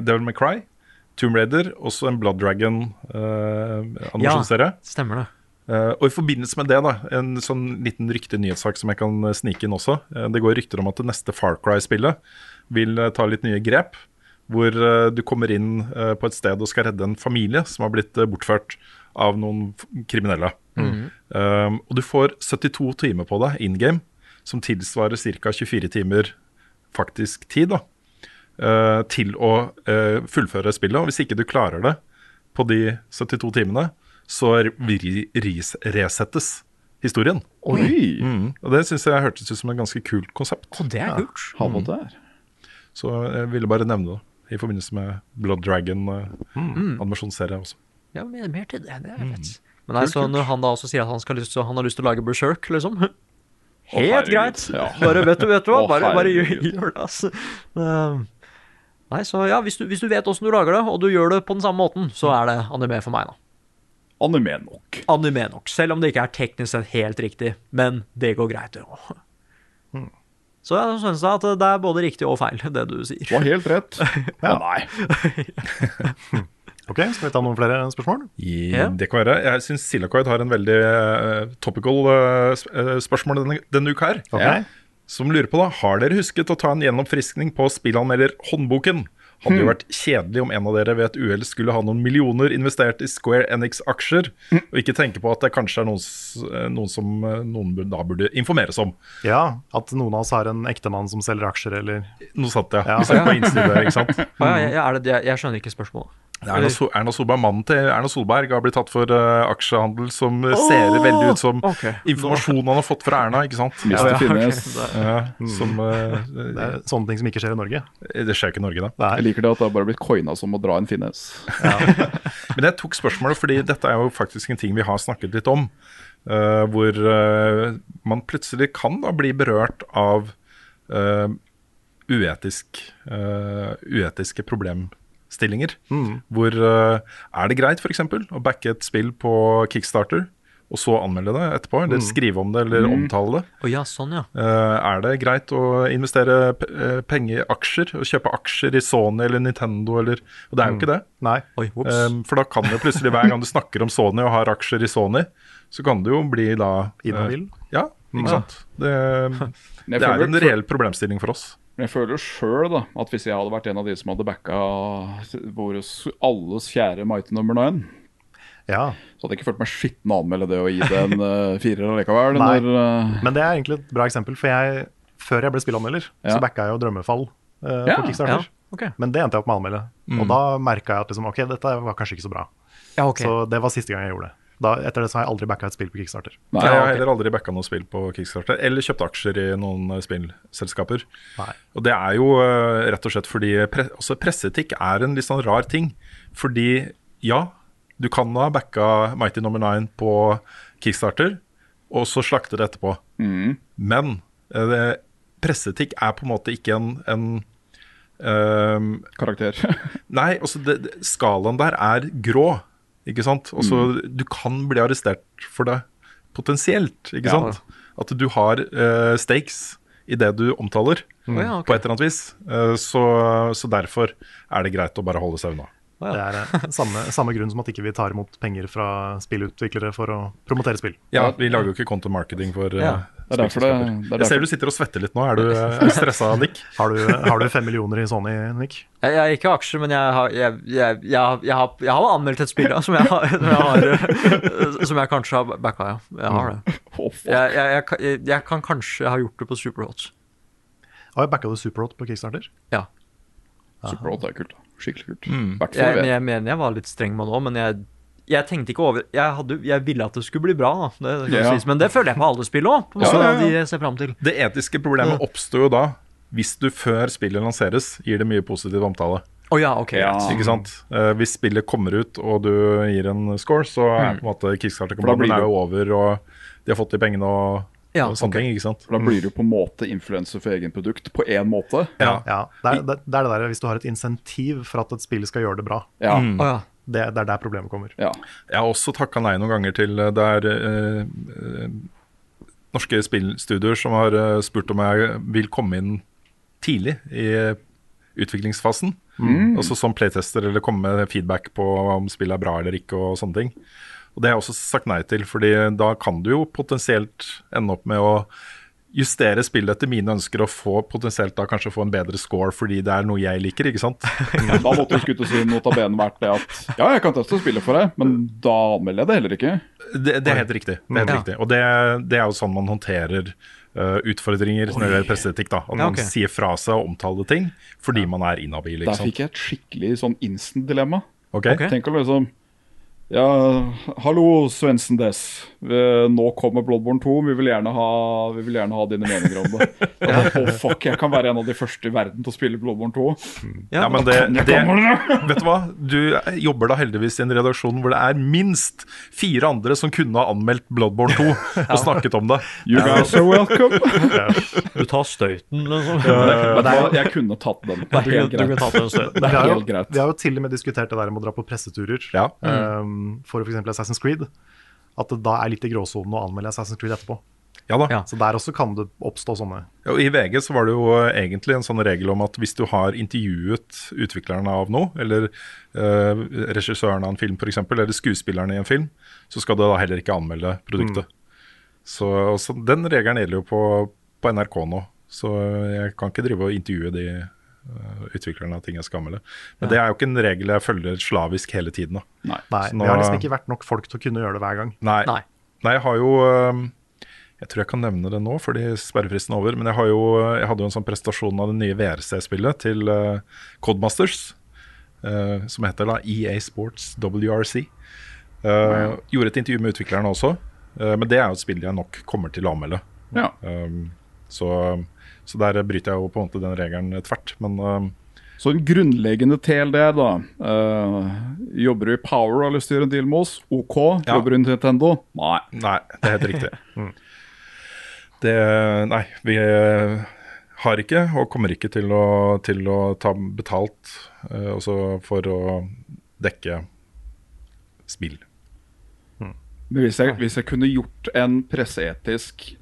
Devil May Cry, Tomb Raider og så en Blood Dragon-animasjonsserie. stemmer det. Eh, og i forbindelse med det, da, en sånn liten rykte nyhetssak som jeg kan eh, snike inn også. Eh, det går rykter om at det neste Far Cry-spillet vil eh, ta litt nye grep. Hvor eh, du kommer inn eh, på et sted og skal redde en familie som har blitt eh, bortført av noen f- kriminelle. Mhm. Um, og du får 72 timer på deg in game, som tilsvarer ca. 24 timer faktisk tid da, eh, til å eh, fullføre spillet. Og hvis ikke du klarer det på de 72 timene, så r- ri- ris- resettes historien. Oi! Mm, og det syns jeg hørtes ut som et ganske kult konsept. det er kult. Ja, han måtte der. Så jeg ville bare nevne det. I forbindelse med Blood Mm. Mm. Dragon-animasjonsserie også. Ja, mer, mer til det. Det er fett. Mm. Men nei, så når han da også sier at han, skal lyst, så han har lyst til å lage Berserk, liksom Helt herregud, greit. ja. Bare vet du, vet du hva. Å, Bare, bare gjør, herregud. gjør det, altså. Um, Nei, så ja, hvis du, hvis du vet åssen du lager det, og du gjør det på den samme måten, så er det anime for meg, da. Anime nok. Anime nok. Selv om det ikke er teknisk sett helt riktig. Men det går greit, det òg. Hmm. Så jeg synes da at det er både riktig og feil, det du sier. Du har helt rett. Ja. Nei. Ok, skal vi ta noen flere spørsmål? Ja. Det kan være. Jeg syns Silakoid har en veldig eh, topical eh, sp- eh, spørsmål denne, denne uka her. Ok. Som lurer på da, Har dere husket å ta en gjennomfriskning på spillanmelder Håndboken? Hadde Hmm. jo vært kjedelig om en av dere ved et uhell skulle ha noen millioner investert i Square Enix-aksjer, Hmm. og ikke tenke på at det kanskje er noen, s- eh, noen som eh, noen bur- da burde informeres om. Ja, At noen av oss har en ektemann som selger aksjer, eller Noe sånt, ja. Hvis jeg er på innsiden, ikke sant? Ja, ja, ja, er det, jeg, jeg skjønner ikke spørsmålet. Erna, so Erna Solberg, mannen til Erna Solberg har blitt tatt for eh, aksjehandel som eh, ser Åh! veldig ut som Ok. informasjon han har fått fra Erna, ikke sant? Mr. Ja, ja, ok. Finnes. Ja, som, eh, Det er sånne ting som ikke skjer i Norge. det skjer ikke i Norge, da. Jeg liker det at det har bare blitt coina som å dra en finnes. Men jeg tok spørsmålet fordi dette er jo faktisk en ting vi har snakket litt om. eh, hvor eh, man plutselig kan da bli berørt av eh, uetisk, eh, uetiske problemstillinger. Mm. Hvor eh, er det greit f.eks. å backe et spill på Kickstarter, og så anmelde det etterpå? Eller Mm. skrive om det, eller Mm. omtale det? Å ja, sånn ja. Eh, er det greit å investere p- eh, penger i aksjer? Å kjøpe aksjer i Sony eller Nintendo eller Mm. Og det er jo ikke det. Ehm, Eh, for da kan det plutselig, hver gang du snakker om Sony og har aksjer i Sony, så kan du jo bli da eh, Inhabil? Ja, Mm. ikke sant. Det, Men jeg det er føler- en reell problemstilling for oss. Men jeg føler sjøl at hvis jeg hadde vært en av de som hadde backa vår alles kjære Mighty Number Nine, så hadde jeg ikke følt meg skitten å anmelde det og gi det en eh, firer allikevel. Nei. Når, eh, Men det er egentlig et bra eksempel, for jeg, før jeg ble spillanmelder, Ja. så backa jeg jo Drømmefall eh, Ja, på Kickstarter. ja, ok. Men det endte jeg opp med å anmelde. Mm. Og da merka jeg at liksom, ok, dette var kanskje ikke så bra. Så det var siste gang jeg gjorde det. Da, etter det så har jeg aldri backa et spill på Kickstarter. jeg har heller aldri backa noe spill på Kickstarter, eller kjøpt aksjer i noen eh, spillselskaper. Og det er jo eh, rett og slett fordi pre også presseetikk er en litt sånn rar ting. Fordi ja, du kan ha backa Mighty Number 9 på Kickstarter, og så slakte det etterpå. Men eh, det, presseetikk er på en måte ikke en, en eh, Karakter. nei, altså det, det, skalaen der er grå, ikke sant? Altså, Mm. Du kan bli arrestert for det potensielt, ikke Ja. sant? At du har eh, stakes i det du omtaler, Mm. Å ja, ok. på et eller annet vis. Eh, så, så derfor er det greit å bare holde seg unna. Det er eh, samme, samme grunn som at ikke vi tar imot penger fra spillutviklere for å promotere spill. Ja, vi lager jo ikke content marketing for eh, Ja. Det er derfor det- spillselskaper. det er Jeg ser derfor- du sitter og svetter litt nå. Er du eh, stressa, Nick? Har du, har du fem millioner i Sony, Nick? Jeg, jeg er ikke aksjer, men jeg har, jeg, jeg, jeg, har- jeg, har, jeg har anmeldt et spill ja, som, jeg har, som, jeg har, eh, som jeg kanskje har backa, ja. Jeg har Mm. det. Jeg, jeg, jeg, kan- jeg, jeg kan kanskje ha gjort det på Superhot. Har jeg backa du Superhot på Kickstarter? Ja. Superhot er kult. da. Skikkelig kult. Mm. Hvert fall Jeg, men vet. jeg mener jeg var litt streng med det òg, men jeg, jeg tenkte ikke over Jeg, hadde, jeg ville at det skulle bli bra, da. Det, kan Ja. sies, men det føler jeg på alle spill òg. Ja, ja, ja. De ser frem til. Det etiske problemet oppstår jo da hvis du før spillet lanseres, gir det mye positiv omtale. Å ja, ok. greit. Ikke sant? Eh, hvis spillet kommer ut og du gir en score, så er på en måte Mm. For da blir Kickstarter-kampanjen er det- jo over, og de har fått de pengene og, og sånne ting. ikke sant? For da blir du på en måte influenser for egen produkt, på én måte. Ja. Det, er, det, det er det der hvis du har et insentiv for at et spill skal gjøre det bra. Ja. Mm. Å ja. Det, det er der problemet kommer. Jeg har også takka nei noen ganger til eh, Det er eh, eh, norske spillstudioer som har eh, spurt om jeg vil komme inn tidlig i eh, utviklingsfasen. Mm. Altså som playtester eller komme med feedback på om spillet er bra eller ikke og sånne ting. Og det har jeg også sagt nei til, fordi da kan du jo potensielt ende opp med å justere spillet etter mine ønsker og få potensielt da kanskje få en bedre score fordi det er noe jeg liker, ikke sant? Da måtte du skutt og si notaben vært det at Ja, jeg kan teste spillet for deg, men da anmelder jeg det heller ikke. Det, det er helt riktig. Det er helt riktig. Og det, det er jo sånn man håndterer eh, utfordringer når det gjelder presseetikk. da. At Ja, man ok. sier fra seg og omtaler ting fordi man er inhabil. ikke Der sant? fikk jeg et skikkelig sånn instant-dilemma. Ok. Ok. Tenk å liksom Ja, hallo, Svendsen Dess. Eh, Nå kommer Bloodborne 2. Vi vil gjerne ha, vi vil gjerne ha dine meninger om det. Å, fuck, jeg kan være en av de første i verden til å spille Bloodborne 2. Ja, men Da det, kan jeg det, gammel, da. vet du hva? Du jobber da heldigvis i en redaksjon hvor det er minst fire andre som kunne ha anmeldt Bloodborne 2 og snakket om det. You guys are welcome. Du tar støyten, liksom. Ja, ja, ja. Vet du hva, jeg kunne tatt den. Det er helt greit. Det Vi er har jo- helt greit. Vi har jo til og med diskutert det der med å dra på presseturer um, for f.eks. Assassin's Creed. At det da er litt i gråsonen å anmelde Assassin's Creed etterpå. Ja da. Så der også kan det oppstå sånne. Ja, og I VG så var det jo egentlig en sånn regel om at hvis du har intervjuet utvikleren av noe, eller eh, regissøren av en film f.eks., eller skuespilleren i en film, så skal du da heller ikke anmelde produktet. Så, og så Den regelen gjelder jo på, på NRK nå, så jeg kan ikke drive og intervjue de eh, utviklerne av ting jeg skal anmelde. Men det er jo ikke en regel jeg følger slavisk hele tiden. da. Nei, Så Vi har liksom ikke vært nok folk til å kunne gjøre det hver gang. Nei. Nei. jeg har jo øhm, Jeg tror jeg kan nevne det nå, fordi sperrefristen er over. Men jeg, har jo, jeg hadde jo en sånn prestasjon av det nye VRC-spillet til øh, Codemasters. øh, som heter da EA Sports WRC. Øh, Gjorde et intervju med utviklerne også. øh, men det er jo et spill jeg nok kommer til å anmelde. Ja. Øhm, så, så der bryter jeg jo på en måte den regelen tvert. Men eh, øhm, Så en grunnleggende TLD, da. eh, jobber du i Power og har lyst til å gjøre en deal med oss? OK. Ja. Jobber du i Nintendo? Nei. det er helt riktig. Mm. Det Nei, vi eh, har ikke og kommer ikke til å, til å ta betalt eh, også for å dekke spill. Men hvis jeg, hvis jeg kunne gjort en presseetisk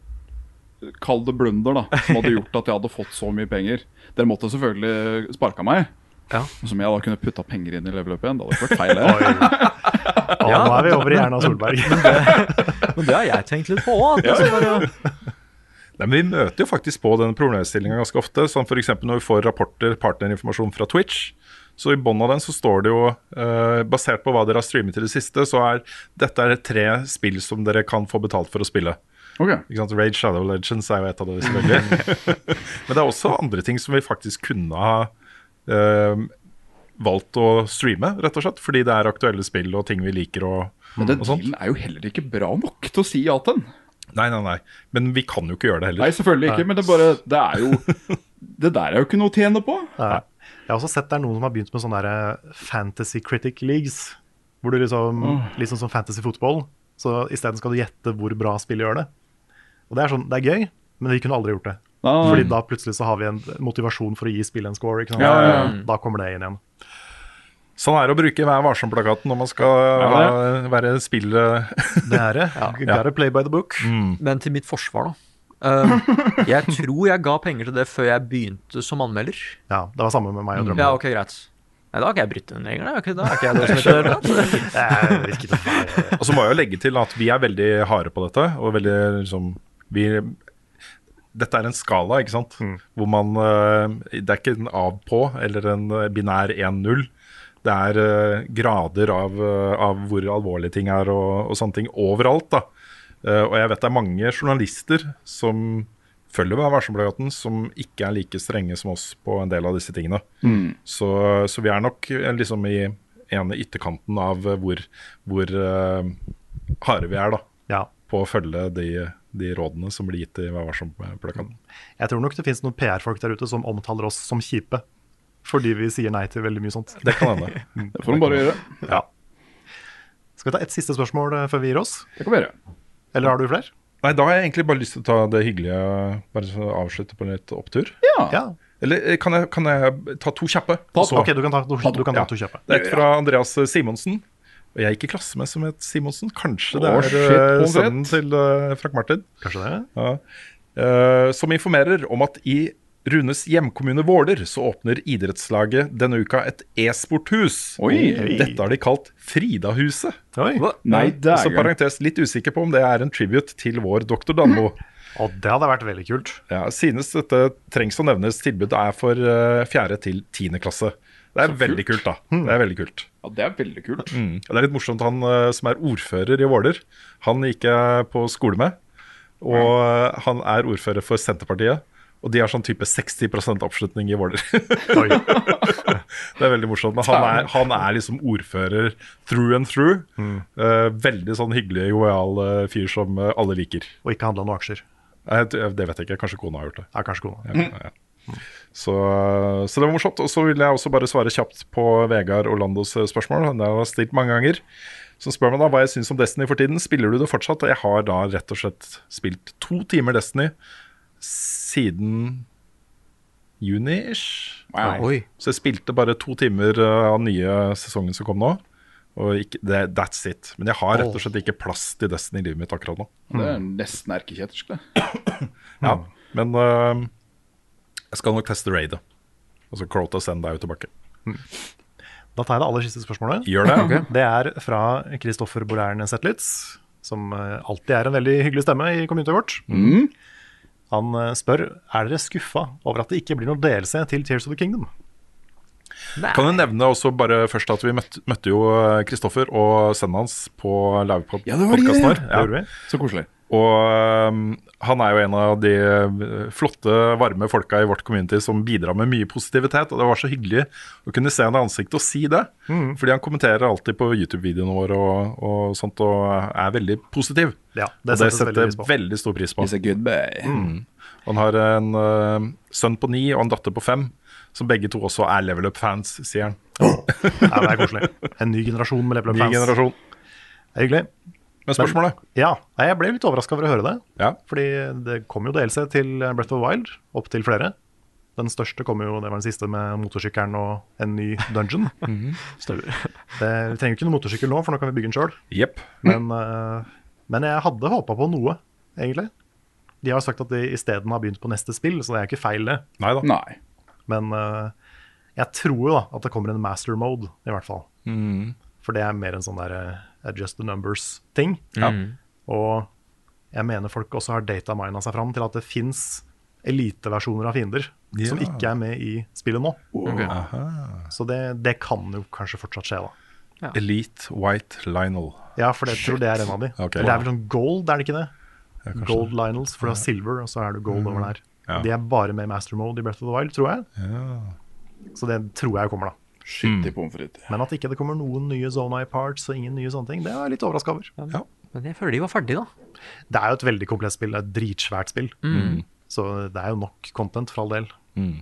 Kall det blunder, da. Som hadde gjort at jeg hadde fått så mye penger. Dere måtte selvfølgelig sparka meg. Som jeg da kunne putta penger inn i leveløpet igjen. Det hadde ikke vært feil. det. Å, nå er vi over i Erna Solberg. Men det- men det har jeg tenkt litt på at Ja. altså bare- Nei, men vi møter jo faktisk på den problemstillinga ganske ofte. Som f.eks. når vi får rapporter, partnerinformasjon fra Twitch. Så i bånn av den så står det jo, eh, basert på hva dere har streamet i det siste, så er dette er tre spill som dere kan få betalt for å spille. Ok. Ikke sant? Raid Shadow Legends er jo et av det, selvfølgelig. Men det er også andre ting som vi faktisk kunne ha eh, valgt å streame, rett og slett. Fordi det er aktuelle spill og ting vi liker og, Men Mm, den og sånt. dealen er jo heller ikke bra nok til å si ja til den. Nei, nei, nei. Men vi kan jo ikke gjøre det heller. Nei, selvfølgelig ikke, men det, bare, det er jo Det der er jo ikke noe å tjene på. Nei. Jeg har også sett det er noen som har begynt med sånne der eh, Fantasy Critic Leagues. Hvor du liksom, Åh. liksom som fantasy fotball, så isteden skal du gjette hvor bra spillet gjør det. Og det er sånn, det er gøy, men vi kunne aldri gjort det. Nei. Fordi da plutselig så har vi en motivasjon for å gi spillet en score. Ikke sant? Mm. Ja, ja, ja. Da kommer det inn igjen. Sånn er det å bruke Vær varsom-plakaten når man skal det? ha, være spill... Det er det. Gotta play by the book. Men til mitt forsvar, da. Eh, jeg tror jeg ga penger til det før jeg begynte som anmelder. Ja, det var samme med meg og Drømmen. Ja, ok, greit. Nei, da har ikke jeg brutt den regelen. da. Da er ikke jeg det som heter det. Og så må jeg jo legge til at vi er veldig harde på dette. Og veldig liksom vi, Dette er en skala, ikke sant? Hvor man eh, Det er ikke en av-på eller en eh, binær 1-0. Det er eh, grader av, eh, av hvor alvorlige ting er og, og sånne ting overalt, da. Eh, og jeg vet det er mange journalister som følger Vær varsom-plakaten, som ikke er like strenge som oss på en del av disse tingene. Mm. Så, så vi er nok eh, liksom i ene ytterkanten av eh, hvor, hvor eh, harde vi er da, på å følge de, de rådene som blir gitt i Vær varsom-plakaten. Jeg tror nok det finnes noen PR-folk der ute som omtaler oss som kjipe. Fordi vi sier nei til veldig mye sånt. Det kan hende. Mm. Det får de bare gjøre. Ja. Skal vi ta ett siste spørsmål eh, før vi gir oss? Det kan vi gjøre. Eller har du flere? Nei, da har jeg egentlig bare lyst til å ta det hyggelige, bare så avslutte på en litt opptur. Eller eh, kan jeg, kan jeg ta to kjappe? Ta Og to. Ok, du kan ta to- du kan ta to kjappe. Det er et fra Andreas eh, Simonsen. Og jeg gikk i klasse med som het Simonsen. Kanskje det Å, er shit, eh, pommes sønnen til eh, Frank Martin. Kanskje det? Ja. Eh, som informerer om at i Runes hjemkommune Våler så åpner idrettslaget denne uka et e-sporthus. Oi. Dette har de kalt Fridahuset. Hva? Nei, det er Så gøy. parentes litt usikker på om det er en tribute til vår doktor Danmo. Og det hadde vært veldig kult. Ja, Sines dette trengs å nevnes. Tilbudet er for eh, fjerde til tiende klasse. Det er Så veldig kult. kult, da. Hmm. Det er veldig kult. Ja, det er veldig kult. Mm. Og Det er litt morsomt, han eh, som er ordfører i Våler, han gikk jeg på skole med. Og eh, han er ordfører for Senterpartiet, og de har sånn type 60 oppslutning i Våler. det er veldig morsomt. Men han er, han er liksom ordfører through and through. Hmm. Eh, veldig sånn hyggelig, jovial eh, fyr som eh, alle liker. Og ikke handla noen aksjer? det vet jeg ikke. Kanskje kona har gjort det. Ja, kanskje kona. Ja, ja, ja. Så, så det var morsomt. Og så vil jeg også bare svare kjapt på Vegard Orlandos eh, spørsmål. Han har stilt mange ganger. Så spør man da hva jeg syns om Destiny for tiden. Spiller du det fortsatt? Og jeg har da rett og slett spilt to timer Destiny siden juni-ish. Wow. Oi. Så jeg spilte bare to timer eh, av nye sesongen som kom nå. Og ikke, det, that's it. Men jeg har rett og slett ikke plass til Destiny i livet mitt akkurat nå. Det er nesten erkekjetersk, det. Ja, men øhm, jeg skal nok teste raidet. Altså Crota Send er jo tilbake. Da tar jeg det aller siste spørsmålet. Gjør det, ok. Det er fra Kristoffer Mm. Bolern Zetlitz, som eh, alltid er en veldig hyggelig stemme i communityet vårt. Han eh, spør er dere skuffa over at det ikke blir noe delelse til Tears of the Kingdom. Kan du nevne også bare først at vi møtte, møtte jo Kristoffer og sønnen hans på livepodkasten det var de, ja. vår. Det gjorde vi. Så koselig. Og um, han er jo en av de uh, flotte, varme folka i vårt community som bidrar med mye positivitet. Og det var så hyggelig å kunne se han i ansiktet og si det. Mhm. Fordi han kommenterer alltid på YouTube-videoene våre og, og sånt, og er veldig positiv. Ja, det og det settes veldig setter pris på. veldig, stor pris på. He's a good boy. Mm. Han har en uh, sønn på ni og en datter på fem, som begge to også er level up-fans, sier han. Ja, det er koselig. En ny generasjon med Level Ny Up-fans. generasjon. Det er hyggelig. Men spørsmålet? ja, nei, Jeg ble litt overraska over å høre det. Ja. Fordi det kom jo DLC til Breath of the Wild, opp til flere. Den største kom jo, det var den siste, med motorsykkelen og en ny dungeon. Mhm. Støv. det, vi trenger jo ikke noen motorsykkel nå, for nå kan vi bygge den sjøl. Jepp. Men, eh, men jeg hadde håpa på noe, egentlig. De har sagt at de isteden har begynt på neste spill, så det er jo ikke feil, det. Neida. Nei. Men eh, jeg tror jo da at det kommer en master mode, i hvert fall. Mm. For det er mer en sånn der eh, adjust the numbers-ting. Ja. Og jeg mener folk også har datamina seg fram til at det fins eliteversjoner av fiender Ja. som ikke er med i spillet nå. Ok. Aha. Så det, det kan jo kanskje fortsatt skje, da. Elite White Lionel. Ja, for jeg tror det er en av de. Ok. Eller det er vel sånn gold, er det ikke det? kanskje gold det. Lionels, for du har silver, og så er du gold Mm. over der. Ja. De er bare med i master mode i Breath of the Wild, tror jeg. Ja. Så det tror jeg kommer, da. Mm. Skyttig pommes frites. Men at ikke det kommer noen nye Zona i parts og ingen nye sånne ting, det er jeg litt overraska over. Men jeg føler de var ferdige, da. Det er jo et veldig komplett spill, det er et dritsvært spill. Mm. Så det er jo nok content for all del. Mm.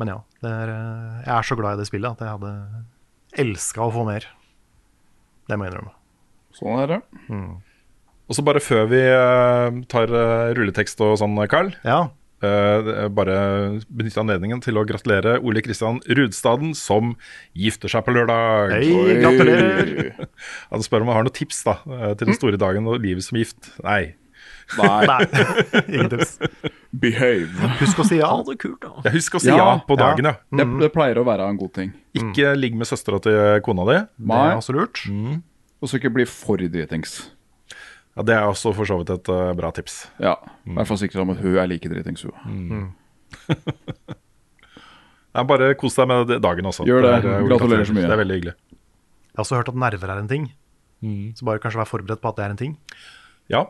Men ja, det er, eh, jeg er så glad i det spillet at jeg hadde elska å få mer. Det må jeg innrømme. Sånn er det. Og så bare før vi eh, tar eh, rulletekst og sånn, Carl. eh, det er bare benytte anledningen til å gratulere Ole Kristian Rudstaden, som gifter seg på lørdag. Hei, Oi. gratulerer. Han spør om han har noen tips da, eh, Mm. til den store dagen og livet som gift. Nei. Nei. Ingen tips. Behave. Husk å si ja. det kult, da. Jeg husker å si ja, på dagen, ja. Det, det pleier å være en god ting. Ikke ligg med søstera til kona di. Mm. Nei. også lurt. Og så ikke bli for dritings. Ja, det er også for så vidt et eh, bra tips. Ja. Vær forsiktig om at hun er like dritings, hun. Nei, bare kos deg med det- dagen også. Gjør det. eh, Ole, Gratulerer så mye. Det er veldig hyggelig. Jeg har også hørt at nerver er en ting. Så bare kanskje være forberedt på at det er en ting. Ja,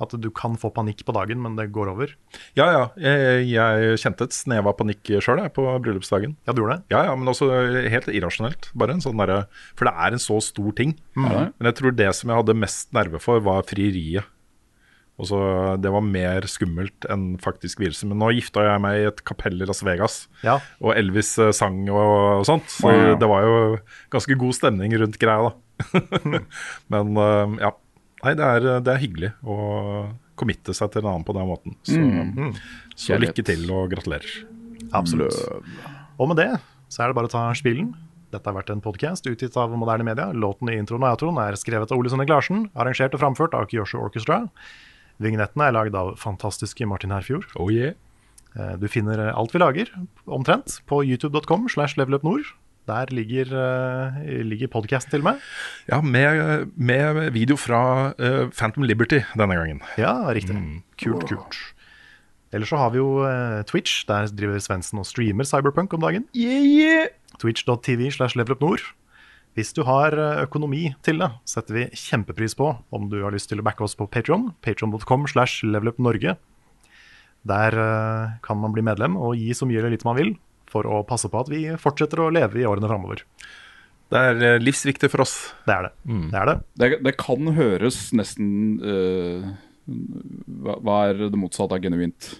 At du kan få panikk på dagen, men det går over. Ja, ja. Jeg, jeg kjente et snev av panikk sjøl på bryllupsdagen. Ja, du gjorde det? Ja, ja, Men også helt irrasjonelt. Bare en sånn derre- For det er en så stor ting. Mhm. Men jeg tror det som jeg hadde mest nerve for, var frieriet. Og så Det var mer skummelt enn faktisk vielse. Men nå gifta jeg meg i et kapell i Las Vegas, Ja. og Elvis eh, sang og, og sånt. Så Wow. det var jo ganske god stemning rundt greia, Mm. da. Men eh, ja. Nei, det er, det er hyggelig å committe seg til en annen på den måten. Så, Mm. så Kjærlighet. lykke til og gratulerer. Absolutt. Og med det så er det bare å ta spillen. Dette har vært en podkast utgitt av moderne media. Låten i introen og outroen er skrevet av Ole Sønne Glarsen, arrangert og framført av Kyosho Orchestra. Vignettene er lagd av fantastiske Martin Herfjord. Oh yeah. Eh, Du finner eh, alt vi lager, omtrent, på youtube.com slash levelupnord. Der ligger, eh, ligger podkasten til og med. Ja, med, med video fra eh, Phantom Liberty denne gangen. Ja, riktig. Mm. Kult, kult. Eller så har vi jo eh, Twitch. Der driver Svendsen og streamer Cyberpunk om dagen. Twitch.tv slash levelupnord. Hvis du har eh, økonomi til det, setter vi kjempepris på om du har lyst til å backe oss på Patreon Patreon.com slash levelupnorge. Der eh, kan man bli medlem og gi så mye eller lite man vil for å passe på at vi fortsetter å leve i årene framover. Det er eh, livsviktig for oss. Det er det. Mm. Det er det. Det, det kan høres nesten eh, hva, hva er det motsatte av genuint?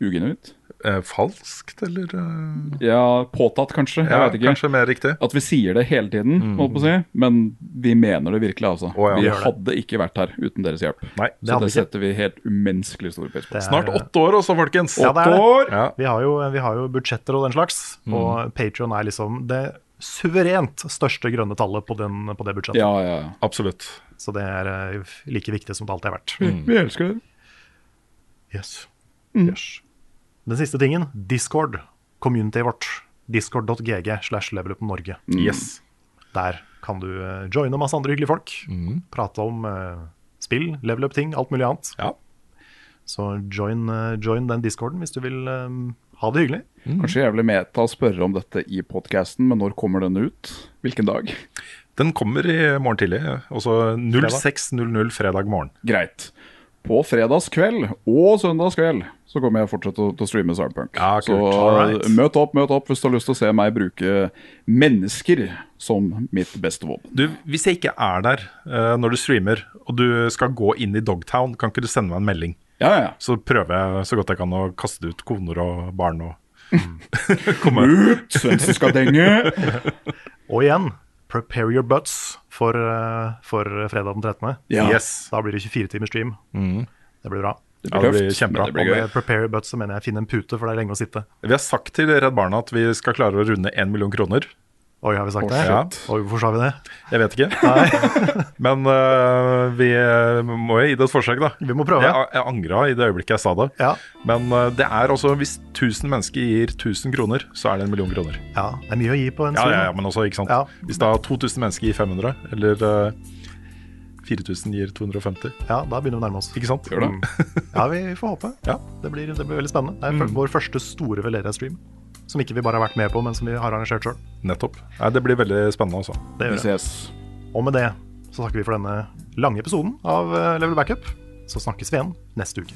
Ugenuint? Eh, falskt, eller eh? Ja, påtatt, kanskje. Jeg Ja, vet ikke. kanskje mer riktig. At vi sier det hele tiden, holdt på å si. Men vi mener det virkelig, altså. ja, vi vi gjør det. hadde ikke vært her uten deres hjelp. Nei, det så hadde det vi ikke. setter vi helt umenneskelig stor pris på. Det er- Snart åtte år også, folkens. Ja, det er det. Åtte år! Ja. Vi, har jo, vi har jo budsjetter og den slags, og Patreon er liksom det suverent største grønne tallet på, den, på det budsjettet. Ja, ja, ja. Absolutt. Så det er eh, like viktig som det alltid har vært. Vi elsker det. Yes. Yes. Den siste tingen, Discord, communityet vårt. Discord.gg slash levelupnorge. Yes. Der kan du eh, joine masse andre hyggelige folk. Prate om eh, spill, level up-ting, alt mulig annet. Så join, eh, join den discorden hvis du vil eh, ha det hyggelig. Kanskje jævlig meta å spørre om dette i podkasten, men når kommer den ut? Hvilken dag? Den kommer i morgen tidlig, altså 06.00 fredag morgen. Greit. På fredagskveld og søndagskveld så kommer jeg fortsatt til å- til å streame Cyberpunk. så Alright. møt opp, møt opp hvis du har lyst til å se meg bruke mennesker som mitt beste våpen. Du, Hvis jeg ikke er der eh, når du streamer, og du skal gå inn i Dogtown, kan ikke du sende meg en melding? Så prøver jeg så godt jeg kan å kaste ut koner og barn og Mm. komme Ut! Svendsen skal denge! Og igjen, prepare your butts for, eh, for fredag den 13. Ja. Yes. Da blir det 24 timer stream. Mhm. Det blir bra. Det blir Ja, det tøft, blir kjempebra. men det blir Og gøy. med prepare your butts så mener jeg finne en pute, for det er lenge å sitte. Vi har sagt til Redd Barna at vi skal klare å runde 1 million kroner. Oi, har vi sagt det? Oi, hvorfor sa vi det? Jeg vet ikke. Men øh, vi må jo gi det et forsøk, da. Vi må prøve. Jeg, jeg angra i det øyeblikket jeg sa det. Men øh, det er altså hvis 1000 mennesker gir 1000 kroner, så er det en million kroner. Ja, det er mye å gi på en Ja, stream. ja, ja, men også, ikke sant? Hvis da 2000 mennesker gir 500, eller eh, 4000 gir 250 Ja, da begynner vi å nærme oss. Ikke sant? Mm. ja, vi får håpe. Det, blir, det blir veldig spennende. Det er Mm. f- vår første store Veleria-stream. Som ikke vi bare har vært med på, men som vi har arrangert sjøl. Nettopp. Nei, det blir veldig spennende, altså. Det gjør det. Og med det så takker vi for denne lange episoden av eh, Level Backup. Så snakkes vi igjen neste uke.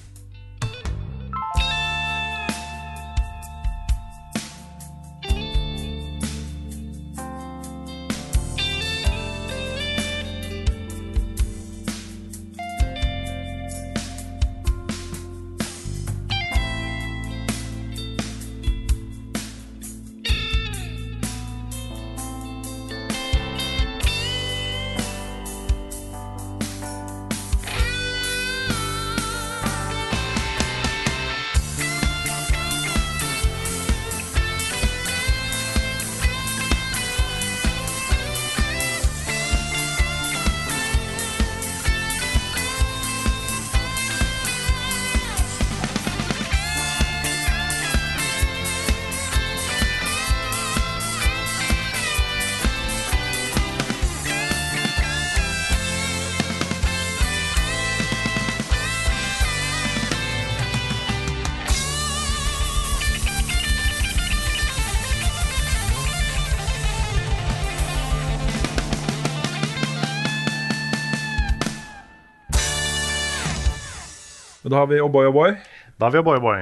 Men da har vi oh O'boy O'boy. Da har vi O'boy O'boy.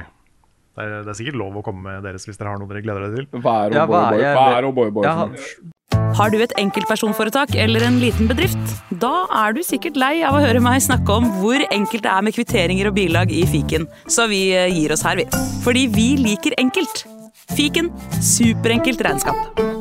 Det, er- det er sikkert lov å komme med deres hvis dere har noe dere gleder dere til. Hva er Ja, O'boy hva er O'boy? jeg- Hva er O'boy O'boy for noe? Har du et enkeltpersonforetak eller en liten bedrift? Da er du sikkert lei av å høre meg snakke om hvor enkelt det er med kvitteringer og bilag i fiken, så vi eh, gir oss her, vi. Fordi vi liker enkelt. Fiken superenkelt regnskap.